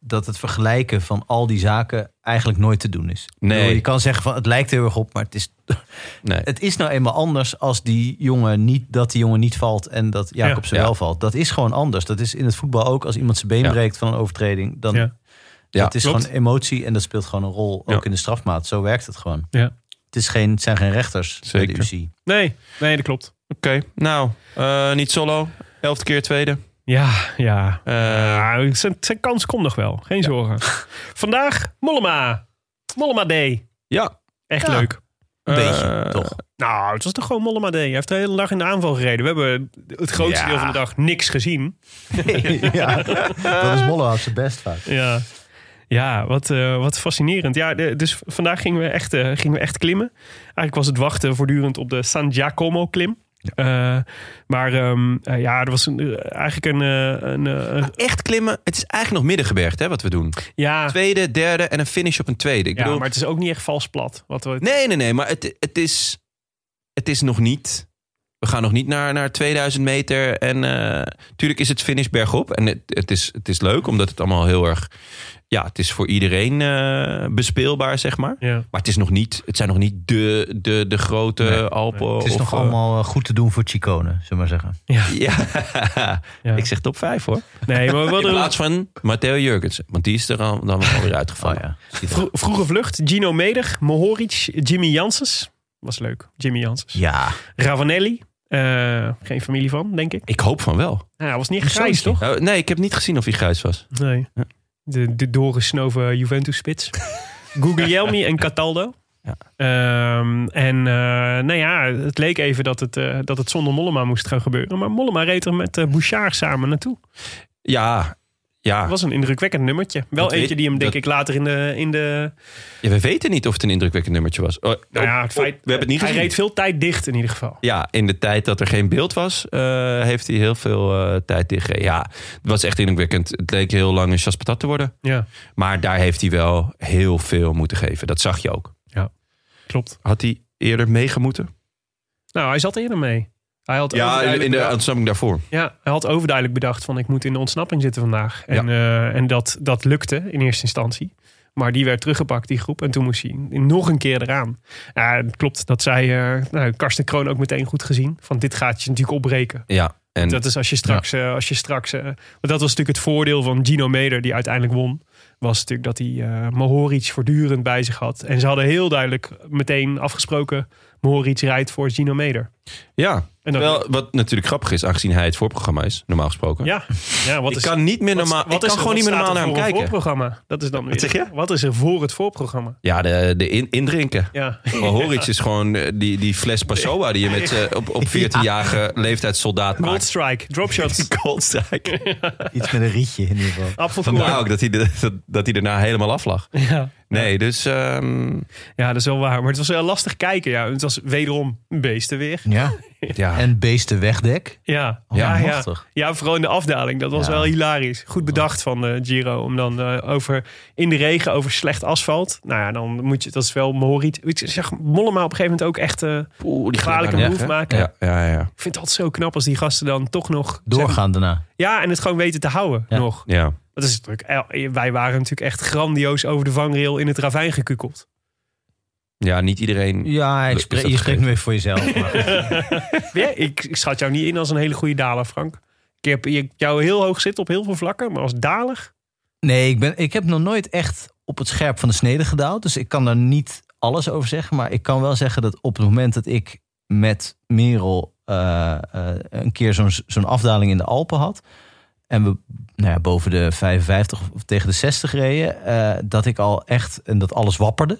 Speaker 3: dat het vergelijken van al die zaken eigenlijk nooit te doen is. Ik
Speaker 1: Nee.
Speaker 3: bedoel, Je kan zeggen van het lijkt heel erg op, maar het is,
Speaker 1: Nee.
Speaker 3: het is nou eenmaal anders... als die jongen niet, dat die jongen niet valt en dat Jacob ze
Speaker 1: Ja.
Speaker 3: wel valt. Dat is gewoon anders. Dat is in het voetbal ook. Als iemand zijn been
Speaker 1: Ja.
Speaker 3: breekt van een overtreding... dan
Speaker 2: Ja.
Speaker 1: Ja,
Speaker 3: het is
Speaker 2: klopt.
Speaker 3: gewoon emotie en dat speelt gewoon een rol.
Speaker 1: Ja.
Speaker 3: Ook in de strafmaat. Zo werkt het gewoon.
Speaker 2: Ja.
Speaker 3: Het, is geen, het zijn geen rechters bij
Speaker 1: Zeker.
Speaker 3: de UCI.
Speaker 2: Nee, nee, dat klopt.
Speaker 1: Oké, nou, eh, niet solo. Elfde keer tweede.
Speaker 2: Ja, ja.
Speaker 1: Eh,
Speaker 2: Ah, zijn, zijn kans komt nog wel. Geen zorgen. Vandaag Mollema. Mollema Day.
Speaker 1: ja,
Speaker 2: Echt
Speaker 1: Ja.
Speaker 2: leuk.
Speaker 3: Een beetje,
Speaker 1: Eh,
Speaker 3: toch?
Speaker 2: Nou, het was toch gewoon Mollema Day. Hij heeft de hele dag in de aanval gereden. We hebben het grootste
Speaker 1: Ja.
Speaker 2: deel van de dag niks gezien.
Speaker 3: ja. Dat is Molle had zijn best vaak.
Speaker 2: Ja, ja wat, eh, wat fascinerend. Ja, de- dus v- vandaag gingen we, echt, eh, gingen we echt klimmen. Eigenlijk was het wachten voortdurend op de San Giacomo klim. Eh, maar ehm, eh, ja, er was een, eh, eigenlijk een, eh, een, eh, een-
Speaker 1: Echt klimmen. Het is eigenlijk nog middengebergte hè, wat we doen.
Speaker 2: ja,
Speaker 1: Tweede, derde en een finish op een tweede. Ik
Speaker 2: ja,
Speaker 1: bedoel,
Speaker 2: maar het is ook niet echt vals plat. Wat we,
Speaker 1: Nee, nee, nee. Maar het, het, is, het is nog niet... We gaan nog niet naar, naar 2000 meter. En natuurlijk is het finish bergop. En het, het, is, het is leuk, omdat het allemaal heel erg... Ja, het is voor iedereen eh, bespeelbaar, zeg maar.
Speaker 2: Ja.
Speaker 1: Maar het, is nog niet, het zijn nog niet de, de, de grote Alpen.
Speaker 3: Het is
Speaker 1: of,
Speaker 3: nog
Speaker 1: eh,
Speaker 3: allemaal eh, goed te doen voor Chicone, zullen we maar zeggen.
Speaker 1: Ja.
Speaker 2: Ja.
Speaker 1: ik zeg top 5 hoor.
Speaker 2: Nee, maar we
Speaker 1: In
Speaker 2: hadden een
Speaker 1: plaats van Matteo Jurgensen. Want die is er al, dan alweer
Speaker 3: Oh
Speaker 1: uitgevallen.
Speaker 3: ja.
Speaker 2: vro- vroege vlucht. Gino Medig, Mohoric, Jimmy Janssens. Was leuk, Jimmy Janssens.
Speaker 3: Ja,
Speaker 2: Ravanelli. eh, geen familie van, denk ik.
Speaker 1: Ik hoop van wel.
Speaker 2: Nou, hij was niet echt grijs,
Speaker 3: zoontje.
Speaker 2: toch?
Speaker 1: Nou, nee, ik heb niet gezien of hij grijs was.
Speaker 2: Nee. De, de doorgesnoven Juventus-spits. Guglielmi en Cataldo.
Speaker 1: Ja.
Speaker 2: Ehm, en eh, nou ja, het leek even dat het, eh, dat het zonder Mollema moest gaan gebeuren. Maar Mollema reed er met eh, Bouchard samen
Speaker 1: Ah.
Speaker 2: naartoe.
Speaker 1: Ja, ja.
Speaker 2: Dat was een indrukwekkend nummertje. Wel
Speaker 1: Dat weet-
Speaker 2: eentje die hem denk
Speaker 1: dat- Oh,
Speaker 2: ik later in de... In de
Speaker 1: Ja, we weten niet of het een indrukwekkend nummertje was. Oh,
Speaker 2: nou ja,
Speaker 1: oh,
Speaker 2: het feit,
Speaker 1: oh, we hebben het niet
Speaker 2: hij
Speaker 1: gezien.
Speaker 2: reed veel tijd dicht in ieder geval.
Speaker 1: Ja, in de tijd dat er geen beeld was, eh, heeft hij heel veel eh, tijd tegen. Ja, het was echt indrukwekkend. Het leek heel lang een chaspatat te worden.
Speaker 2: Ja,
Speaker 1: Maar daar heeft hij wel heel veel moeten geven. Dat zag je ook.
Speaker 2: klopt.
Speaker 1: Had hij eerder meegemoeten?
Speaker 2: Nou, hij zat eerder mee. Hij had
Speaker 1: Ja, in,
Speaker 2: overduidelijk
Speaker 1: in de
Speaker 2: bedacht-
Speaker 1: ontsnapping daarvoor.
Speaker 2: Ja, hij had overduidelijk bedacht van ik moet in de ontsnapping zitten vandaag. En, eh, en dat, dat lukte in eerste instantie. Maar die werd teruggepakt, die groep. En toen moest hij nog een keer eraan. Ja, het klopt, dat zij eh, nou, Karsten Kroon ook meteen goed gezien. Van dit gaat je natuurlijk opbreken.
Speaker 1: Ja, en
Speaker 2: Dat is als je straks... eh, als je straks eh, want dat was natuurlijk het voordeel van Gino Meder, die uiteindelijk won. Was natuurlijk dat hij eh Mohoric voortdurend bij zich had. En ze hadden heel duidelijk meteen afgesproken... Mohoric rijdt voor Gino Meder.
Speaker 1: ja.
Speaker 2: En dat-
Speaker 1: Wel, wat natuurlijk grappig is, aangezien hij het voorprogramma is, normaal gesproken.
Speaker 2: ja, ja, wat
Speaker 1: ik
Speaker 2: is
Speaker 1: kan niet meer normaal.
Speaker 2: Wat-
Speaker 1: ik
Speaker 2: wat is
Speaker 1: kan
Speaker 2: er-
Speaker 1: gewoon
Speaker 2: wat
Speaker 1: niet meer
Speaker 2: staat
Speaker 1: normaal
Speaker 2: er
Speaker 1: naar hem
Speaker 2: voor een
Speaker 1: kijken.
Speaker 2: Voorprogramma? Dat is dan weer.
Speaker 1: zeg je?
Speaker 2: Wat is er voor het voorprogramma?
Speaker 1: Ja, de, de in- indrinken.
Speaker 2: Ja.
Speaker 1: Maar Horic is gewoon eh, die, die fles Passoa die je met z'n- op, op 14-jarige leeftijd soldaat
Speaker 2: Gold
Speaker 1: maakt.
Speaker 2: Strike, dropshots,
Speaker 1: Goldstrike.
Speaker 3: iets met een rietje in ieder geval.
Speaker 1: Vandaar
Speaker 2: apfelkoor.
Speaker 1: ook dat hij, de- dat, dat hij daarna helemaal af lag.
Speaker 2: Ja.
Speaker 1: Nee, dus ehm,
Speaker 2: ja, dat is wel waar. Maar het was wel lastig kijken. Ja. Het was wederom beesten weer.
Speaker 3: Ja.
Speaker 1: ja.
Speaker 3: En beesten wegdek.
Speaker 2: Ja,
Speaker 3: Ja,
Speaker 2: ja, ja.
Speaker 3: machtig.
Speaker 2: ja, vooral in de afdaling. Dat was
Speaker 3: Ja.
Speaker 2: wel hilarisch. Goed bedacht van eh, Giro. Om dan eh, over, in de regen over slecht asfalt. Nou ja, dan moet je, dat is wel Morit. Ik zeg Mollema op een gegeven moment ook echt eh,
Speaker 1: Oeh, die
Speaker 2: gevaarlijke
Speaker 1: glijbaan.
Speaker 2: move
Speaker 1: Ja, hè?
Speaker 2: maken.
Speaker 1: Ja, ja, ja.
Speaker 2: Ik vind het altijd zo knap als die gasten dan toch nog...
Speaker 3: Doorgaan daarna.
Speaker 2: Ja, en het gewoon weten te houden
Speaker 3: Ja.
Speaker 2: nog.
Speaker 1: ja.
Speaker 2: Dat is natuurlijk, eh, wij waren natuurlijk echt grandioos over de vangrail in het ravijn gekukeld.
Speaker 1: Ja, niet iedereen.
Speaker 3: Ja, ik
Speaker 1: Is
Speaker 3: spreek,
Speaker 1: dat
Speaker 3: je spreekt
Speaker 1: gegeven?
Speaker 3: nu even voor jezelf. maar-
Speaker 2: Ja, ik, ik schat jou niet in als een hele goede daler, Frank. Ik heb je- jou heel hoog zitten op heel veel vlakken, maar als daler...
Speaker 3: nee, ik, ben, ik heb nog nooit echt op het scherp van de snede gedaald. Dus ik kan daar niet alles over zeggen. Maar ik kan wel zeggen dat op het moment dat ik met Merel eh, eh, een keer zo'n zo'n afdaling in de Alpen had. En we nou ja, boven de 55 of tegen de 60 reden. eh, dat ik al echt, en dat alles wapperde.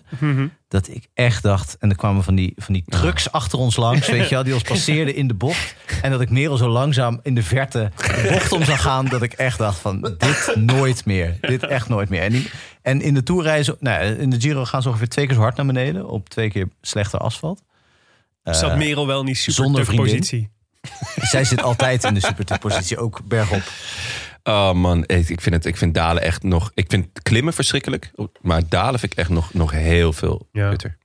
Speaker 3: Dat ik echt dacht, en er kwamen van die, van die trucks achter ons langs, weet je wel, die ons passeerden in de bocht. En dat ik Merel zo langzaam in de verte de bocht om zag gaan, dat ik echt dacht van, dit nooit meer. Dit echt nooit meer. En, die- en in de toerreizen, nou, ja, in de Giro gaan ze ongeveer twee keer zo hard naar beneden, op twee keer slechter asfalt.
Speaker 2: Zat
Speaker 3: Eh,
Speaker 2: Merel wel niet super
Speaker 3: zonder
Speaker 2: tuf
Speaker 3: vriendin.
Speaker 2: positie?
Speaker 3: Zij zit altijd in de supertoepositie, ook bergop.
Speaker 1: Oh man, ik ik vind, het, ik vind dalen echt nog. Ik vind klimmen verschrikkelijk. Maar dalen vind ik echt nog, nog heel veel
Speaker 2: Ja.
Speaker 1: kutter.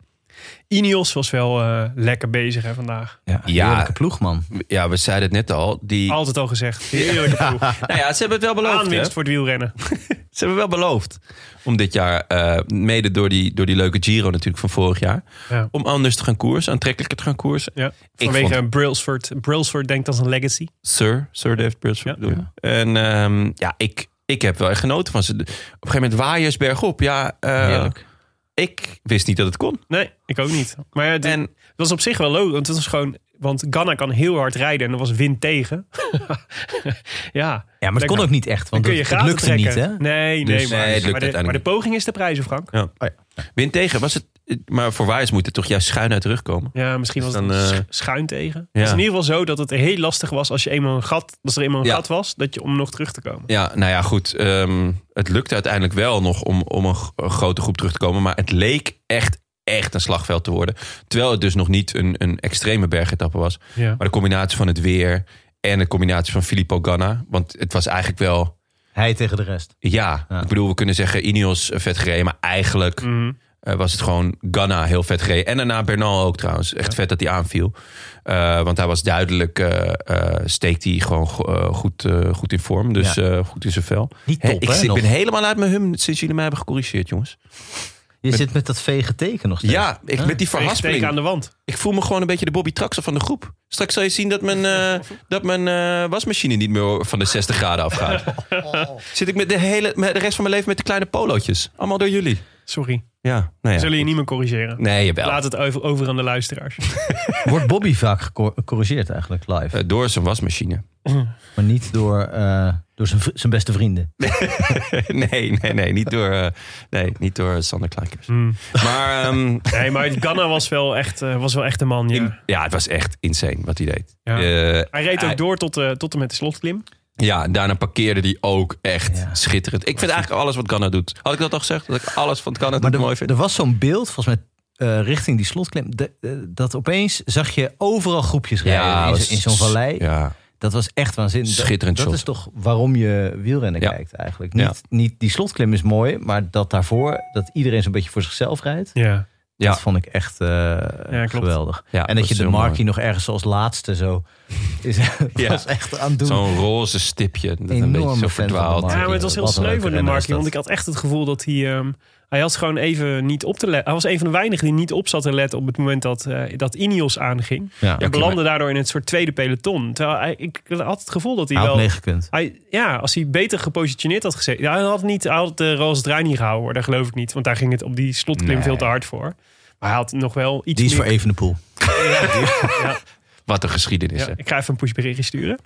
Speaker 2: Ineos was wel eh, lekker bezig hè, vandaag.
Speaker 3: Ja,
Speaker 1: Ja.
Speaker 3: heerlijke ploeg, man.
Speaker 1: Ja, we zeiden het net al. Die,
Speaker 2: Altijd al gezegd. Heerlijke ploeg.
Speaker 1: nou ja, ze hebben het wel beloofd. hè?
Speaker 2: Aanwinst voor het wielrennen.
Speaker 1: Ze hebben wel beloofd om dit jaar, eh, mede door die, door die leuke Giro natuurlijk van vorig jaar,
Speaker 2: Ja.
Speaker 1: om anders te gaan koersen, aantrekkelijker te gaan koersen.
Speaker 2: Ja.
Speaker 1: Ik
Speaker 2: Vanwege
Speaker 1: vond-
Speaker 2: Brailsford. Brailsford denkt als een legacy.
Speaker 1: Sir, Sir David Brailsford
Speaker 2: Ja.
Speaker 1: bedoel je? En ehm, ja, ik, Ik heb wel echt genoten van ze. Op een gegeven moment waaiers bergop. Ja, eh,
Speaker 3: Heerlijk.
Speaker 1: ik wist niet dat het kon.
Speaker 2: Nee, ik ook niet. Maar ja, het,
Speaker 1: En-
Speaker 2: het was op zich wel logisch. Want het was gewoon... Want Ghana kan heel hard rijden en er was wind tegen. ja.
Speaker 3: Ja, maar het kon ook niet echt,
Speaker 2: Dan
Speaker 3: want
Speaker 2: kun je
Speaker 3: het, het
Speaker 2: graag
Speaker 3: lukte
Speaker 2: trekken.
Speaker 3: niet, hè?
Speaker 2: Nee, nee,
Speaker 1: Dus-
Speaker 2: maar,
Speaker 1: Nee, het lukt
Speaker 2: maar, de,
Speaker 1: uiteindelijk
Speaker 2: maar de
Speaker 1: niet.
Speaker 2: poging is de prijzen, Frank.
Speaker 1: Wind tegen was het. Maar voor waaiers moet het toch juist schuin uit de rug komen.
Speaker 2: Ja, misschien
Speaker 1: Dus
Speaker 2: was het
Speaker 1: dan,
Speaker 2: sch-
Speaker 1: eh,
Speaker 2: schuin tegen.
Speaker 1: ja.
Speaker 2: Het is in ieder geval zo dat het heel lastig was als je eenmaal een gat, als er eenmaal een
Speaker 1: Ja.
Speaker 2: gat was, dat je om nog terug te komen.
Speaker 1: Ja, nou ja, goed. ehm, het lukte uiteindelijk wel nog om, om een, g- een grote groep terug te komen. Maar het leek echt, echt een slagveld te worden. Terwijl het dus nog niet een, een extreme bergetappe was.
Speaker 2: Ja.
Speaker 1: Maar de combinatie van het weer en de combinatie van Filippo Ganna. Want het was eigenlijk wel...
Speaker 3: Hij tegen de rest.
Speaker 1: Ja,
Speaker 3: Ja.
Speaker 1: ik bedoel, we kunnen zeggen Ineos eh, vet gereden. Maar eigenlijk
Speaker 2: Mhm.
Speaker 1: eh, was het gewoon Ganna heel vet gereden. En daarna Bernal ook trouwens. Echt vet dat hij aanviel. Eh, want hij was duidelijk, eh, eh, steekt hij gewoon go- eh, goed, eh, goed in vorm. Dus eh, goed in zijn vel.
Speaker 3: Niet
Speaker 1: Hè,
Speaker 3: top,
Speaker 1: ik
Speaker 3: hè,
Speaker 1: zit-
Speaker 3: nog.
Speaker 1: ben helemaal uit mijn hum sinds jullie mij hebben gecorrigeerd, jongens.
Speaker 3: Je zit met dat vege teken nog steeds.
Speaker 1: Ja,
Speaker 2: Ah.
Speaker 1: ik, met die
Speaker 2: Tegen aan
Speaker 1: verhaspeling.
Speaker 2: de wand.
Speaker 1: Ik voel me gewoon een beetje de Bobby Traxel van de groep. Straks zal je zien dat mijn, eh, dat mijn eh, wasmachine niet meer van de 60 graden afgaat. Zit ik met de, hele, met de rest van mijn leven met de kleine polootjes. Allemaal door jullie.
Speaker 2: Sorry.
Speaker 1: Ja, nou ja.
Speaker 2: Zullen je niet meer corrigeren?
Speaker 1: Nee, jawel.
Speaker 2: Laat het over, over aan de luisteraars.
Speaker 3: Wordt Bobby vaak gecor- gecorrigeerd eigenlijk live?
Speaker 1: Eh, door zijn wasmachine.
Speaker 3: Maar niet door, eh, door zijn, v- zijn beste vrienden.
Speaker 1: nee, nee, nee. Niet door, eh, nee, niet door Sander Kleinkers.
Speaker 2: Hmm.
Speaker 1: Maar ehm,
Speaker 2: Nee, maar Ganna was wel echt, eh, was wel echt een man. Ja.
Speaker 1: in- ja, het was echt insane wat hij deed.
Speaker 2: Ja.
Speaker 1: Eh,
Speaker 2: Hij reed ook
Speaker 1: hij-
Speaker 2: door tot, eh, tot en met de slotklim.
Speaker 1: Ja, daarna parkeerde die ook echt
Speaker 3: Ja.
Speaker 1: schitterend. Ik vind eigenlijk alles wat Ganna doet. Had ik dat al gezegd? Dat ik alles van Ganna
Speaker 3: Maar
Speaker 1: doet mooi
Speaker 3: er,
Speaker 1: vind?
Speaker 3: er was zo'n beeld, volgens mij eh, richting die slotklim, de- eh, dat opeens zag je overal groepjes rijden in,
Speaker 1: was-
Speaker 3: zo- in zo'n vallei.
Speaker 1: Ja,
Speaker 3: Dat was echt waanzinnig. Dat-
Speaker 1: Schitterend
Speaker 3: Dat
Speaker 1: shot.
Speaker 3: is toch waarom je wielrennen
Speaker 1: Ja.
Speaker 3: kijkt eigenlijk.
Speaker 1: Ja.
Speaker 3: Niet, niet, die slotklim is mooi, maar dat daarvoor, dat iedereen zo'n beetje voor zichzelf rijdt.
Speaker 2: Ja.
Speaker 1: Ja.
Speaker 3: Dat vond ik echt eh,
Speaker 2: klopt.
Speaker 3: geweldig.
Speaker 1: ja,
Speaker 3: en dat je
Speaker 1: is
Speaker 3: de
Speaker 1: heel mooi.
Speaker 3: Markie nog ergens als laatste zo is,
Speaker 1: Ja.
Speaker 3: was echt aan het doen.
Speaker 1: Zo'n roze stipje. Dat een
Speaker 3: Enorme
Speaker 1: beetje zo
Speaker 3: fan van de
Speaker 1: verdwaald.
Speaker 3: Markie.
Speaker 2: Ja, maar het was heel
Speaker 3: Wat een
Speaker 2: sneu
Speaker 3: leuke
Speaker 2: voor de
Speaker 3: renner is
Speaker 2: Markie. Want ik
Speaker 3: dat.
Speaker 2: had echt het gevoel dat hij... ehm, hij had gewoon even niet op te letten. Hij was een van de weinigen die niet op zat te letten op het moment dat, eh dat Ineos aanging.
Speaker 3: Ja.
Speaker 2: Hij
Speaker 1: oké,
Speaker 2: belandde daardoor in het soort tweede peloton. Terwijl hij, ik had het gevoel dat hij
Speaker 3: Hij had
Speaker 2: wel...
Speaker 3: meegekund.
Speaker 2: Hij, ja, als hij beter gepositioneerd had gezeten. Ja, hij had niet hij had de roze draai niet gehouden hoor. Daar geloof ik niet. Want daar ging het op die slotklim
Speaker 1: Nee.
Speaker 2: veel te hard voor. Maar hij had nog wel iets
Speaker 3: Die is voor
Speaker 2: meer...
Speaker 3: Evenepoel.
Speaker 1: Wat een geschiedenis.
Speaker 2: Ja,
Speaker 1: hè.
Speaker 2: ik ga even een pushberichtje sturen.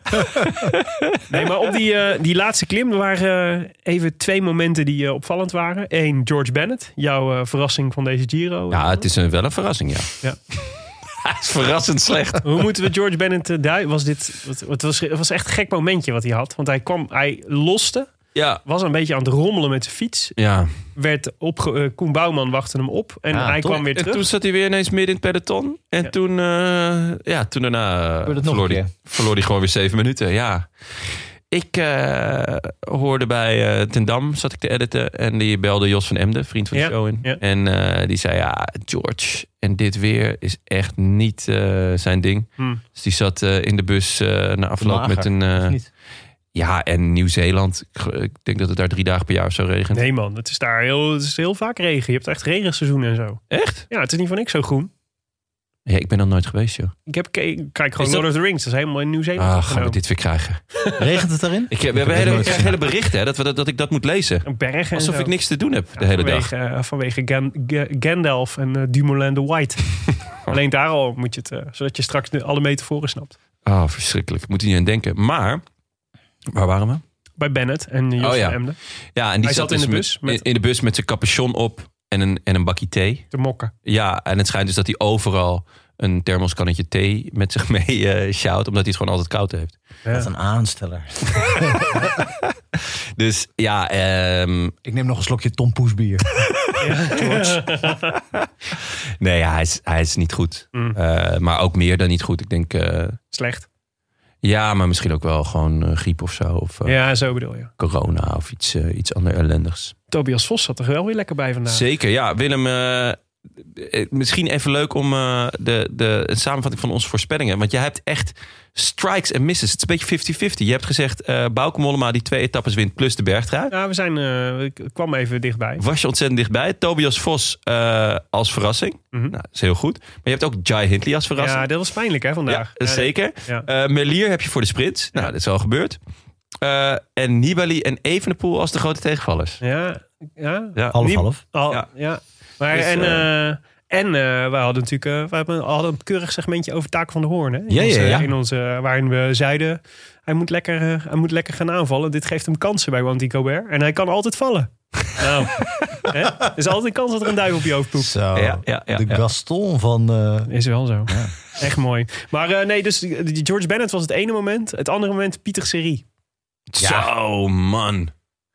Speaker 2: nee, maar op die, eh, die laatste klim er waren eh, even twee momenten die eh, opvallend waren. Eén, George Bennett. Jouw eh, verrassing van deze Giro.
Speaker 1: Ja, het is een, wel een verrassing, ja.
Speaker 2: Ja.
Speaker 1: Hij is verrassend slecht.
Speaker 2: Hoe moeten we George Bennett eh, duiden? Was dit, wat- het, was, het was echt een gek momentje wat hij had. Want hij kwam, hij loste.
Speaker 1: Ja.
Speaker 2: Was een beetje aan het rommelen met zijn fiets.
Speaker 1: Ja.
Speaker 2: werd opge- eh, Koen Bouwman wachtte hem op en
Speaker 3: Ja,
Speaker 2: hij
Speaker 3: toch?
Speaker 2: kwam weer
Speaker 1: En
Speaker 2: terug.
Speaker 1: toen zat hij weer ineens midden in het peloton. En
Speaker 2: Ja.
Speaker 1: toen, eh, ja, toen daarna eh,
Speaker 3: Gebeurde het nog
Speaker 1: verloor,
Speaker 3: een
Speaker 1: hij,
Speaker 3: keer.
Speaker 1: verloor hij gewoon weer zeven minuten. Ja. Ik eh, hoorde bij eh Ten Dam, zat ik te editen. En die belde Jos van Emden, vriend van de
Speaker 2: Ja,
Speaker 1: show in.
Speaker 2: ja.
Speaker 1: En eh, die zei, ja, George, en dit weer is echt niet eh, zijn ding.
Speaker 2: Hmm.
Speaker 1: Dus die zat eh, in de bus eh, na afloop
Speaker 3: Mager,
Speaker 1: met een... eh,
Speaker 3: Of niet?
Speaker 1: ja, en Nieuw-Zeeland. Ik, ge- ik denk dat het daar drie dagen per jaar of zo regent.
Speaker 2: Nee man, het is daar heel, het is heel vaak regen. Je hebt echt regenseizoen en zo.
Speaker 1: Echt?
Speaker 2: Ja, het is niet van niks zo groen.
Speaker 1: Ja, ik ben er nooit geweest, joh.
Speaker 2: Ik heb ke- kijk gewoon
Speaker 1: Is dat-
Speaker 2: Lord of the Rings. Dat is helemaal in Nieuw-Zeeland.
Speaker 1: Ah, gaan we
Speaker 2: opgenomen.
Speaker 1: dit weer krijgen?
Speaker 3: Regent het daarin?
Speaker 1: Ik, heb- we
Speaker 3: heb
Speaker 1: hebben
Speaker 3: het
Speaker 1: hele,
Speaker 3: nooit
Speaker 1: ik krijg
Speaker 3: gezien.
Speaker 1: hele berichten hè, dat, we, dat, dat ik dat moet lezen.
Speaker 2: Een berg en
Speaker 1: Alsof
Speaker 2: zo.
Speaker 1: ik niks te doen heb de
Speaker 2: Ja,
Speaker 1: hele dag.
Speaker 2: vanwege, eh, vanwege Gan- Ga- Gandalf en eh, Dumoulin de White. Alleen daar al moet je het, eh, zodat je straks de- alle metaforen snapt.
Speaker 1: Oh, verschrikkelijk. Moet hij niet aan denken. Maar, waar waren we?
Speaker 2: Bij Bennett en eh, Jos
Speaker 1: Oh, ja.
Speaker 2: van Emden.
Speaker 1: Ja, en die
Speaker 2: Hij zat in
Speaker 1: dus
Speaker 2: de bus
Speaker 1: Met,
Speaker 2: met-
Speaker 1: in de bus met zijn capuchon op en een, en een bakje thee.
Speaker 2: Te mokken.
Speaker 1: Ja, en het schijnt dus dat hij overal een thermoskannetje thee met zich mee eh sjouwt. Omdat hij het gewoon altijd koud heeft.
Speaker 2: Ja.
Speaker 3: Wat een aansteller.
Speaker 1: Dus ja, ehm,
Speaker 3: Ik neem nog een slokje Tom Poes bier.
Speaker 1: nee, ja, hij, is, hij is niet goed.
Speaker 2: Mm.
Speaker 1: Eh, maar ook meer dan niet goed. Ik denk, eh,
Speaker 2: Slecht.
Speaker 1: ja, maar misschien ook wel gewoon eh, griep of zo. Of eh,
Speaker 2: Ja, zo bedoel je.
Speaker 1: corona of iets, eh, iets ander ellendigs.
Speaker 2: Tobias Vos zat er wel weer lekker bij vandaag.
Speaker 1: Zeker, ja. Willem, eh, eh, misschien even leuk om eh, de, de een samenvatting van onze voorspellingen. Want jij hebt echt strikes en misses. Het is een beetje 50-50. Je hebt gezegd, eh Bauke Mollema die twee etappes wint plus de bergtrui.
Speaker 2: Ja, we zijn, eh, ik kwam even dichtbij.
Speaker 1: Was je ontzettend dichtbij. Tobias Vos eh, als verrassing.
Speaker 2: Mhm.
Speaker 1: Nou, dat is heel goed. Maar je hebt ook Jai Hindley als verrassing.
Speaker 2: Ja, dat was pijnlijk hè
Speaker 1: Ja,
Speaker 2: vandaag.
Speaker 1: zeker.
Speaker 2: Ja.
Speaker 1: Eh, Melier heb je voor de sprint. Nou, dat is al gebeurd. Eh, en Nibali en Evenepoel als de grote tegenvallers.
Speaker 2: Ja, ja.
Speaker 1: Ja,
Speaker 3: Half,
Speaker 2: Nib-
Speaker 3: half.
Speaker 2: Al-
Speaker 1: Ja.
Speaker 2: ja. Maar,
Speaker 1: Dus,
Speaker 2: en
Speaker 1: eh,
Speaker 2: eh, en eh, wij hadden natuurlijk eh, wij hebben- hadden een keurig segmentje over Taak van de Hoorn. Hè? In
Speaker 1: Ja, ja,
Speaker 2: onze-
Speaker 1: ja.
Speaker 2: In onze, waarin we zeiden, hij moet, lekker, eh, hij moet lekker gaan aanvallen. Dit geeft hem kansen bij Wanty Gobert. En hij kan altijd vallen. Nou, hè? Er is altijd een kans dat er een duif op je hoofd poept.
Speaker 3: Zo,
Speaker 1: Ja, ja, ja,
Speaker 3: de
Speaker 1: ja.
Speaker 3: Gaston van... eh,
Speaker 2: Is wel zo. Echt mooi. Maar eh, nee, dus die- die George Bennett was het ene moment. Het andere moment Pieter Serie.
Speaker 1: Zo, man.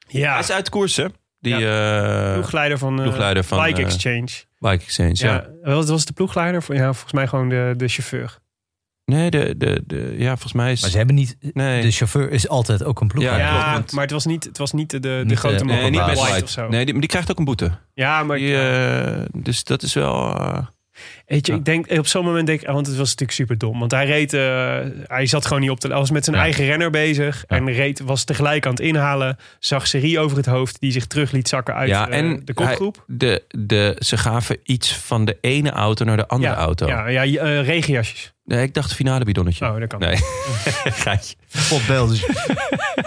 Speaker 2: Ja.
Speaker 1: Hij is uit koers, hè? Die eh,
Speaker 2: ploegleider van, eh,
Speaker 1: ploegleider van,
Speaker 2: Bike
Speaker 1: eh,
Speaker 2: Exchange.
Speaker 1: Bike Exchange, ja.
Speaker 2: Ja. was, was het de ploegleider? Voor, ja, volgens mij gewoon de, de chauffeur.
Speaker 1: Nee, de, de, de, ja, volgens mij is...
Speaker 3: maar ze hebben niet...
Speaker 1: nee.
Speaker 3: De chauffeur is altijd ook een ploeg.
Speaker 1: Ja,
Speaker 2: Ja,
Speaker 1: klopt, want-
Speaker 2: maar het was niet, het was niet de, de
Speaker 3: Niet,
Speaker 2: grote
Speaker 3: eh,
Speaker 2: man
Speaker 1: Nee,
Speaker 2: van
Speaker 1: niet
Speaker 3: White
Speaker 1: best
Speaker 2: White
Speaker 1: White.
Speaker 2: of zo.
Speaker 1: Nee, die, maar die krijgt ook een boete.
Speaker 2: Ja, maar
Speaker 1: Die, eh, dus dat is wel... eh,
Speaker 2: weet je,
Speaker 1: ja.
Speaker 2: ik denk, op zo'n moment denk ik, ah, want het was natuurlijk super dom. Want hij reed, eh, hij zat gewoon niet op te, hij was met zijn
Speaker 1: Ja.
Speaker 2: eigen renner bezig.
Speaker 1: Ja.
Speaker 2: En reed, was tegelijk aan het inhalen. Zag Serie over het hoofd, die zich terug liet zakken uit eh, de kopgroep.
Speaker 1: hij- de, de, ze gaven iets van de ene auto naar de andere
Speaker 2: ja,
Speaker 1: auto.
Speaker 2: Ja, ja eh, regenjasjes.
Speaker 1: Nee, ik dacht finale bidonnetje.
Speaker 2: Oh, dat kan.
Speaker 1: Nee, geitje.
Speaker 3: Potbelden.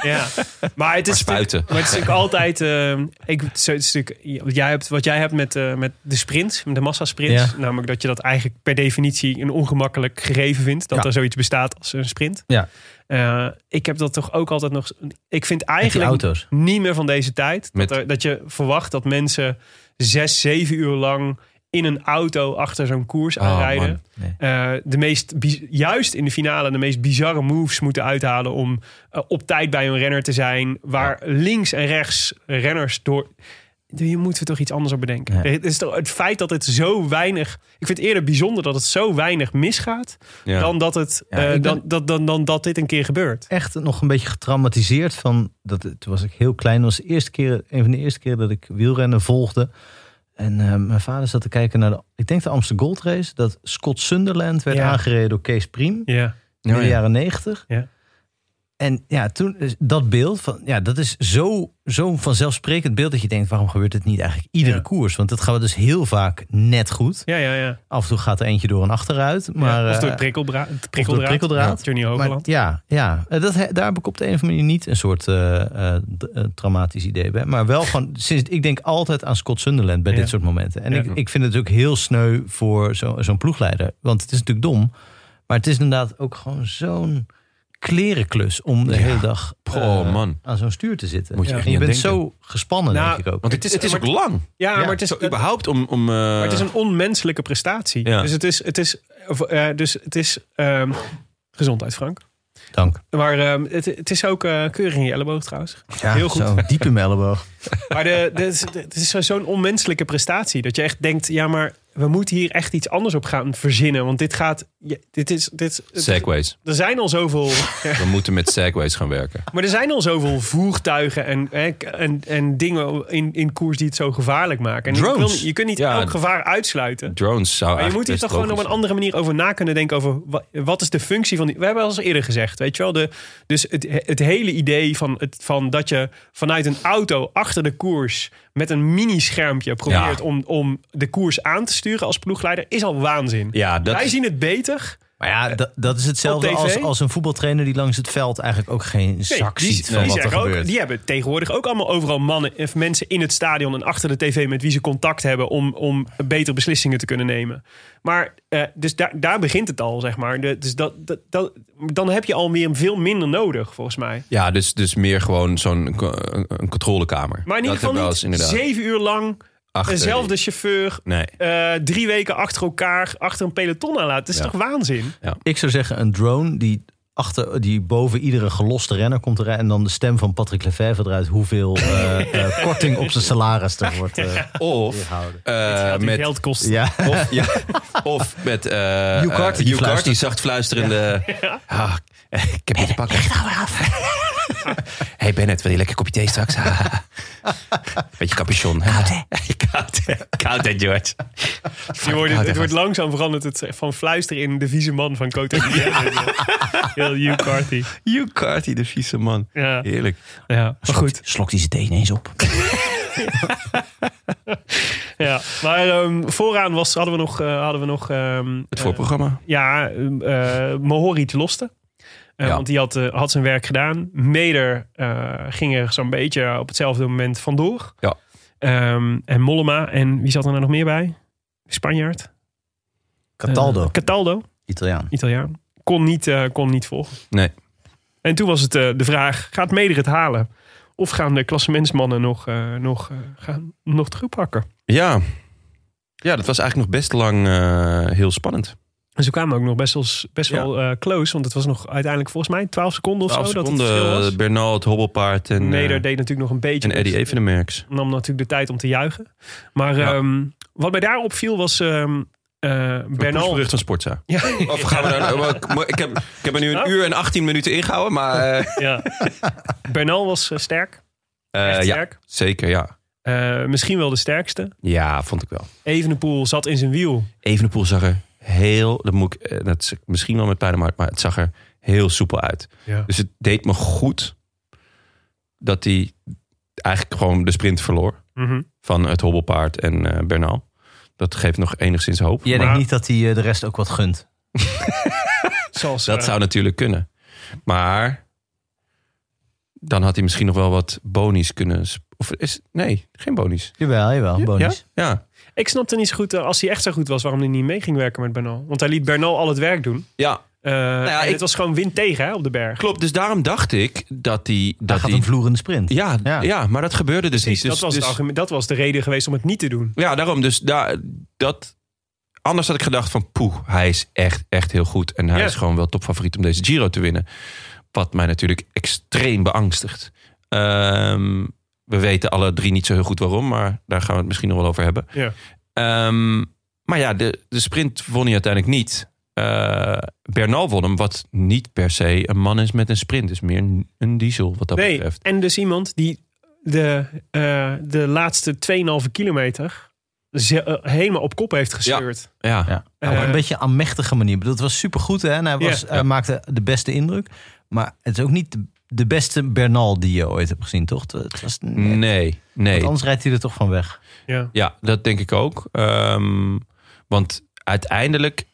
Speaker 2: Ja. Maar het is
Speaker 1: spuiten.
Speaker 2: Maar het is natuurlijk altijd. eh, ik, zo- het is natuurlijk wat, jij hebt, wat jij hebt met, eh, met de sprint, met de massasprints.
Speaker 3: Ja.
Speaker 2: Namelijk dat je dat eigenlijk per definitie een ongemakkelijk gegeven vindt. Dat
Speaker 3: Ja.
Speaker 2: er zoiets bestaat als een sprint.
Speaker 3: Ja.
Speaker 2: Eh, ik heb dat toch ook altijd nog. Ik vind
Speaker 3: Met die
Speaker 2: eigenlijk
Speaker 3: auto's.
Speaker 2: niet meer van deze tijd.
Speaker 1: Met-
Speaker 2: Dat, er- dat je verwacht dat mensen zes, zeven uur lang in een auto achter zo'n koers
Speaker 1: Oh,
Speaker 2: aanrijden.
Speaker 1: man.
Speaker 3: Nee.
Speaker 2: Eh, de meest, bi- juist in de finale de meest bizarre moves moeten uithalen om eh, op tijd bij een renner te zijn. Waar links en rechts renners door. Hier moeten we toch iets anders op bedenken.
Speaker 3: Ja.
Speaker 2: Het, is toch, het feit dat het zo weinig. Ik vind het eerder bijzonder dat het zo weinig misgaat.
Speaker 1: Ja.
Speaker 2: Dan, dat het,
Speaker 3: Ja,
Speaker 2: eh,
Speaker 3: ik ben-
Speaker 2: dan, dan, dan, dan dat dit een keer gebeurt.
Speaker 3: echt nog een beetje getraumatiseerd van dat toen was ik heel klein. Dat was de eerste keer, een van de eerste keer dat ik wielrennen volgde. En eh, mijn vader zat te kijken naar de, ik denk de Amsterdam Gold Race, dat Scott Sunderland werd
Speaker 2: Ja.
Speaker 3: aangereden door Kees Priem
Speaker 2: Ja,
Speaker 3: in de
Speaker 1: ja.
Speaker 3: jaren negentig.
Speaker 2: Ja.
Speaker 3: En ja, toen is dat beeld van ja, dat is zo, zo vanzelfsprekend beeld dat je denkt, waarom gebeurt het niet eigenlijk iedere
Speaker 2: Ja.
Speaker 3: koers? Want dat gaat dus heel vaak net goed.
Speaker 2: ja, ja. ja.
Speaker 3: Af en toe gaat er eentje door en achteruit, maar
Speaker 2: of door
Speaker 3: eh,
Speaker 2: het prikkelbra- het
Speaker 3: of door
Speaker 2: prikkeldraad.
Speaker 3: prikkeldraad.
Speaker 2: Ja, Johnny
Speaker 3: Maar
Speaker 2: Hoogland.
Speaker 3: ja, ja. Eh, Dat, he- daar heb ik op de een of andere manier niet een soort eh, eh, d- eh, traumatisch idee bij. Maar wel gewoon, sinds, ik denk altijd aan Scott Sunderland bij
Speaker 2: Ja.
Speaker 3: dit soort momenten. En
Speaker 2: Ja.
Speaker 3: ik, ik vind het ook heel sneu voor zo- zo'n ploegleider. Want het is natuurlijk dom. Maar het is inderdaad ook gewoon zo'n klerenklus om de
Speaker 1: Ja.
Speaker 3: hele dag eh,
Speaker 1: Oh, man.
Speaker 3: aan zo'n stuur te zitten.
Speaker 1: Moet je echt
Speaker 3: en je
Speaker 1: niet aan
Speaker 3: bent
Speaker 1: denken.
Speaker 3: zo gespannen,
Speaker 2: Nou,
Speaker 3: denk ik ook.
Speaker 1: Want het,
Speaker 2: Het is-
Speaker 1: is, het is ook
Speaker 2: maar-
Speaker 1: lang.
Speaker 2: Ja,
Speaker 3: ja,
Speaker 2: maar het is,
Speaker 1: Zo überhaupt om... om eh,
Speaker 2: Maar het is een onmenselijke prestatie.
Speaker 1: Ja.
Speaker 2: Dus het is, het is, of, eh, dus het is ehm, gezondheid, Frank.
Speaker 3: Dank.
Speaker 2: Maar ehm, het, het is ook eh, keurig in je elleboog trouwens.
Speaker 3: Ja,
Speaker 2: Heel goed.
Speaker 3: Zo, diep in mijn elleboog.
Speaker 2: Maar de, de, de- het is zo- zo'n onmenselijke prestatie. Dat je echt denkt, ja maar we moeten hier echt iets anders op gaan verzinnen. Want dit gaat, ja, dit is, dit, het-
Speaker 1: Segways.
Speaker 2: er zijn al zoveel...
Speaker 1: We moeten met segways gaan werken.
Speaker 2: Maar er zijn al zoveel voertuigen en, hè, k- en, en dingen in, in koers die het zo gevaarlijk maken. En ik wil
Speaker 1: Drones.
Speaker 2: niet- je kunt niet
Speaker 1: Ja.
Speaker 2: elk gevaar uitsluiten.
Speaker 1: Drones zou
Speaker 2: Maar je
Speaker 1: eigenlijk
Speaker 2: moet hier
Speaker 1: best
Speaker 2: toch gewoon op
Speaker 1: logisch
Speaker 2: een andere manier over na kunnen denken. Over wa- wat is de functie van die. We hebben al eens eerder gezegd, weet je wel. De, dus het, het hele idee van, het, van dat je vanuit een auto achter de koers. met een mini-schermpje probeert
Speaker 1: Ja.
Speaker 2: om, om de koers aan te sturen als ploegleider. is al waanzin.
Speaker 1: zijn. Ja, dat
Speaker 2: Wij
Speaker 1: is-
Speaker 2: zien het beter.
Speaker 3: Maar ja, dat, dat is hetzelfde
Speaker 2: Eh, Op tv?
Speaker 3: als, als een voetbaltrainer die langs het veld eigenlijk ook geen zak
Speaker 2: die,
Speaker 3: ziet
Speaker 2: die
Speaker 3: van wat er
Speaker 2: zeggen ook-
Speaker 3: gebeurt.
Speaker 2: die hebben tegenwoordig ook allemaal overal mannen of mensen in het stadion en achter de tv met wie ze contact hebben om, om betere beslissingen te kunnen nemen. Maar eh, dus daar, daar begint het al, zeg maar. De- dus dat, dat, dat- dan heb je al meer veel minder nodig, volgens mij.
Speaker 1: ja dus, dus meer gewoon zo'n co- een een controlekamer.
Speaker 2: Maar in ieder
Speaker 1: dat hebben we wel
Speaker 2: geval niet
Speaker 1: eens inderdaad.
Speaker 2: zeven uur lang
Speaker 1: Achter die-
Speaker 2: dezelfde chauffeur
Speaker 1: Nee.
Speaker 2: eh, drie weken achter elkaar achter een peloton aan laten. Dat is
Speaker 1: Ja.
Speaker 2: toch waanzin?
Speaker 3: Ik zou zeggen een drone die, achter, die boven iedere geloste renner komt te rijden. En dan de stem van Patrick Lefevre eruit hoeveel eh, eh, korting op zijn salaris er wordt eh,
Speaker 1: Of
Speaker 3: gehouden.
Speaker 1: eh,
Speaker 2: Met,
Speaker 1: met
Speaker 2: geld kost.
Speaker 3: Ja,
Speaker 1: Of, ja, of met eh
Speaker 3: Hugh Carty die
Speaker 1: eh, Hugh Carty
Speaker 3: fluistert.
Speaker 1: zacht fluisterende. Ah, ik heb je te pakken. hey Bennett, wil je lekker kopje thee straks? Ah. Beetje capuchon. Koud hè? Koud, hè? Koud hè, George?
Speaker 2: Je wordt, het,
Speaker 1: Koud,
Speaker 2: wordt
Speaker 1: hè?
Speaker 2: langzaam veranderd het, van fluisteren in de vieze man van Cote Heel Hugh Carthy.
Speaker 1: Hugh Carty, de vieze man.
Speaker 2: Ja.
Speaker 1: Heerlijk.
Speaker 2: Ja, maar goed.
Speaker 3: Slokt hij zijn thee ineens op.
Speaker 2: Ja. Maar ehm, vooraan was, hadden we nog... eh, hadden we nog ehm,
Speaker 1: Het
Speaker 2: eh,
Speaker 1: voorprogramma.
Speaker 2: ja, ehm, eh Mohori te losten. Eh,
Speaker 1: Ja.
Speaker 2: Want die had, eh, had zijn werk gedaan. Meder eh, ging er zo'n beetje op hetzelfde moment vandoor.
Speaker 1: Ja.
Speaker 2: Ehm, en Mollema. En wie zat er nou nog meer bij? Spanjaard.
Speaker 3: Cataldo,
Speaker 2: Eh, Cataldo,
Speaker 3: Italiaan.
Speaker 2: Italiaan. Kon niet, eh, kon niet volgen.
Speaker 1: Nee.
Speaker 2: En toen was het eh, de vraag, gaat Meder het halen? Of gaan de klassementsmannen nog, eh, nog, eh, gaan, nog terugpakken?
Speaker 1: Ja. ja, dat was eigenlijk nog best lang eh, heel spannend.
Speaker 2: En ze kwamen ook nog best wel, best wel eh, close. Want het was nog uiteindelijk volgens mij 12 seconden of
Speaker 1: 12
Speaker 2: zo. dat het
Speaker 1: seconden,
Speaker 2: verschil was.
Speaker 1: Bernal, het hobbelpaard en,
Speaker 2: Meder
Speaker 1: eh,
Speaker 2: deed natuurlijk nog een beetje.
Speaker 1: en Eddie
Speaker 2: goed.
Speaker 1: Evenemerks.
Speaker 2: nam natuurlijk de tijd om te juichen. Maar
Speaker 1: Ja.
Speaker 2: ehm, wat mij daar opviel was ehm eh, Bernal.
Speaker 1: Bericht van Sportza.
Speaker 2: Ja,
Speaker 1: Of gaan we daar, maar- maar ik, heb, ik heb er nu een
Speaker 2: Oh.
Speaker 1: uur en 18 minuten ingehouden, maar... eh,
Speaker 2: ja. Bernal was eh, sterk.
Speaker 1: eh,
Speaker 2: Echt
Speaker 1: ja,
Speaker 2: sterk.
Speaker 1: zeker, ja.
Speaker 2: Eh, misschien wel de sterkste.
Speaker 1: Ja, vond ik wel.
Speaker 2: Evenepoel zat in zijn wiel.
Speaker 1: Evenepoel zag er heel... Dat moet ik, eh, dat is misschien wel met pijn maar, maar het zag er heel soepel uit.
Speaker 2: Ja.
Speaker 1: Dus het deed me goed dat hij eigenlijk gewoon de sprint verloor.
Speaker 2: Mhm.
Speaker 1: Van het hobbelpaard en eh, Bernal. Dat geeft nog enigszins hoop.
Speaker 3: Jij
Speaker 2: Maar-
Speaker 3: denkt niet dat hij eh, de rest ook wat gunt.
Speaker 2: Zoals,
Speaker 1: Dat
Speaker 2: eh,
Speaker 1: zou natuurlijk kunnen. Maar dan had hij misschien nog wel wat bonies kunnen... sp- Of is, nee, geen bonies.
Speaker 3: Jawel, jawel, bonus.
Speaker 1: Ja? Ja.
Speaker 2: Ik snapte niet zo goed, eh, als hij echt zo goed was, waarom hij niet mee ging werken met Bernal. Want hij liet Bernal al het werk doen.
Speaker 1: ja,
Speaker 2: Eh,
Speaker 1: Nou ja,
Speaker 2: en
Speaker 1: ik-
Speaker 2: het was gewoon wind tegen hè, op de berg.
Speaker 1: klopt. Dus daarom dacht ik dat hij...
Speaker 3: Hij
Speaker 1: Dat
Speaker 3: gaat
Speaker 1: hij
Speaker 3: een vloerende sprint.
Speaker 1: ja, ja.
Speaker 3: Ja.
Speaker 1: maar dat gebeurde dus niet.
Speaker 2: Precies,
Speaker 1: Dus,
Speaker 2: dat, was
Speaker 1: dus,
Speaker 2: het argument- dat was de reden geweest om het niet te doen.
Speaker 1: Ja, daarom. Dus daar dat. Anders had ik gedacht van poeh, hij is echt, echt heel goed. En hij
Speaker 2: Ja.
Speaker 1: is gewoon wel topfavoriet om deze Giro te winnen. Wat mij natuurlijk extreem beangstigt. Ehm, we weten alle drie niet zo heel goed waarom, maar daar gaan we het misschien nog wel over hebben.
Speaker 2: Ja.
Speaker 1: Ehm, maar ja, de, de sprint won hij uiteindelijk niet. Eh, Bernal won hem, wat niet per se een man is met een sprint. Dus meer een- een diesel wat dat
Speaker 2: nee,
Speaker 1: betreft.
Speaker 2: en dus iemand die de, eh, de laatste 2,5 kilometer ze- eh, helemaal op kop heeft gestuurd.
Speaker 1: Ja,
Speaker 3: Ja. Nou, op
Speaker 2: Eh,
Speaker 3: een beetje amechtige manier. Ik bedoel, het was supergoed hè? en hij, was,
Speaker 2: Ja.
Speaker 3: hij maakte de beste indruk. Maar het is ook niet de, de beste Bernal die je ooit hebt gezien, toch? Het was, nee.
Speaker 1: nee, nee.
Speaker 3: Want anders rijdt hij er toch van weg.
Speaker 2: Ja.
Speaker 1: Ja, dat denk ik ook. Ehm, want uiteindelijk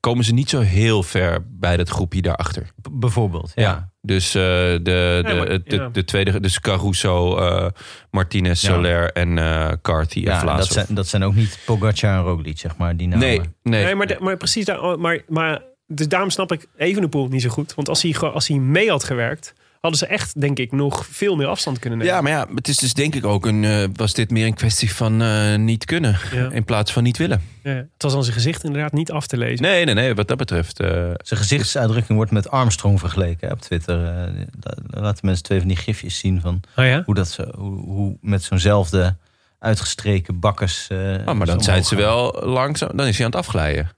Speaker 1: komen ze niet zo heel ver bij dat groepje daarachter.
Speaker 3: B- bijvoorbeeld. Ja.
Speaker 1: Dus eh, de, de,
Speaker 2: Ja, maar-
Speaker 1: de,
Speaker 2: ja.
Speaker 1: de tweede, dus Caruso, eh, Martinez,
Speaker 3: Ja.
Speaker 1: Soler en eh Carthy en
Speaker 3: Ja, en dat,
Speaker 1: Vlaasov.
Speaker 3: zijn, dat zijn ook niet Pogacar en Roglic, zeg maar. Die namen.
Speaker 1: nee, nee.
Speaker 2: Nee, maar, de- maar precies daar. oh, Maar, maar, dus daarom snap ik Evenepoel niet zo goed. Want als hij, gewoon- als hij mee had gewerkt, hadden ze echt, denk ik, nog veel meer afstand kunnen nemen.
Speaker 1: Ja, maar ja, het is dus denk ik ook een, eh, was dit meer een kwestie van eh, niet kunnen
Speaker 2: Ja.
Speaker 1: in plaats van niet willen.
Speaker 2: Ja, Het was aan zijn gezicht inderdaad niet af te lezen.
Speaker 1: Nee, nee, nee, wat dat betreft. eh,
Speaker 3: Zijn gezichtsuitdrukking wordt met Armstrong vergeleken hè, op Twitter. Eh, da- da- Laten mensen twee van die gifjes zien van
Speaker 2: Oh ja?
Speaker 3: hoe, dat ze, hoe, hoe met zo'nzelfde uitgestreken bakkers. eh,
Speaker 1: oh, maar dan
Speaker 3: omhoog
Speaker 1: zijn ze
Speaker 3: gaan.
Speaker 1: wel langzaam, dan is hij aan het afglijden.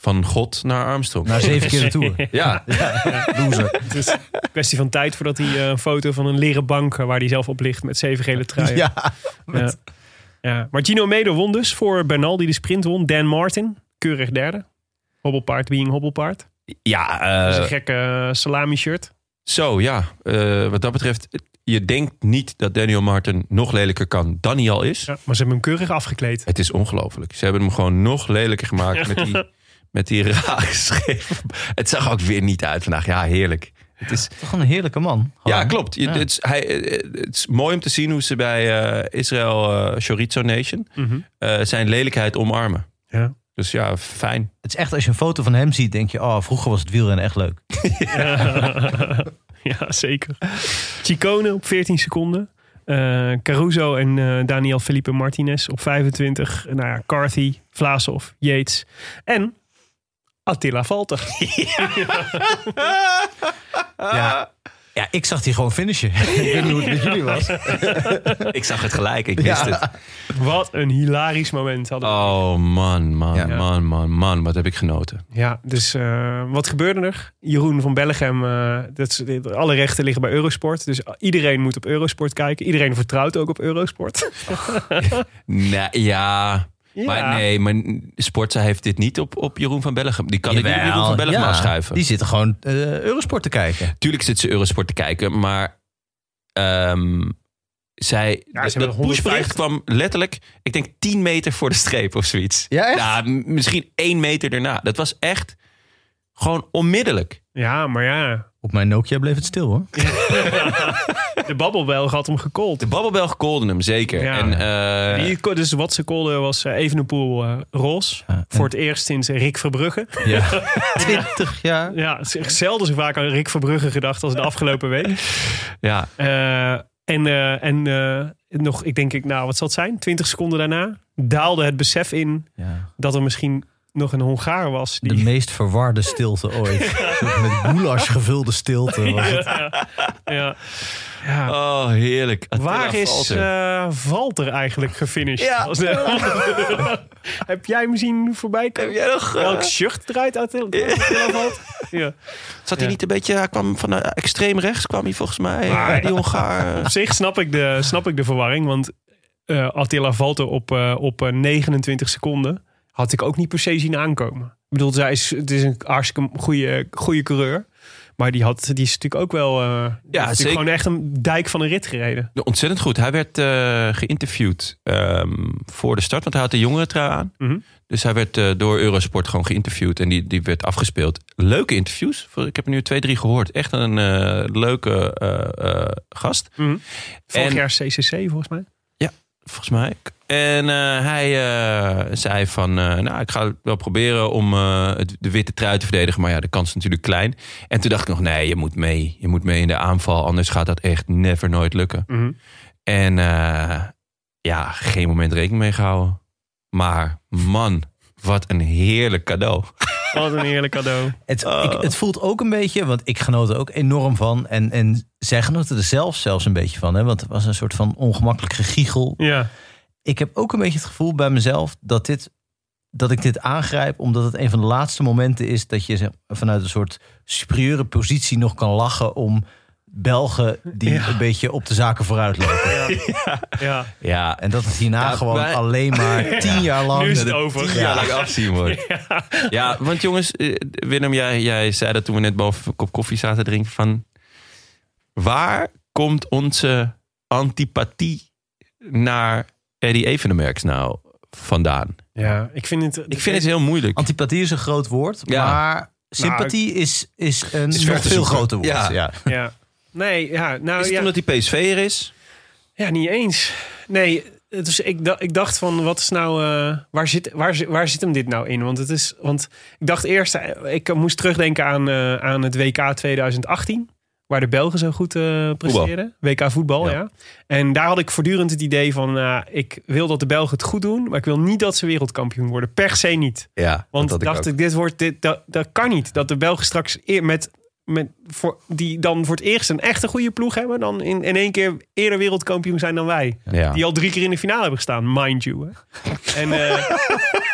Speaker 1: Van God naar Armstrong.
Speaker 3: Na zeven keer de tour.
Speaker 1: ja,
Speaker 3: Loser.
Speaker 2: Het is Dus een kwestie van tijd voordat hij eh, een foto van een leren bank eh, waar hij zelf op ligt met zeven gele truien.
Speaker 3: Ja.
Speaker 2: Ja. Ja. Maar Gino Meder won dus voor Bernal die de sprint won. Dan Martin, keurig derde. Hobbelpaard being hobbelpaard.
Speaker 1: Ja,
Speaker 2: Dat is
Speaker 1: eh,
Speaker 2: een gekke eh, salami shirt.
Speaker 1: zo ja. Eh, wat dat betreft, je denkt niet dat Daniel Martin nog lelijker kan dan hij al is.
Speaker 2: Ja, maar ze hebben hem keurig afgekleed.
Speaker 1: Het is ongelooflijk. Ze hebben hem gewoon nog lelijker gemaakt met die, met die raar Het zag ook weer niet uit vandaag. Ja, heerlijk. Het is,
Speaker 3: Toch een heerlijke man.
Speaker 1: Oh, ja,
Speaker 3: Gewoon.
Speaker 1: klopt. Je-
Speaker 3: Ja.
Speaker 1: Het, is, hij, eh, het is mooi om te zien hoe ze bij eh, Israël eh Chorizo Nation
Speaker 2: Mhm.
Speaker 1: eh, zijn lelijkheid omarmen.
Speaker 2: Ja.
Speaker 1: Dus ja, fijn.
Speaker 3: Het is echt, als je een foto van hem ziet, denk je... oh, vroeger was het wielrennen echt leuk.
Speaker 2: ja, zeker. Chicone op 14 seconden. Eh, Caruso en eh, Daniel Felipe Martinez op 25. Nou ja, Carthy, Vlaasov, Yates en Attila Valter.
Speaker 3: Ja. ja, ik zag die gewoon finishen. ik weet niet hoe het met jullie was.
Speaker 1: Ik zag het gelijk. Ik wist het.
Speaker 2: Wat een hilarisch moment hadden we.
Speaker 1: Oh man, man,
Speaker 3: Ja.
Speaker 1: man, man, man. Wat heb ik genoten.
Speaker 2: Ja, dus eh, wat gebeurde er? Jeroen van Bellegem, eh, dat is- dit- alle rechten liggen bij Eurosport. Dus iedereen moet op Eurosport kijken. Iedereen vertrouwt ook op Eurosport.
Speaker 1: Nee, ja.
Speaker 2: Ja.
Speaker 1: Maar nee, maar Sportza heeft dit niet op, op Jeroen van Bellegem. Die kan ik niet op Jeroen van Bellegem
Speaker 3: ja,
Speaker 1: afschuiven.
Speaker 3: Die zitten gewoon eh, Eurosport te kijken.
Speaker 1: Tuurlijk zit ze Eurosport te kijken, maar ehm, zij,
Speaker 2: hebben
Speaker 1: dat
Speaker 2: 150
Speaker 1: pushbericht kwam letterlijk, ik denk 10 meter voor de streep of zoiets.
Speaker 3: Ja, echt?
Speaker 1: m- misschien 1 meter daarna. Dat was echt Gewoon onmiddellijk.
Speaker 2: Ja, maar ja.
Speaker 3: Op mijn Nokia bleef het stil hoor.
Speaker 2: De babbelbelg had hem gekold.
Speaker 1: De babbelbelg kolde hem, zeker.
Speaker 2: Ja.
Speaker 1: En, eh,
Speaker 2: Die, ko- dus wat ze kolden was eh, Evenepoel eh Ros.
Speaker 3: Ja, en-
Speaker 2: Voor het eerst sinds Rick Verbrugge.
Speaker 3: Ja. 20 jaar.
Speaker 2: Ja, z- zelden zo vaak aan Rick Verbrugge gedacht als de afgelopen week.
Speaker 1: ja,
Speaker 2: Eh, en eh, en eh, nog, ik denk, ik, nou wat zal het zijn? 20 seconden daarna daalde het besef in
Speaker 3: Ja.
Speaker 2: dat er misschien nog een Hongaar was.
Speaker 3: De
Speaker 2: Die,
Speaker 3: meest verwarde stilte ooit. Een soort Met goulash gevulde stilte. was het.
Speaker 2: ja. Ja.
Speaker 1: Oh, heerlijk. Attila
Speaker 2: Waar is
Speaker 1: Valter.
Speaker 2: eh Walter eigenlijk gefinished?
Speaker 1: Ja.
Speaker 2: Als de- Heb jij hem zien voorbij
Speaker 1: Heb
Speaker 2: komen?
Speaker 1: jij nog... eh,
Speaker 2: Welk shirt draait Attila Attila Valter? Ja.
Speaker 1: Zat hij
Speaker 2: Ja.
Speaker 1: niet een beetje... Hij kwam van eh, extreem rechts, kwam hij volgens mij.
Speaker 2: Maar-
Speaker 1: eh, die Hongaar.
Speaker 2: Op zich snap ik de, snap ik de verwarring, want eh, Attila Valter op, eh, op eh, 29 seconden had ik ook niet per se zien aankomen. Ik bedoel, zij is, het is een hartstikke goede, goede coureur. Maar die, had, die is natuurlijk ook wel. eh, die heeft natuurlijk
Speaker 1: zeker.
Speaker 2: gewoon echt een dijk van een rit gereden.
Speaker 1: Ontzettend goed. Hij werd eh, geïnterviewd ehm, voor de start, want hij had de jongerentrui aan.
Speaker 2: Mhm.
Speaker 1: Dus hij werd eh, door Eurosport gewoon geïnterviewd en die, die werd afgespeeld. Leuke interviews. Voor- Ik heb er nu twee, drie gehoord. Echt een eh, leuke eh, eh, gast,
Speaker 2: Vorig
Speaker 1: En-
Speaker 2: jaar CCC volgens mij.
Speaker 1: volgens mij. En eh, hij eh, zei van, eh, nou, ik ga het wel proberen om eh, het- de witte trui te verdedigen. Maar ja, de kans is natuurlijk klein. En toen dacht ik nog, nee, je moet mee. Je moet mee in de aanval, anders gaat dat echt never nooit lukken. En eh, ja, geen moment rekening mee gehouden. Maar man, wat een heerlijk cadeau.
Speaker 2: Wat een heerlijk cadeau.
Speaker 3: Het, ik, het voelt ook een beetje, want ik genoot er ook enorm van. En, en zij genoten er zelf zelfs een beetje van. Hè? Want het was een soort van ongemakkelijk gegiegel.
Speaker 2: Ja.
Speaker 3: Ik heb ook een beetje het gevoel bij mezelf dat, dit, dat ik dit aangrijp. Omdat het een van de laatste momenten is dat je zeg, vanuit een soort superieure positie nog kan lachen om Belgen die
Speaker 2: Ja.
Speaker 3: een beetje op de zaken vooruit lopen.
Speaker 2: ja.
Speaker 1: Ja,
Speaker 3: En dat het hierna
Speaker 1: Ja,
Speaker 3: gewoon
Speaker 1: wij-
Speaker 3: alleen maar tien jaar lang...
Speaker 2: Nu is het
Speaker 3: de-
Speaker 2: over.
Speaker 1: Oh, ja, laat ik afzien hoor. Ja, want jongens, eh, Willem, jij, jij zei dat toen we net boven een kop koffie zaten te drinken van... Waar komt onze antipathie naar Eddie Evenemerks nou vandaan?
Speaker 2: Ja, ik vind het.
Speaker 1: Ik vind het heel moeilijk.
Speaker 3: Antipathie is een groot woord,
Speaker 1: Ja.
Speaker 2: Nou,
Speaker 3: maar sympathie is, is een
Speaker 1: is ver
Speaker 3: nog
Speaker 1: te
Speaker 3: veel
Speaker 1: zoeken.
Speaker 3: groter woord.
Speaker 1: Ja.
Speaker 3: Ja.
Speaker 2: Ja. Nee, ja, nou
Speaker 1: Is het
Speaker 2: ja.
Speaker 1: omdat hij PSV'er is?
Speaker 2: Ja, niet eens. Nee, dus ik, da- ik dacht van, wat is nou, eh, waar, zit, waar, zi- waar zit hem dit nou in? Want het is, want ik dacht eerst, eh, ik moest terugdenken aan, eh, aan het WK 2018, waar de Belgen zo goed eh presteerden. WK voetbal, ja.
Speaker 1: Ja.
Speaker 2: En daar had ik voortdurend het idee van, nou, ik wil dat de Belgen het goed doen, maar ik wil niet dat ze wereldkampioen worden. Per se niet.
Speaker 1: Ja,
Speaker 2: Want dacht ik, dit wordt, dit, dat, dat kan niet. Dat de Belgen straks eer- met, met voor, die dan voor het eerst een echte goede ploeg hebben, dan in, in één keer eerder wereldkampioen zijn dan wij.
Speaker 1: Ja.
Speaker 2: Die al drie keer in de finale hebben gestaan, mind you. Hè. En, eh,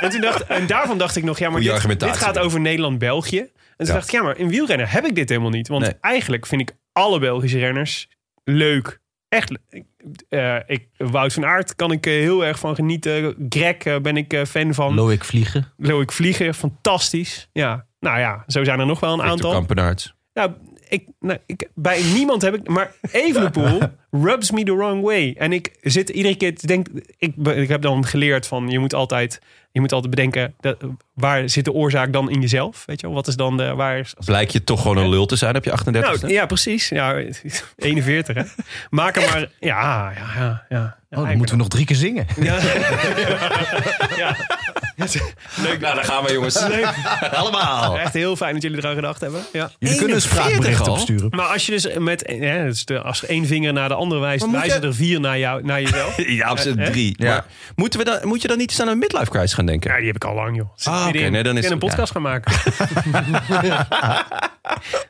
Speaker 2: en, toen dacht, en daarvan dacht ik nog, ja, maar
Speaker 1: Goeie
Speaker 2: dit, dit
Speaker 1: argumentatie.
Speaker 2: gaat over Nederland-België. En
Speaker 1: Ja.
Speaker 2: toen dacht ik, ja, maar in wielrennen heb ik dit helemaal niet. Want
Speaker 1: Nee.
Speaker 2: eigenlijk vind ik alle Belgische renners leuk. Echt, le- ik- eh, ik, Wout van Aert kan ik eh, heel erg van genieten. Greg eh, ben ik eh, fan van.
Speaker 3: Loïc Vliegen.
Speaker 2: Loïc Vlieger, fantastisch. Ja, nou ja, zo zijn er nog wel een
Speaker 1: Victor
Speaker 2: aantal.
Speaker 1: Kampenaerts.
Speaker 2: Nou, ik, nou ik, bij niemand heb ik... Maar Evenepoel rubs me the wrong way. En ik zit iedere keer te denken... Ik, be- ik heb dan geleerd van, je moet altijd, je moet altijd bedenken... Dat, waar zit de oorzaak dan in jezelf? Weet je wel? Wat is dan de... Waar is,
Speaker 1: Blijkt je toch gewoon een lul te zijn op je 38
Speaker 2: nou, ja, precies. Ja, 41, hè. Maak er maar... Ja, ja, ja. ja.
Speaker 3: Oh, dan moeten we nog drie keer zingen.
Speaker 2: Ja. ja.
Speaker 1: Leuk, nou daar gaan we jongens. Allemaal.
Speaker 2: Echt heel fijn dat jullie eraan gedacht hebben. Ja.
Speaker 3: Jullie kunnen
Speaker 1: 41
Speaker 3: een spraakbericht
Speaker 1: al?
Speaker 3: opsturen.
Speaker 2: Maar als je dus met hè, dat is de, als één vinger naar de andere wijst,
Speaker 1: moet
Speaker 2: wijzen
Speaker 1: je-
Speaker 2: er vier naar, jou, naar jezelf.
Speaker 1: Ja, op z'n
Speaker 2: Eh, eh?
Speaker 1: drie.
Speaker 3: Ja.
Speaker 1: Maar moeten we dan, moet je dan niet eens aan een midlife crisis gaan denken?
Speaker 2: Ja, die heb ik al lang, joh. Zit
Speaker 1: Ah,
Speaker 2: middenin.
Speaker 1: oké, nee, dan is
Speaker 2: ik kan een
Speaker 1: het-
Speaker 2: podcast gaan maken.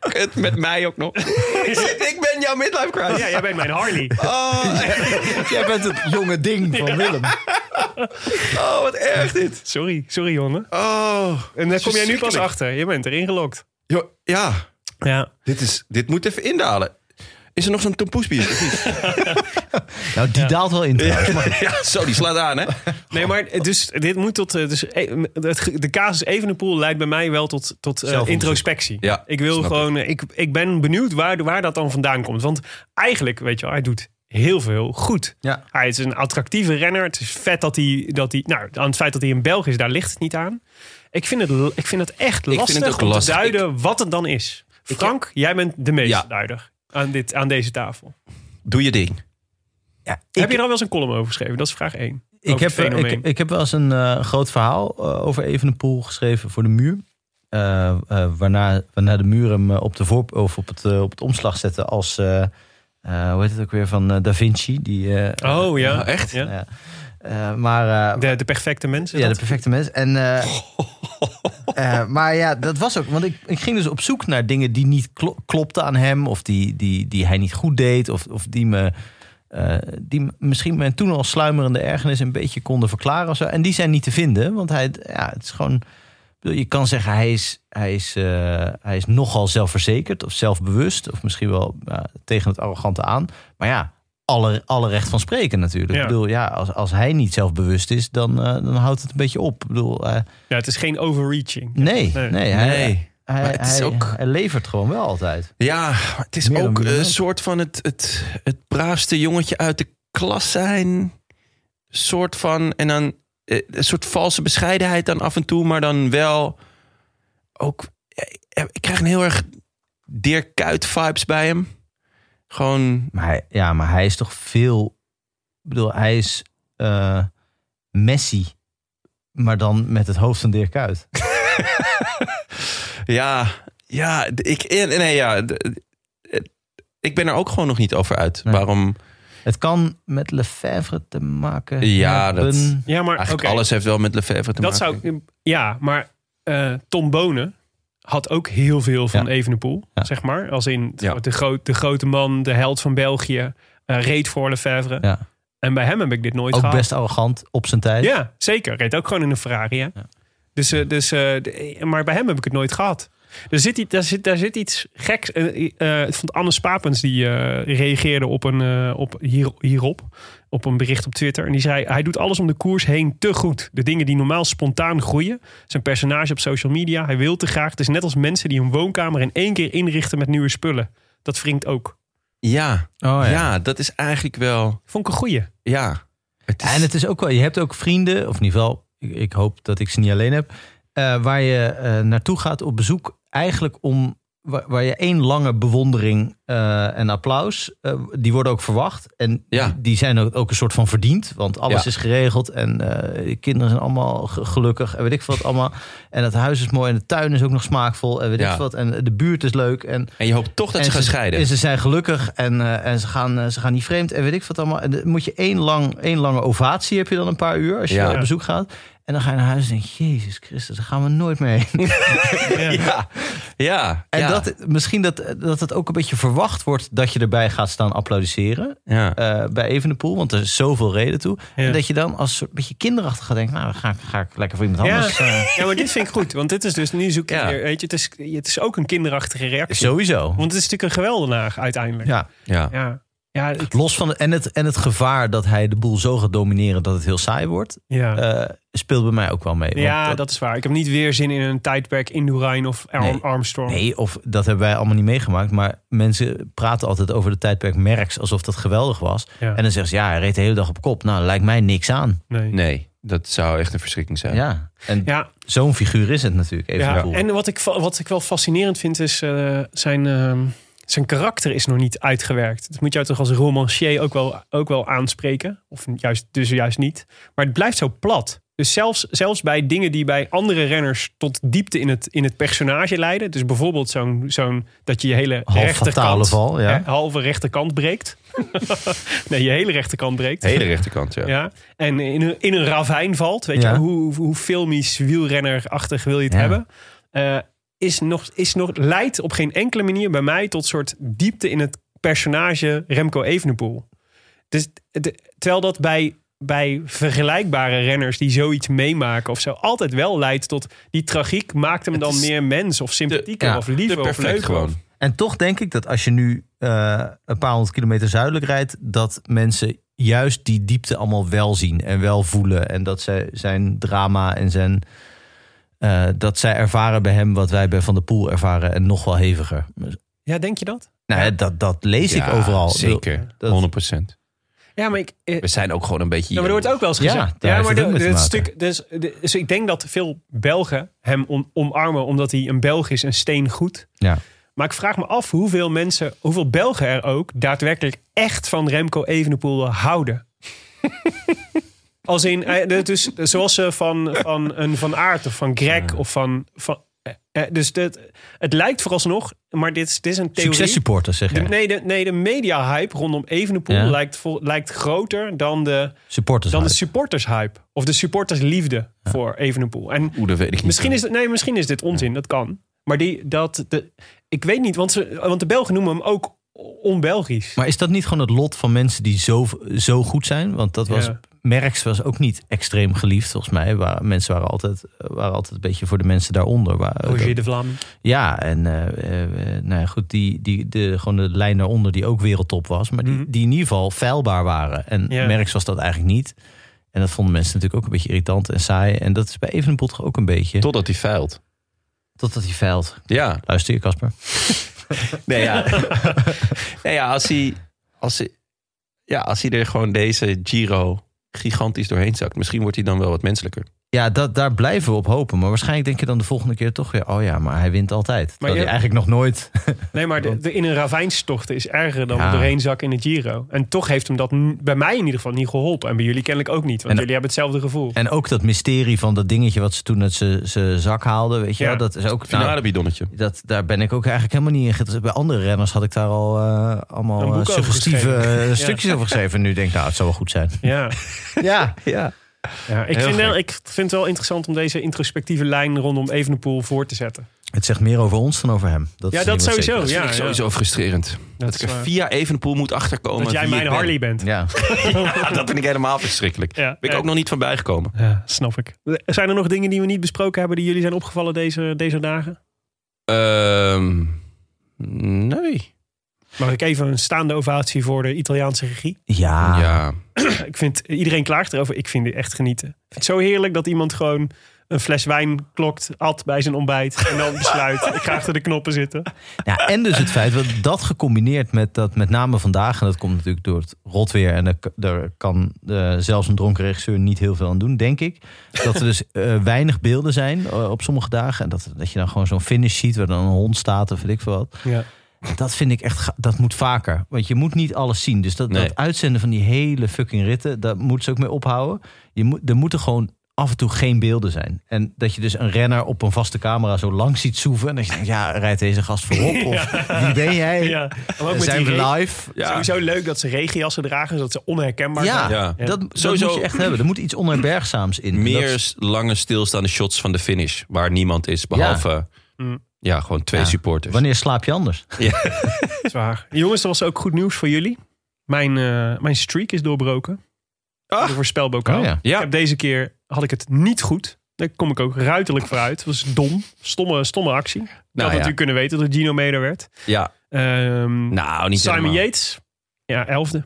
Speaker 1: Kut, met mij ook nog. ik, zit- ik ben jouw midlife crisis.
Speaker 2: Ja, jij bent mijn Harley.
Speaker 1: Oh,
Speaker 3: Jij bent het jonge ding van Willem.
Speaker 1: oh, wat erg dit.
Speaker 2: Sorry, sorry, jongen.
Speaker 1: Oh.
Speaker 2: En daar kom jij nu pas
Speaker 1: verschrikkelijk.
Speaker 2: achter. Je bent erin gelokt.
Speaker 1: Jo, ja,
Speaker 2: Ja.
Speaker 1: dit, is, dit moet even indalen. Is er nog zo'n tompoesbier?
Speaker 3: Nou, die daalt wel in trouwens. Maar
Speaker 1: ja, zo, die slaat aan, hè?
Speaker 2: Nee, maar eh, dus dit moet tot... eh, Dus, eh, het ge- de casus Evenepoel leidt bij mij wel tot, tot eh,
Speaker 3: Zelfonderzoek.
Speaker 2: introspectie.
Speaker 1: Ja,
Speaker 2: ik wil
Speaker 1: snap ik.
Speaker 2: gewoon... eh, Ik, ik ben benieuwd waar, waar dat dan vandaan komt. Want eigenlijk, weet je wel, hij doet heel veel goed.
Speaker 3: Ja.
Speaker 2: Hij is een attractieve renner. Het is vet dat hij, dat hij nou, aan het feit dat hij in België is, daar ligt het niet aan. Ik vind het, l- ik vind het echt
Speaker 1: vind
Speaker 2: lastig
Speaker 1: het ook
Speaker 2: om
Speaker 1: lastig.
Speaker 2: te duiden wat het dan is. Frank, jij bent de
Speaker 1: Ja.
Speaker 2: meeste duider aan, dit, aan deze tafel.
Speaker 1: Doe je ding.
Speaker 3: Ja,
Speaker 2: Heb je er al wel eens een column over geschreven? Dat is vraag 1.
Speaker 3: Ik heb,
Speaker 2: fenomeen.
Speaker 3: ik, ik heb wel eens een eh, groot verhaal eh, over Evenepoel geschreven voor de muur. Eh, eh, waarna, waarna de muur hem eh, op, de voor, of op, het, eh, op het omslag zette als... eh, eh, hoe heet het ook weer? Van eh, Da Vinci. Die, eh,
Speaker 2: oh ja,
Speaker 1: Oh, echt?
Speaker 2: Ja.
Speaker 3: ja. Eh, maar eh,
Speaker 2: De, de perfecte mensen.
Speaker 3: ja, de perfecte mens. En, eh, eh, maar ja, dat was ook. Want ik, ik ging dus op zoek naar dingen die niet klo- klopten aan hem. Of die, die, die hij niet goed deed. Of, of die me. eh, die m- misschien mijn toen al sluimerende ergernis een beetje konden verklaren. Of zo. En die zijn niet te vinden. Want hij, ja, het is gewoon. ik bedoel, Je kan zeggen, hij is, hij, is, eh, hij is nogal zelfverzekerd of zelfbewust. Of misschien wel ja, tegen het arrogante aan. Maar ja, alle, alle recht van spreken natuurlijk.
Speaker 2: Ja.
Speaker 3: Ik bedoel, ja, als, als hij niet zelfbewust is, dan, eh, dan houdt het een beetje op. Ik bedoel, eh,
Speaker 2: ja, het is geen overreaching.
Speaker 3: nee, nee,
Speaker 2: Nee.
Speaker 3: Hij,
Speaker 1: Nee.
Speaker 3: hij,
Speaker 1: Maar het is
Speaker 3: hij-
Speaker 1: ook-
Speaker 3: hij levert gewoon wel altijd.
Speaker 1: Ja, maar het is
Speaker 3: Meer dan
Speaker 1: ook
Speaker 3: wie dan
Speaker 1: een
Speaker 3: ook.
Speaker 1: soort van het, het, het braafste jongetje uit de klas zijn. Soort van, en dan eh, een soort valse bescheidenheid dan af en toe, maar dan wel ook. eh, Ik krijg een heel erg Dirk Kuyt vibes bij hem. Gewoon,
Speaker 3: Maar hij, ja, maar hij is toch veel. Ik bedoel, hij is eh, Messi, maar dan met het hoofd van Dirk uit.
Speaker 1: ja, ja, d- ik, eh, nee, ja, d- eh, ik ben er ook gewoon nog niet over uit.
Speaker 3: Nee.
Speaker 1: Waarom?
Speaker 3: Het kan met Lefebvre te maken
Speaker 1: Ja, dat-
Speaker 3: hebben.
Speaker 2: Ja, maar
Speaker 1: Eigenlijk
Speaker 2: oké.
Speaker 1: alles heeft wel met Lefebvre te
Speaker 2: dat
Speaker 1: maken.
Speaker 2: zou ja, maar eh, Tom Bonen had ook heel veel van
Speaker 3: Ja.
Speaker 2: Evenepoel,
Speaker 3: Ja.
Speaker 2: zeg maar. Als in t-
Speaker 1: Ja.
Speaker 2: de, groot, de grote man, de held van België, eh, reed voor Lefebvre.
Speaker 3: Ja.
Speaker 2: En bij hem heb ik dit nooit
Speaker 3: Ook
Speaker 2: gehad.
Speaker 3: best arrogant op zijn tijd.
Speaker 2: Ja, zeker. Reed ook gewoon in een Ferrari. Hè?
Speaker 3: Ja.
Speaker 2: Dus, eh, dus, eh, de- maar bij hem heb ik het nooit gehad. Er zit, iets- daar, zit, daar zit iets geks. eh, eh, ik vond Anne Spapens die eh, reageerde op een, eh, op hier, hierop. Op een bericht op Twitter. En die zei: Hij doet alles om de koers heen te goed. De dingen die normaal spontaan groeien. Zijn personage op social media. Hij wil te graag. Het is net als mensen die hun woonkamer in één keer inrichten met nieuwe spullen. Dat wringt ook.
Speaker 1: Ja,
Speaker 3: Oh,
Speaker 1: ja. dat is eigenlijk wel,
Speaker 2: Vond ik een goeie.
Speaker 1: ja. Het is-
Speaker 3: En het is ook wel, je hebt ook vrienden, of in ieder geval, ik, ik hoop dat ik ze niet alleen heb, eh, waar je eh, naartoe gaat op bezoek, eigenlijk om waar, waar je één lange bewondering eh, en applaus, eh, die worden ook verwacht. En
Speaker 1: Ja.
Speaker 3: die, die zijn ook, ook een soort van verdiend, want alles
Speaker 1: Ja.
Speaker 3: is geregeld en eh, de kinderen zijn allemaal ge- gelukkig en weet ik veel wat allemaal. En het huis is mooi en de tuin is ook nog smaakvol en weet ik
Speaker 1: Ja.
Speaker 3: veel wat. En de buurt is leuk en
Speaker 1: En je hoopt toch dat ze
Speaker 3: en
Speaker 1: gaan scheiden.
Speaker 3: En ze zijn gelukkig en, eh, en ze, gaan, eh, ze gaan niet vreemd en weet ik wat allemaal. En dan moet je één, lang, één lange ovatie heb je dan een paar uur als je
Speaker 1: Ja.
Speaker 3: op bezoek gaat. En dan ga je naar huis en denk je, Jezus Christus, daar gaan we nooit mee.
Speaker 1: ja. ja.
Speaker 3: En
Speaker 1: ja.
Speaker 3: dat, misschien dat, dat het ook een beetje verwacht wordt dat je erbij gaat staan applaudisseren.
Speaker 1: Ja.
Speaker 3: eh, bij Evenepoel, want er is zoveel reden toe.
Speaker 2: Ja.
Speaker 3: En dat je dan als soort beetje kinderachtig gaat denken... nou, dan ga ik, ga ik lekker voor iemand
Speaker 2: Ja.
Speaker 3: anders. eh,
Speaker 2: Ja, maar dit vind ik goed. Want dit is dus nu zoek je
Speaker 1: Ja.
Speaker 2: weer- Weet je, het is, het is ook een kinderachtige reactie.
Speaker 3: Sowieso.
Speaker 2: Want het is natuurlijk een geweldenaar uiteindelijk.
Speaker 3: Ja.
Speaker 1: ja.
Speaker 2: Ja. Ja, ik-
Speaker 3: Los van de, en, het, en het gevaar dat hij de boel zo gaat domineren... dat het heel saai wordt,
Speaker 2: ja.
Speaker 3: eh, speelt bij mij ook wel mee. Want eh,
Speaker 2: ja, dat, is waar. Ik heb niet weer zin in een tijdperk Indurain of Ar-
Speaker 3: Nee.
Speaker 2: Armstrong.
Speaker 3: eh, Nee, of dat hebben wij allemaal niet meegemaakt. Maar mensen praten altijd over de tijdperk Merckx alsof dat geweldig was.
Speaker 2: Ja.
Speaker 3: En dan zeggen ze, ja, hij reed de hele dag op kop. Nou, lijkt mij niks aan.
Speaker 2: Nee.
Speaker 1: Nee, dat zou echt een verschrikking
Speaker 3: Ja.
Speaker 1: zijn.
Speaker 3: En
Speaker 2: Ja,
Speaker 3: zo'n figuur is het natuurlijk. Even
Speaker 2: ja.
Speaker 3: ja.
Speaker 2: en wat ik, va- wat ik wel fascinerend vind is eh, zijn, eh, zijn karakter is nog niet uitgewerkt. Dat moet jou toch als romancier ook wel, ook wel aanspreken. Of juist, dus juist niet. Maar het blijft zo plat. Dus zelfs, zelfs bij dingen die bij andere renners tot diepte in het, in het personage leiden. Dus bijvoorbeeld zo'n, zo'n dat je je hele
Speaker 3: Half fatale
Speaker 2: rechterkant,
Speaker 3: val, ja.
Speaker 2: hè, halve rechterkant breekt. nee, je hele rechterkant breekt.
Speaker 1: Hele rechterkant, ja.
Speaker 2: Ja, en in een, in een ravijn valt. Weet
Speaker 3: Ja.
Speaker 2: je, hoe, hoe filmisch wielrennerachtig wil je het
Speaker 3: Ja.
Speaker 2: hebben? Eh, is nog, is nog, leidt op geen enkele manier bij mij tot soort diepte in het personage Remco Evenepoel. Dus, de- terwijl dat bij, bij vergelijkbare renners die zoiets meemaken of zo altijd wel leidt tot die tragiek maakt hem
Speaker 1: Het
Speaker 2: dan
Speaker 1: is
Speaker 2: meer mens of sympathieker
Speaker 3: ja,
Speaker 2: of liever of
Speaker 1: Perfect
Speaker 2: leuker.
Speaker 1: gewoon.
Speaker 3: En toch denk ik dat als je nu eh, een paar honderd kilometer zuidelijk rijdt... dat mensen juist die diepte allemaal wel zien en wel voelen. En dat zij zijn drama en zijn... eh, dat zij ervaren bij hem wat wij bij Van der Poel ervaren en nog wel heviger.
Speaker 2: Ja, denk je dat?
Speaker 3: Nou, ja, dat, dat lees
Speaker 1: Ja,
Speaker 3: ik overal. Ik bedoel,
Speaker 1: Zeker,
Speaker 3: dat-
Speaker 1: 100%.
Speaker 2: Ja, maar ik... eh,
Speaker 1: We zijn ook gewoon een beetje...
Speaker 2: Ja, maar er wordt ook wel eens
Speaker 3: Ja,
Speaker 2: gezegd.
Speaker 3: daar heeft
Speaker 2: maar
Speaker 3: het ook mee te
Speaker 2: dit
Speaker 3: maken.
Speaker 2: stuk, dus, de- dus ik denk dat veel Belgen hem on- omarmen omdat hij een Belg is en steen goed.
Speaker 3: Ja.
Speaker 2: Maar ik vraag me af hoeveel mensen, hoeveel Belgen er ook daadwerkelijk echt van Remco Evenepoel houden. Als in, eh, dat is zoals ze van, van een Van Aert of van Greg of van... van eh, eh, dus dat, het lijkt vooralsnog, maar dit is, dit is een theorie.
Speaker 3: Successupporters, zeg
Speaker 2: De-
Speaker 3: je.
Speaker 2: nee, de, nee, de media-hype rondom Evenepoel
Speaker 3: Ja.
Speaker 2: lijkt, vol- lijkt groter dan de,
Speaker 3: Supporters.
Speaker 2: dan de
Speaker 3: uit.
Speaker 2: supporters-hype. Of de supporters-liefde voor Evenepoel. En
Speaker 1: Oeh, dat weet ik niet.
Speaker 2: misschien is, nee, misschien is dit onzin, dat kan. Maar die, dat, de, ik weet niet, want, ze, want de Belgen noemen hem ook on-Belgisch.
Speaker 3: Maar is dat niet gewoon het lot van mensen die zo, zo goed zijn? Want dat was.
Speaker 2: Ja.
Speaker 3: Merckx was ook niet extreem geliefd, volgens mij. Waar, mensen waren altijd, waren altijd een beetje voor de mensen daaronder. Waar,
Speaker 2: Roger de Vlam.
Speaker 3: Ja, en eh, eh, eh, nou ja, goed, die, die, de, gewoon de lijn daaronder die ook wereldtop was. Maar die, die in ieder geval veilbaar waren. En
Speaker 2: Mhm. Ja.
Speaker 3: Merckx was dat eigenlijk niet. En dat vonden mensen natuurlijk ook een beetje irritant en saai. En dat is bij Evenepoel toch ook een beetje.
Speaker 1: Totdat hij feilt.
Speaker 3: Totdat hij veilt.
Speaker 1: Ja.
Speaker 3: Luister je, Casper?
Speaker 1: Nee, ja. nee, ja, als hij, als hij, ja, als hij er gewoon deze Giro gigantisch doorheen zakt, misschien wordt hij dan wel wat menselijker.
Speaker 3: Ja, dat, daar blijven we op hopen. Maar waarschijnlijk denk je dan de volgende keer toch weer... oh ja, maar hij wint altijd. Maar
Speaker 2: je-
Speaker 3: hij eigenlijk nog nooit...
Speaker 2: Nee, maar de, de in een ravijnstorten is erger dan
Speaker 3: Ja.
Speaker 2: doorheen zakken in het Giro. En toch heeft hem dat n- bij mij in ieder geval niet geholpen. En bij jullie kennelijk ook niet, want
Speaker 3: En-
Speaker 2: jullie hebben hetzelfde gevoel.
Speaker 3: En ook dat mysterie van dat dingetje... wat ze toen uit zijn- zijn zak haalden, weet je
Speaker 2: Ja.
Speaker 3: wel. Dat is ook... nou,
Speaker 1: Finale bidonnetje.
Speaker 3: dat, daar ben ik ook eigenlijk helemaal niet in geïnteresseerd. Bij andere renners had ik daar al eh,
Speaker 2: Een
Speaker 3: allemaal
Speaker 2: boek
Speaker 3: eh,
Speaker 2: over
Speaker 3: suggestieve
Speaker 2: geschreven.
Speaker 3: eh,
Speaker 2: Ja.
Speaker 3: stukjes over geschreven. En nu denk ik, nou, het zou wel goed zijn.
Speaker 2: Ja.
Speaker 3: Ja,
Speaker 1: Ja.
Speaker 2: Ja, ik,
Speaker 1: Heel
Speaker 2: vind
Speaker 1: gek.
Speaker 2: wel, ik vind het wel interessant om deze introspectieve lijn rondom Evenepoel voor te zetten.
Speaker 3: het zegt meer over ons dan over hem. Dat
Speaker 2: Ja,
Speaker 3: is
Speaker 2: dat
Speaker 3: niet wat
Speaker 2: sowieso.
Speaker 3: zeker
Speaker 2: Ja,
Speaker 1: vind ik
Speaker 2: ja.
Speaker 1: sowieso frustrerend.
Speaker 2: Dat,
Speaker 1: Dat
Speaker 2: is
Speaker 1: ik er
Speaker 2: waar.
Speaker 1: via Evenepoel moet achterkomen.
Speaker 2: dat jij
Speaker 1: wie
Speaker 2: mijn
Speaker 1: ik ben.
Speaker 2: Harley bent.
Speaker 3: is. Ja.
Speaker 1: Ja, dat vind ik helemaal verschrikkelijk.
Speaker 2: Ja,
Speaker 1: ben ik
Speaker 2: ja.
Speaker 1: ook nog niet van bijgekomen.
Speaker 2: Ja, snap ik. Zijn er nog dingen die we niet besproken hebben die jullie zijn opgevallen deze, deze dagen?
Speaker 1: Ehm, nee.
Speaker 2: Mag ik even een staande ovatie voor de Italiaanse regie?
Speaker 3: Ja.
Speaker 1: Ja.
Speaker 2: Ik vind, eh, iedereen klaagt erover. Ik vind dit echt genieten. Ik vind het zo heerlijk dat iemand gewoon een fles wijn klokt, at bij zijn ontbijt en dan besluit. ik ga achter de knoppen zitten.
Speaker 3: Ja, en dus het feit dat dat gecombineerd met dat met name vandaag... en dat komt natuurlijk door het rotweer... en daar- daar kan eh, zelfs een dronken regisseur niet heel veel aan doen, denk ik. Dat er dus eh, weinig beelden zijn eh, op sommige dagen. En dat, dat je dan gewoon zo'n finish ziet waar dan een hond staat of weet ik veel wat.
Speaker 2: Ja.
Speaker 3: Dat vind ik echt, ga- dat moet vaker. Want je moet niet alles zien. Dus dat,
Speaker 1: Nee.
Speaker 3: dat uitzenden van die hele fucking ritten, daar moeten ze ook mee ophouden. Je moet, er moeten gewoon af en toe geen beelden zijn. En dat je dus een renner op een vaste camera zo lang ziet soeven. En dat je denkt, ja, rijdt deze gast voorop? Of wie ben jij?
Speaker 2: ja. Maar ook
Speaker 3: Eh,
Speaker 2: met
Speaker 3: Zijn
Speaker 2: die
Speaker 3: we
Speaker 2: re-
Speaker 3: live?
Speaker 1: Ja.
Speaker 2: Sowieso leuk dat ze regenjassen dragen, zodat ze onherkenbaar
Speaker 3: Ja,
Speaker 2: zijn.
Speaker 1: Ja.
Speaker 3: Dat, dat
Speaker 1: Sowieso-
Speaker 3: moet je echt hebben. Er moet iets onherbergzaams in. En
Speaker 1: Meer
Speaker 3: dat-
Speaker 1: s- lange stilstaande shots van de finish. Waar niemand is, behalve... Ja,
Speaker 2: Mm.
Speaker 1: gewoon twee
Speaker 3: Ja.
Speaker 1: supporters.
Speaker 3: wanneer slaap je anders?
Speaker 2: Zwaar. Jongens, er was ook goed nieuws voor jullie. Mijn, eh, mijn streak is doorbroken.
Speaker 1: Ah.
Speaker 2: De voorspelbokaal.
Speaker 3: Oh ja.
Speaker 1: Ja.
Speaker 2: Ik heb deze keer had ik het niet goed. Daar kom ik ook ruiterlijk vooruit. Dat was dom. Stomme, stomme actie. Ik had
Speaker 1: Nou ja.
Speaker 2: natuurlijk kunnen weten dat het Gino Meder werd.
Speaker 1: Ja.
Speaker 2: Ehm,
Speaker 1: Nou, niet
Speaker 2: Simon
Speaker 1: helemaal.
Speaker 2: Yates. Ja, elfde.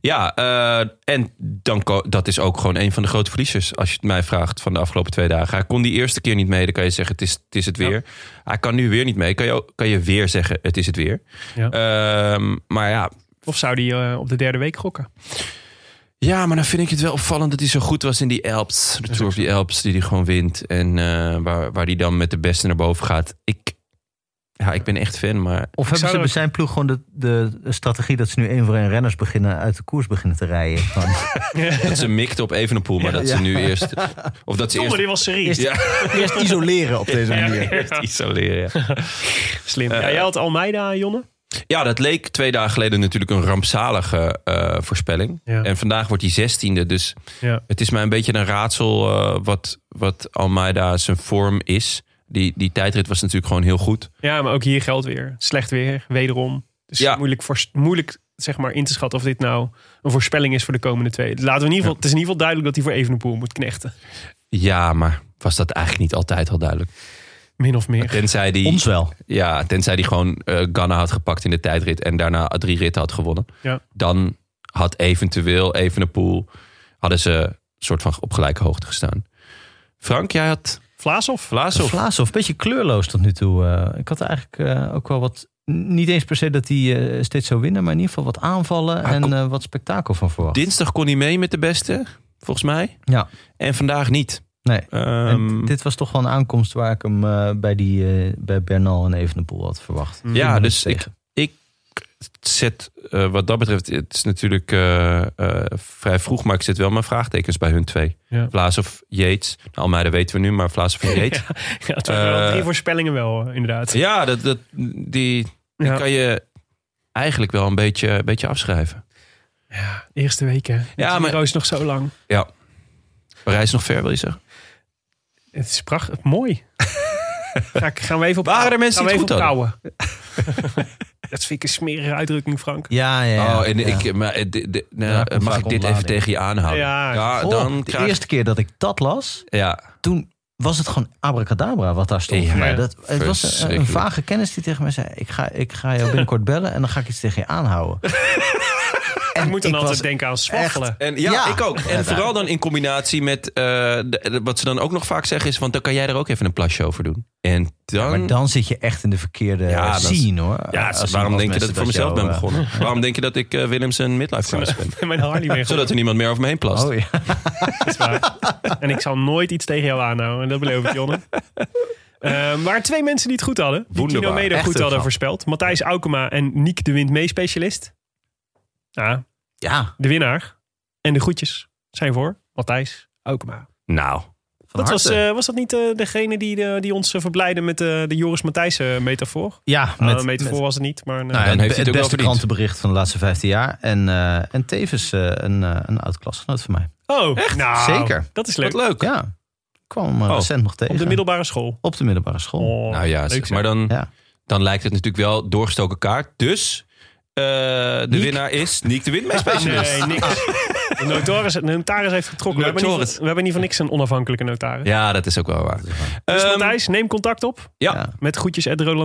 Speaker 1: Ja, eh, en dan ko- dat is ook gewoon een van de grote verliezers. Als je het mij vraagt van de afgelopen twee dagen. Hij kon die eerste keer niet mee. Dan kan je zeggen, het is het, is het weer. Hij kan nu weer niet mee. Kan je, ook- kan je weer zeggen, het is het weer.
Speaker 2: Ja.
Speaker 1: Ehm, maar ja.
Speaker 2: Of zou die eh, op de derde week gokken?
Speaker 1: Ja, maar dan vind ik het wel opvallend dat hij zo goed was in die Alps. De Tour of die Alps, die hij gewoon wint. En eh, waar, waar hij dan met de beste naar boven gaat. Ik, ja, ik ben echt fan, maar...
Speaker 3: Of hebben
Speaker 2: zou
Speaker 3: ze bij
Speaker 2: ook-
Speaker 3: zijn ploeg gewoon de, de strategie... dat ze nu één voor één renners beginnen uit de koers beginnen te rijden? Van,
Speaker 1: Dat ze mikte op Evenepoel, maar dat ze nu eerst... Of dat ze
Speaker 2: Domme,
Speaker 1: eerst...
Speaker 2: die was serieus.
Speaker 1: Ja,
Speaker 3: eerst isoleren op deze manier.
Speaker 1: eerst isoleren, ja.
Speaker 2: Slim. Ja, jij had Almeida, Jonne.
Speaker 1: Ja, dat leek twee dagen geleden natuurlijk een rampzalige eh, voorspelling.
Speaker 2: Ja.
Speaker 1: En vandaag wordt hij zestiende. Dus
Speaker 2: Ja.
Speaker 1: het is mij een beetje een raadsel eh, wat, wat Almeida zijn vorm is. Die, die tijdrit was natuurlijk gewoon heel goed.
Speaker 2: Ja, maar ook hier geldt weer. Slecht weer, wederom. Dus
Speaker 1: Ja.
Speaker 2: moeilijk, voor, moeilijk zeg maar, in te schatten of dit nou een voorspelling is voor de komende twee. Laten we in ieder geval, Het is in ieder geval duidelijk dat hij voor Evenepoel moet knechten.
Speaker 1: Ja, maar was dat eigenlijk niet altijd al duidelijk.
Speaker 2: Min of meer.
Speaker 1: Tenzij die,
Speaker 3: Ons wel.
Speaker 1: ja, tenzij die gewoon eh Ganna had gepakt in de tijdrit... en daarna drie ritten had gewonnen.
Speaker 2: Ja.
Speaker 1: Dan had eventueel Evenepoel... hadden ze soort van op gelijke hoogte gestaan. Frank, jij had
Speaker 2: Vlaashoff?
Speaker 1: Vlaasov.
Speaker 3: Vlaashoff, een beetje kleurloos tot nu toe. eh. ik had er eigenlijk eh, ook wel wat niet eens per se dat hij eh, steeds zou winnen, maar in ieder geval wat aanvallen
Speaker 1: Hij
Speaker 3: en
Speaker 1: kon-
Speaker 3: eh, wat spektakel van verwacht.
Speaker 1: Dinsdag kon hij mee met de beste, volgens mij.
Speaker 3: Ja.
Speaker 1: En vandaag niet.
Speaker 3: Nee.
Speaker 1: Ehm,
Speaker 3: En dit was toch wel een aankomst waar ik hem eh, bij, die, eh, bij Bernal en Evenepoel had verwacht.
Speaker 1: ja,
Speaker 3: minuten
Speaker 1: dus ik,
Speaker 3: tegen.
Speaker 1: ik zet eh, wat dat betreft, het is natuurlijk eh, eh, vrij vroeg, maar ik zet wel mijn vraagtekens bij hun twee.
Speaker 2: Ja.
Speaker 1: Vlaas of Yates. Nou, Almeida weten we nu, maar Vlaas of Yates. ja,
Speaker 2: Ja, het waren wel
Speaker 1: Eh,
Speaker 2: drie voorspellingen wel, eh, inderdaad.
Speaker 1: dat, dat, die, die
Speaker 2: Ja.
Speaker 1: kan je eigenlijk wel een beetje, een beetje afschrijven.
Speaker 2: Eerste weken.
Speaker 1: Ja,
Speaker 2: Ja,
Speaker 1: maar-
Speaker 2: maar is nog zo lang.
Speaker 1: Ja. Parijs nog ver, wil je zeggen?
Speaker 2: Het is prachtig, mooi. Ga ik, gaan we even op
Speaker 1: Waren er mensen
Speaker 2: gaan
Speaker 1: die
Speaker 2: we
Speaker 1: het
Speaker 2: even
Speaker 1: goed
Speaker 2: op kouwen? Dat vind ik een smerige uitdrukking, Frank.
Speaker 3: Ja, ja, ja.
Speaker 1: oh, en
Speaker 3: ja.
Speaker 1: ik, maar, eh, dit- dit- nou,
Speaker 3: Ja,
Speaker 1: eh, mag
Speaker 3: vaak
Speaker 1: ik dit even
Speaker 3: ontlading.
Speaker 1: tegen je aanhouden?
Speaker 2: Ja.
Speaker 3: Oh,
Speaker 1: Ah, dan
Speaker 3: de
Speaker 1: krijg-
Speaker 3: eerste keer dat ik dat las,
Speaker 1: Ja,
Speaker 3: toen was het gewoon abracadabra wat daar stond
Speaker 1: Ja,
Speaker 3: voor mij. Dat, het was een- een,
Speaker 1: verschrikkelijk.
Speaker 3: vage kennis die tegen mij zei, ik ga, ik ga jou binnenkort bellen en dan ga ik iets tegen je aanhouden.
Speaker 2: Ik moet dan
Speaker 3: ik
Speaker 2: altijd
Speaker 3: was
Speaker 2: denken aan zwaggelen.
Speaker 1: En ja,
Speaker 3: Ja.
Speaker 1: ik ook. En
Speaker 3: Ja, daar.
Speaker 1: vooral dan in combinatie met eh, de- de- wat ze dan ook nog vaak zeggen is, want dan kan jij er ook even een plasje over doen. En dan,
Speaker 3: Maar dan zit je echt in de verkeerde
Speaker 1: Ja, dat is-
Speaker 3: scene hoor.
Speaker 1: ja,
Speaker 3: Als-
Speaker 1: ze-
Speaker 3: als
Speaker 1: waarom denk je dat
Speaker 3: mensen
Speaker 1: ik voor mezelf ben
Speaker 3: jou, eh,
Speaker 1: begonnen? Waarom denk je dat ik eh, Willems een midlife crisis ben?
Speaker 2: En mijn Harley weer
Speaker 1: Zodat er niemand meer over me heen
Speaker 3: eh,
Speaker 1: plast.
Speaker 3: Oh ja.
Speaker 2: En ik zal nooit iets tegen jou aanhouden. En dat beloof ik, Jonne. Eh, maar twee mensen die het goed hadden. Die
Speaker 1: Wonderbaar.
Speaker 2: Kino Meder
Speaker 3: Echt
Speaker 2: goed
Speaker 3: een
Speaker 2: hadden
Speaker 3: grap.
Speaker 2: voorspeld. Matthijs Aukema en Niek de Wind mee specialist. Ja,
Speaker 3: ja.
Speaker 2: de winnaar. En de groetjes zijn voor Matthijs Aukema.
Speaker 1: Nou,
Speaker 2: Dat was,
Speaker 3: harte.
Speaker 2: eh, was dat niet eh, degene die, de- die ons eh, verblijden met eh, de Joris Matthijsen metafoor?
Speaker 3: Ja,
Speaker 2: Met,
Speaker 3: met,
Speaker 2: metafoor
Speaker 3: met-
Speaker 2: was het niet, maar... eh,
Speaker 3: nou,
Speaker 1: Dan
Speaker 3: het,
Speaker 1: heeft hij het
Speaker 3: het,
Speaker 1: ook wel
Speaker 3: beste
Speaker 1: verdiend.
Speaker 3: krantenbericht van de laatste 15 jaar. En, eh, en tevens eh, een, eh, een oud klasgenoot van mij.
Speaker 2: Oh, nou,
Speaker 3: Zeker.
Speaker 2: Dat is leuk.
Speaker 1: wat leuk.
Speaker 3: Ja, ik kwam hem eh,
Speaker 1: Oh,
Speaker 3: recent nog tegen.
Speaker 2: Op de middelbare school.
Speaker 3: Op de middelbare school.
Speaker 2: Oh,
Speaker 1: nou ja,
Speaker 2: leuk
Speaker 1: zeg,
Speaker 2: zeg.
Speaker 1: maar dan,
Speaker 3: Ja.
Speaker 1: dan lijkt het natuurlijk wel doorgestoken kaart. Dus eh, de
Speaker 3: Niek.
Speaker 1: winnaar is Niek de Windmees specialist.
Speaker 2: Nee, niks. De notaris, de notaris heeft getrokken. We hebben, niet,
Speaker 1: Notaris.
Speaker 2: we hebben niet voor niks een onafhankelijke notaris.
Speaker 1: Ja, dat is ook wel waar.
Speaker 2: Dus
Speaker 1: Ehm,
Speaker 2: Matthijs, neem contact op
Speaker 1: ja.
Speaker 2: met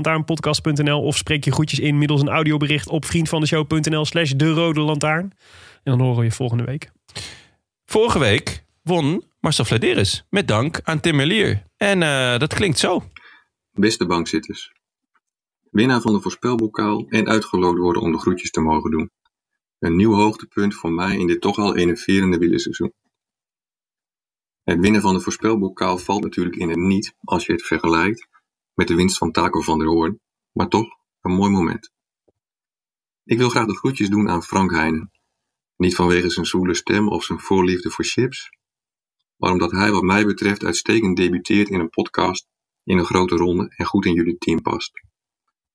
Speaker 2: groetjes.rodelantaarnpodcast.nl of spreek je groetjes in middels een audiobericht op vriendvandeshow.nl slash de rode lantaarn. En dan horen we je volgende week.
Speaker 1: Vorige week won Marcel Vladeris. Met dank aan Tim Merlier. En eh, dat klinkt zo.
Speaker 8: Beste bankzitters. Winnaar van de voorspelbokaal en uitgeloot worden om de groetjes te mogen doen. Een nieuw hoogtepunt voor mij in dit toch al enerverende wielerseizoen. Het winnen van de voorspelbokaal valt natuurlijk in het niet als je het vergelijkt met de winst van Taco van der Hoorn, maar toch een mooi moment. Ik wil graag de groetjes doen aan Frank Heijnen. Niet vanwege zijn zoele stem of zijn voorliefde voor chips, maar omdat hij wat mij betreft uitstekend debuteert in een podcast in een grote ronde en goed in jullie team past.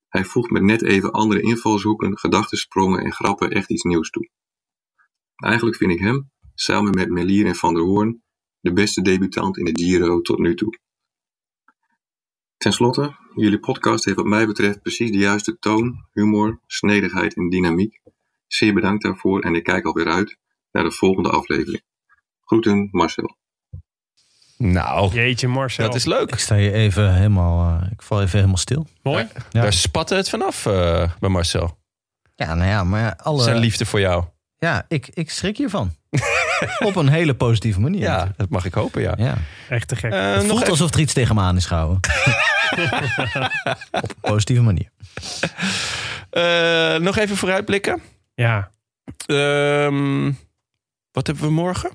Speaker 8: Hij voegt met net even andere invalshoeken, gedachtensprongen en grappen echt iets nieuws toe. Eigenlijk vind ik hem, samen met Melier en Van der Hoorn, de beste debutant in de Giro tot nu toe. Ten slotte, jullie podcast heeft wat mij betreft precies de juiste toon, humor, snedigheid en dynamiek. Zeer bedankt daarvoor en ik kijk alweer uit naar de volgende aflevering. Groeten, Marcel.
Speaker 1: Nou,
Speaker 2: Jeetje Marcel.
Speaker 1: dat is leuk.
Speaker 3: Ik sta hier even helemaal... eh, ik val even helemaal stil.
Speaker 2: mooi.
Speaker 3: Ja.
Speaker 1: Daar spatte het vanaf eh, bij Marcel.
Speaker 3: Ja, nou ja, maar ja, alle...
Speaker 2: eh,
Speaker 1: Zijn liefde voor jou.
Speaker 3: Ja, ik, ik schrik hiervan. Op een hele positieve manier.
Speaker 1: Ja, dat mag ik hopen, ja.
Speaker 3: ja.
Speaker 2: Echt te gek.
Speaker 1: Eh,
Speaker 3: Het
Speaker 1: nog
Speaker 3: voelt
Speaker 1: even-
Speaker 3: alsof er iets tegen me aan is gehouden. Op een positieve manier.
Speaker 1: eh, nog even vooruitblikken.
Speaker 2: ja.
Speaker 1: Ehm, wat hebben we morgen?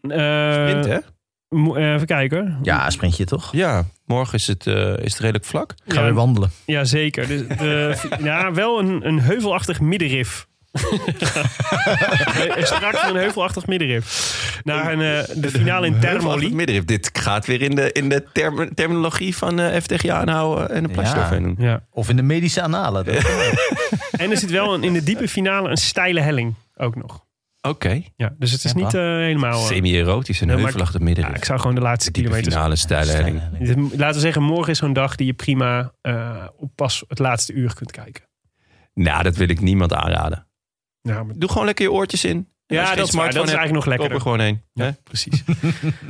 Speaker 2: Eh,
Speaker 1: Wind, hè?
Speaker 2: mo- eh, even kijken.
Speaker 3: Ja, sprintje toch?
Speaker 1: Ja, morgen is het, eh, is het redelijk vlak.
Speaker 3: Ga
Speaker 2: Ja.
Speaker 3: weer wandelen.
Speaker 2: Ja, zeker. Dus de, ja, wel een, een heuvelachtig middenrif. Er is Sprake van een heuvelachtig middenrif. Naar een, eh, de finale in Termoli.
Speaker 1: Middenrif. Dit gaat weer in de, in de term- terminologie van eh FTG aanhouden en een plasje
Speaker 3: Ja.
Speaker 1: overheen doen.
Speaker 2: Ja.
Speaker 3: Of in de medische analen. Dat-
Speaker 2: En er zit wel een, in de diepe finale een steile helling ook nog.
Speaker 1: Oké.
Speaker 2: Ja, dus het is
Speaker 3: Ja,
Speaker 2: niet eh, helemaal... eh,
Speaker 1: Semi-erotisch en
Speaker 2: Ja, maar-
Speaker 1: heuvelachtig
Speaker 2: ja,
Speaker 1: middenrif.
Speaker 2: ik zou gewoon de laatste
Speaker 1: Diepe
Speaker 2: kilometers...
Speaker 1: finale stijle helling.
Speaker 2: Dit- Laten we zeggen, morgen is zo'n dag die je prima eh, op pas het laatste uur kunt kijken.
Speaker 1: Nou, dat wil ik niemand aanraden.
Speaker 2: Ja, maar-
Speaker 1: Doe gewoon lekker je oortjes in. En als je
Speaker 2: ja
Speaker 1: geen
Speaker 2: dat, is waar, dat
Speaker 1: smartphone
Speaker 2: is
Speaker 1: hebt,
Speaker 2: eigenlijk nog
Speaker 1: Koop er
Speaker 2: lekkerder.
Speaker 1: gewoon heen.
Speaker 2: Ja,
Speaker 1: precies.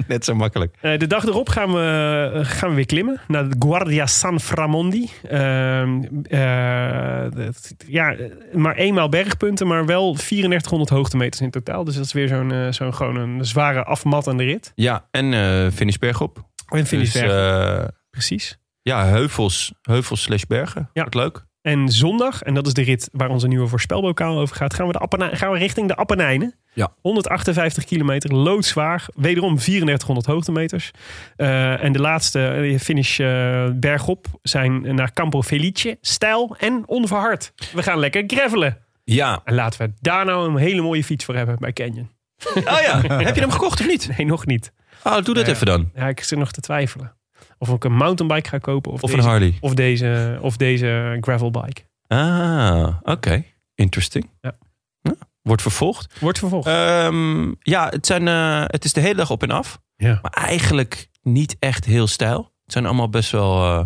Speaker 1: Net zo makkelijk.
Speaker 2: Eh, de dag erop gaan we, eh, gaan we weer klimmen naar de Guardia San Framondi. Ehm, eh, dat- ja, eh, maar eenmaal bergpunten, maar wel 3400 hoogtemeters in totaal. Dus dat is weer zo'n eh, zo'n gewoon een zware afmattende rit.
Speaker 1: Ja, en eh finish bergop.
Speaker 2: En finish
Speaker 1: Dus,
Speaker 2: berg,
Speaker 1: eh,
Speaker 2: precies.
Speaker 1: ja, heuvels. Heuvels slash bergen.
Speaker 2: Ja.
Speaker 1: Wat leuk.
Speaker 2: En zondag, en dat is de rit waar onze nieuwe voorspelbokaal over gaat, gaan we, de Appenij- gaan we richting de Appenijnen.
Speaker 9: Ja.
Speaker 2: 158 kilometer, loodzwaar. Wederom 3400 hoogtemeters. Eh, en de laatste eh, finish eh, bergop zijn naar Campo Felice. Stijl en onverhard. We gaan lekker gravelen.
Speaker 1: Ja.
Speaker 2: En laten we daar nou een hele mooie fiets voor hebben bij Canyon.
Speaker 1: Oh ja, heb je hem gekocht of niet?
Speaker 2: Eh. Nee, nog niet.
Speaker 1: Oh, doe dat
Speaker 2: Ja.
Speaker 1: even dan.
Speaker 2: Ja, ik zit nog te twijfelen. Of ik een mountainbike ga kopen. Of,
Speaker 1: Of een
Speaker 2: deze,
Speaker 1: Harley.
Speaker 2: Of deze, of deze gravelbike.
Speaker 1: Ah, oké. Interesting.
Speaker 2: Ja.
Speaker 1: Ja, Wordt vervolgd.
Speaker 2: Wordt vervolgd.
Speaker 1: Ehm, ja, het, zijn, eh, het is de hele dag op en af.
Speaker 2: Ja.
Speaker 1: Maar eigenlijk niet echt heel stijl. Het zijn allemaal best wel eh,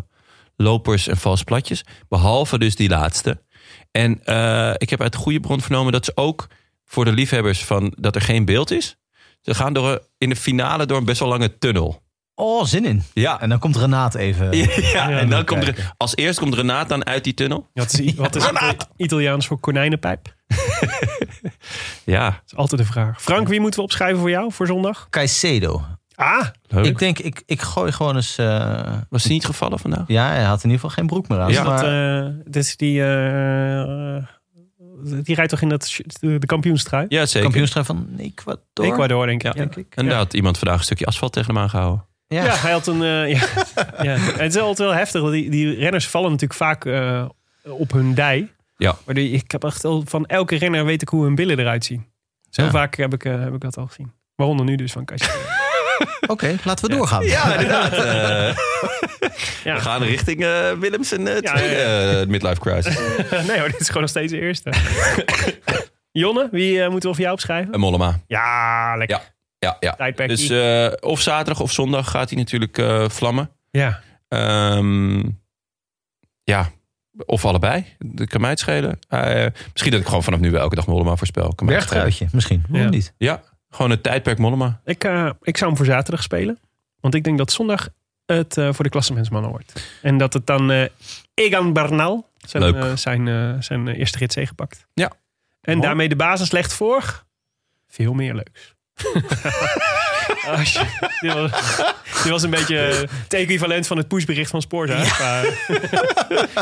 Speaker 1: lopers en vals platjes. Behalve dus die laatste. En eh, ik heb uit de goede bron vernomen dat ze ook voor de liefhebbers van dat er geen beeld is. Ze gaan door, een- in de finale door een best wel lange tunnel.
Speaker 3: Oh, zin in.
Speaker 1: Ja.
Speaker 3: En dan komt Renaat even.
Speaker 1: Ja, en dan
Speaker 3: even
Speaker 1: komt er,
Speaker 3: kijken.
Speaker 1: als eerst komt Renaat dan uit die tunnel.
Speaker 2: Wat is, wat is het eh, Italiaans voor konijnenpijp? Dat
Speaker 1: Ja,
Speaker 2: is altijd de vraag. Frank, wie moeten we opschrijven voor jou voor zondag?
Speaker 3: Caicedo.
Speaker 2: Ah,
Speaker 1: leuk.
Speaker 3: Ik denk, ik, ik gooi gewoon eens... eh,
Speaker 1: Was hij niet gevallen vandaag?
Speaker 3: ja, hij had in ieder geval geen broek meer aan.
Speaker 2: is dat,
Speaker 3: maar,
Speaker 2: eh, dit is die, eh, eh, die rijdt toch in dat, sh- de de kampioenstrui?
Speaker 1: Ja, zeker.
Speaker 3: kampioenschap van Ecuador.
Speaker 2: Ecuador, denk ik.
Speaker 1: Ja.
Speaker 2: Ja.
Speaker 3: Denk ik.
Speaker 1: En daar had iemand vandaag een stukje asfalt tegen hem aangehouden.
Speaker 3: Ja.
Speaker 2: Ja, hij had een. eh, ja, ja. Het is altijd wel heftig. Want die, die renners vallen natuurlijk vaak eh, op hun dij.
Speaker 1: Ja.
Speaker 2: Maar die, ik heb echt al van elke renner weet ik hoe hun billen eruit zien. Zo
Speaker 3: Ja.
Speaker 2: vaak heb ik, eh, heb ik dat al gezien. Waaronder nu dus van Kastje.
Speaker 3: Oké, laten we doorgaan.
Speaker 1: inderdaad.
Speaker 2: Ja.
Speaker 1: Eh, We gaan richting eh Willems en eh,
Speaker 2: Ja,
Speaker 1: tweede
Speaker 2: ja,
Speaker 1: eh, midlife crisis.
Speaker 2: nee hoor, dit is gewoon nog steeds de eerste. Jonne, wie eh, moeten we voor jou opschrijven?
Speaker 1: En Mollema.
Speaker 2: Ja, lekker.
Speaker 1: Ja, ja.
Speaker 2: Tijdperk
Speaker 1: Dus
Speaker 2: I.
Speaker 1: eh, of zaterdag of zondag gaat hij natuurlijk eh, vlammen.
Speaker 2: Ja.
Speaker 1: Ehm, ja, of allebei. Dat kan mij het schelen. Eh, misschien dat ik gewoon vanaf nu wel elke dag Mollema voorspel. Kan mij het schelen.
Speaker 3: Bergtruitje, misschien. Waarom
Speaker 2: Ja.
Speaker 3: niet?
Speaker 1: Gewoon het tijdperk Mollema.
Speaker 2: Ik, eh, ik zou hem voor zaterdag spelen. Want ik denk dat zondag het eh, voor de klassementsmannen wordt. En dat het dan eh, Egan Bernal zijn,
Speaker 1: Leuk.
Speaker 2: eh, zijn, eh, zijn eh, eerste gids gepakt.
Speaker 1: Ja.
Speaker 2: En
Speaker 1: Mooi.
Speaker 2: daarmee de basis legt voor veel meer leuks. Als je- dit, was, dit was een beetje eh, het equivalent van het pushbericht van Sport. hè? Qua,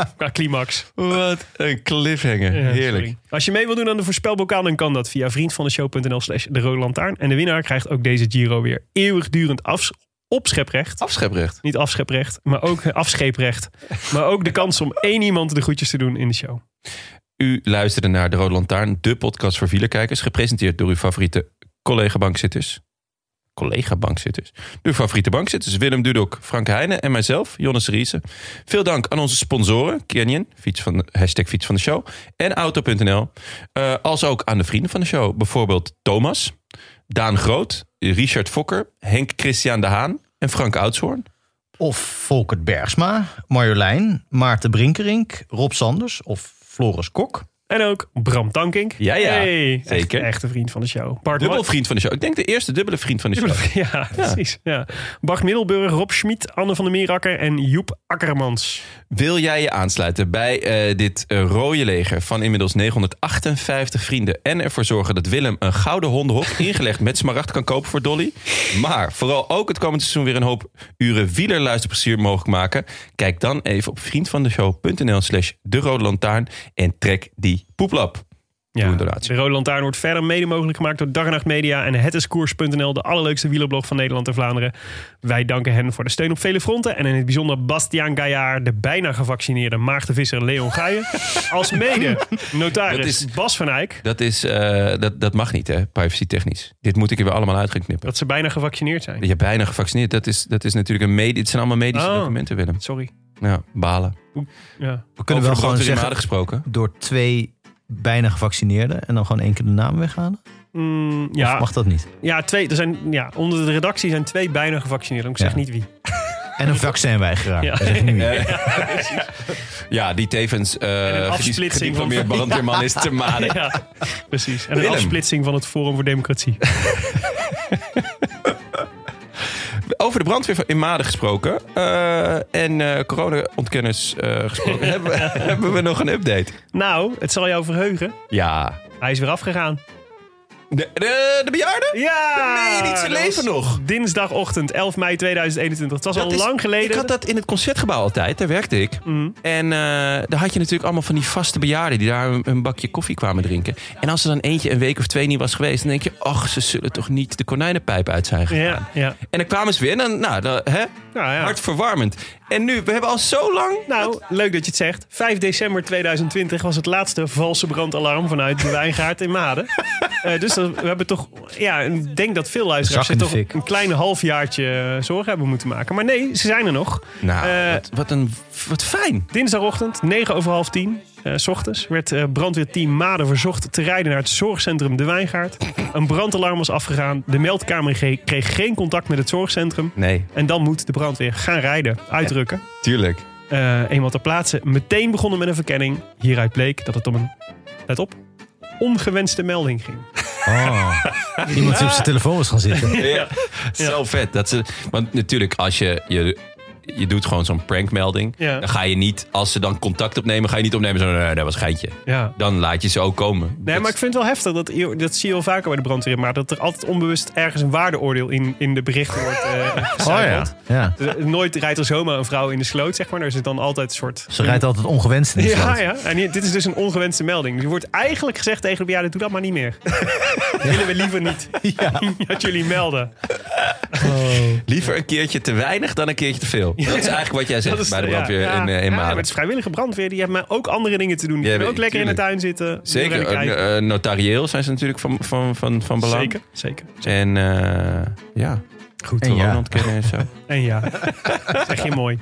Speaker 2: qua climax.
Speaker 1: Wat een cliffhanger.
Speaker 2: Ja, sorry. Als je mee wilt doen aan de voorspelbokaal, dan kan dat via vriendvandeshow.nl slash de rode lantaarn. En de winnaar krijgt ook deze Giro weer eeuwigdurend afs opscheprecht.
Speaker 1: Afscheprecht.
Speaker 2: Niet afscheprecht, maar ook eh, afscheeprecht. Maar ook de kans om één iemand de groetjes te doen in de show.
Speaker 1: U luisterde naar De Rode Lantaarn, de podcast voor wielerkijkers. Gepresenteerd door uw favoriete collega-bankzitters. Collega-bankzitters. Uw favoriete bankzitters Willem Dudok, Frank Heijnen en mijzelf, Jonas Riese. Veel dank aan onze sponsoren, Canyon, fiets van de, hashtag fiets van de show, en Auto.nl. Eh, als ook aan de vrienden van de show, bijvoorbeeld Thomas, Daan Groot, Richard Fokker, Henk Christian de Haan en Frank Oudshoorn.
Speaker 3: Of Volkert Bergsma, Marjolein, Maarten Brinkerink, Rob Sanders of Floris Kok.
Speaker 2: En ook Bram Tankink.
Speaker 1: Ja, ja.
Speaker 2: Hey,
Speaker 1: Zeker.
Speaker 2: Echt, echte vriend van de show. Bart
Speaker 1: Dubbel
Speaker 2: Mar-
Speaker 1: vriend van de show. Ik denk de eerste dubbele vriend van de show.
Speaker 2: Ja, precies. Ja. Bart Middelburg, Rob Schmid, Anne van der Meerakker en Joep Akkermans.
Speaker 1: Wil jij je aansluiten bij eh, dit eh, rode leger van inmiddels 958 vrienden en ervoor zorgen dat Willem een gouden hondenhof ingelegd met smaragd kan kopen voor Dolly? Maar vooral ook het komende seizoen weer een hoop uren wielerluisterplezier mogelijk maken? Kijk dan even op vriendvandeshow.nl slash de rode lantaarn en trek die poeplap. Doe een donatie.
Speaker 2: De Rode Lantaarn wordt verder mede mogelijk gemaakt door Dag en Nacht Media en hetiskoers.nl, de allerleukste wielerblog van Nederland en Vlaanderen. Wij danken hen voor de steun op vele fronten en in het bijzonder Bastiaan Gaillard, de bijna gevaccineerde maagdevisser Leon Gaijen, als mede
Speaker 1: Dat
Speaker 2: notaris
Speaker 1: is-
Speaker 2: Bas van Eyck,
Speaker 1: Dat, is, eh, dat, dat mag niet, hè? Privacy technisch. Dit moet ik er weer allemaal uit gaan knippen.
Speaker 2: dat ze bijna gevaccineerd zijn.
Speaker 1: Je hebt bijna gevaccineerd. Dat is, dat is natuurlijk een medie. Het zijn allemaal medische
Speaker 2: Oh.
Speaker 1: documenten, Willem.
Speaker 2: Sorry.
Speaker 1: Ja, balen.
Speaker 2: Ja.
Speaker 3: We
Speaker 1: Kunnen
Speaker 3: kunnen wel
Speaker 1: Over
Speaker 3: gewoon
Speaker 1: we gewoon
Speaker 3: zeggen,
Speaker 1: aardig gesproken.
Speaker 3: door twee bijna gevaccineerden en dan gewoon één keer de naam weghalen?
Speaker 2: Mm,
Speaker 3: Of
Speaker 2: ja,
Speaker 3: mag dat niet?
Speaker 2: ja, twee, er zijn, ja, onder de redactie zijn twee bijna gevaccineerden. Ik zeg
Speaker 3: Ja.
Speaker 2: niet wie.
Speaker 3: En een vaccinweigeraar.
Speaker 2: Ja.
Speaker 3: Dat is nu.
Speaker 1: Ja, die tevens
Speaker 2: een
Speaker 1: eh
Speaker 2: afsplitsing van-
Speaker 1: gediplomeerd brandweerman is te maden.
Speaker 2: Ja, precies. En een
Speaker 1: Willem.
Speaker 2: afsplitsing van het Forum voor Democratie.
Speaker 1: Over de brandweer in Maden gesproken eh, en eh corona-ontkenners eh, gesproken, hebben, we, hebben we nog een update.
Speaker 2: Nou, het zal jou verheugen.
Speaker 1: Ja,
Speaker 2: Hij is weer afgegaan.
Speaker 1: De, de, de bejaarde?
Speaker 2: Ja!
Speaker 1: Dan meen je niet, ze
Speaker 2: dat
Speaker 1: leven
Speaker 2: was
Speaker 1: nog.
Speaker 2: Dinsdagochtend, 11 mei 2021. Het was
Speaker 1: Dat
Speaker 2: al
Speaker 1: is-
Speaker 2: lang geleden. Mm.
Speaker 1: Ik had dat in het concertgebouw altijd, daar werkte ik. En eh, daar had je natuurlijk allemaal van die vaste bejaarden die daar een, een bakje koffie kwamen drinken. En als er dan eentje een week of twee niet was geweest, dan denk je, ach, ze zullen toch niet de konijnenpijp uit zijn gegaan.
Speaker 2: Ja, ja.
Speaker 1: En dan kwamen ze weer en dan, nou, dan, hè,
Speaker 2: Nou, ja.
Speaker 1: hartverwarmend. En nu, we hebben al zo lang...
Speaker 2: Nou, leuk dat je het zegt. 5 december 2020 was het laatste valse brandalarm vanuit de wijngaard in Maden. Eh, dus dat- we hebben toch, ja, ik denk dat veel luisteraars
Speaker 3: Zak in
Speaker 2: zich
Speaker 3: de
Speaker 2: toch
Speaker 3: fik.
Speaker 2: een klein halfjaartje eh, zorgen hebben moeten maken. Maar nee, ze zijn er nog.
Speaker 1: Nou,
Speaker 2: Eh,
Speaker 1: wat, wat, een, wat fijn.
Speaker 2: Dinsdagochtend, 9 over half 10, eh, s ochtends, werd eh, brandweerteam Maden verzocht te rijden naar het zorgcentrum De Wijngaard. Een brandalarm was afgegaan. De meldkamer ge- kreeg geen contact met het zorgcentrum.
Speaker 1: Nee,
Speaker 2: En dan moet de brandweer gaan rijden, uitrukken.
Speaker 1: tuurlijk.
Speaker 2: Eh, eenmaal ter plaatse meteen begonnen met een verkenning. Hieruit bleek dat het om een, let op, ongewenste melding ging.
Speaker 3: Oh. Iemand die op zijn telefoon was gaan zitten.
Speaker 1: Ja. Zo vet. Dat ze, want natuurlijk, als je, je, je doet gewoon zo'n prankmelding.
Speaker 2: Ja.
Speaker 1: Dan ga je niet, als ze dan contact opnemen, ga je niet opnemen zo, nee, dat was geintje.
Speaker 2: Ja.
Speaker 1: Dan laat je ze ook komen.
Speaker 2: Nee,
Speaker 1: Dat-
Speaker 2: maar ik vind het wel heftig. Dat, dat zie je wel vaker bij de brandweer. Maar dat er altijd onbewust ergens een waardeoordeel in, in de berichten wordt eh gecijferd.
Speaker 3: ja.
Speaker 2: Dus, eh, nooit rijdt er zomaar een vrouw in de sloot, zeg maar. Er zit dan altijd een soort...
Speaker 3: Ze rijdt altijd ongewenst in de
Speaker 2: Ja,
Speaker 3: stad.
Speaker 2: ja. En hier- dit is dus een ongewenste melding. Er wordt eigenlijk gezegd tegen de bejaarden, doe dat maar niet meer. Dat willen we liever niet. Dat jullie melden.
Speaker 3: Oh.
Speaker 1: Liever een keertje te weinig dan een keertje te veel. Dat is eigenlijk wat jij zegt bij de brandweer
Speaker 2: ja,
Speaker 1: in,
Speaker 2: ja.
Speaker 1: eh, in
Speaker 2: Ja, maar
Speaker 1: Maden.
Speaker 2: het is vrijwillige brandweer. Die hebben maar ook andere dingen te doen. Die
Speaker 1: Ja,
Speaker 2: kunnen ook
Speaker 1: weet-
Speaker 2: lekker in de
Speaker 1: tuurlijk.
Speaker 2: tuin zitten.
Speaker 1: Zeker,
Speaker 2: willen kijken.
Speaker 1: eh, eh, notarieel zijn ze natuurlijk van, van, van, van belang.
Speaker 2: Zeker, zeker.
Speaker 1: En eh, ja, goed
Speaker 3: En ja.
Speaker 1: kennen en zo.
Speaker 2: En ja, zeg je mooi.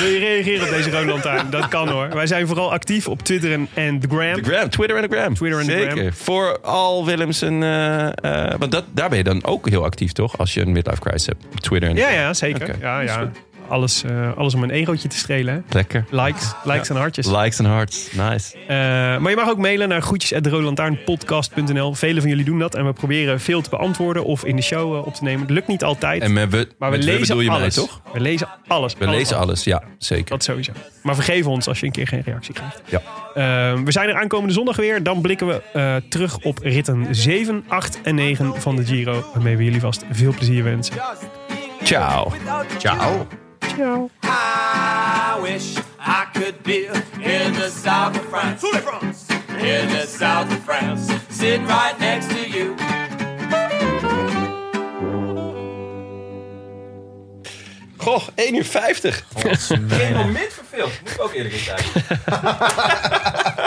Speaker 2: Wil je reageren op deze Roland tuin? Dat kan hoor. Wij zijn vooral actief op Twitter en, en de
Speaker 1: De
Speaker 2: Gram.
Speaker 1: gram, Twitter en de gram.
Speaker 2: Twitter en de
Speaker 1: Zeker.
Speaker 2: gram.
Speaker 1: Voor al Willems en... eh, eh, want dat, daar ben je dan ook heel actief, toch? Als je een midlife crisis hebt op Twitter. En
Speaker 2: Ja, ja, zeker.
Speaker 1: Oké.
Speaker 2: Ja, ja. Alles, eh, alles om een egootje te strelen. hè.
Speaker 1: Lekker.
Speaker 2: Likes, likes en hartjes.
Speaker 1: Likes en hearts. Nice.
Speaker 2: Eh, maar je mag ook mailen naar groetjes.roodlantaarnpodcast.nl. Velen van jullie doen dat. En we proberen veel te beantwoorden of in de show eh, op te nemen. Het lukt niet altijd.
Speaker 1: En met we,
Speaker 2: Maar we lezen
Speaker 1: bedoel je
Speaker 2: alles.
Speaker 1: mij, toch?
Speaker 2: We lezen alles.
Speaker 1: We lezen alles, ja. Zeker.
Speaker 2: Dat sowieso. Maar vergeef ons als je een keer geen reactie krijgt.
Speaker 1: Ja.
Speaker 2: Eh, we zijn er aankomende zondag weer. Dan blikken we eh, terug op ritten 7, 8 en 9 van de Giro. Waarmee we jullie vast veel plezier wensen.
Speaker 1: Ciao. Ciao.
Speaker 2: Ciao.
Speaker 6: I wish I could be in the south of France. In the south of France. Sitting right next to you.
Speaker 1: Goh, 1 uur 50. Geen moment verveeld. Moet ik ook eerlijk in zijn.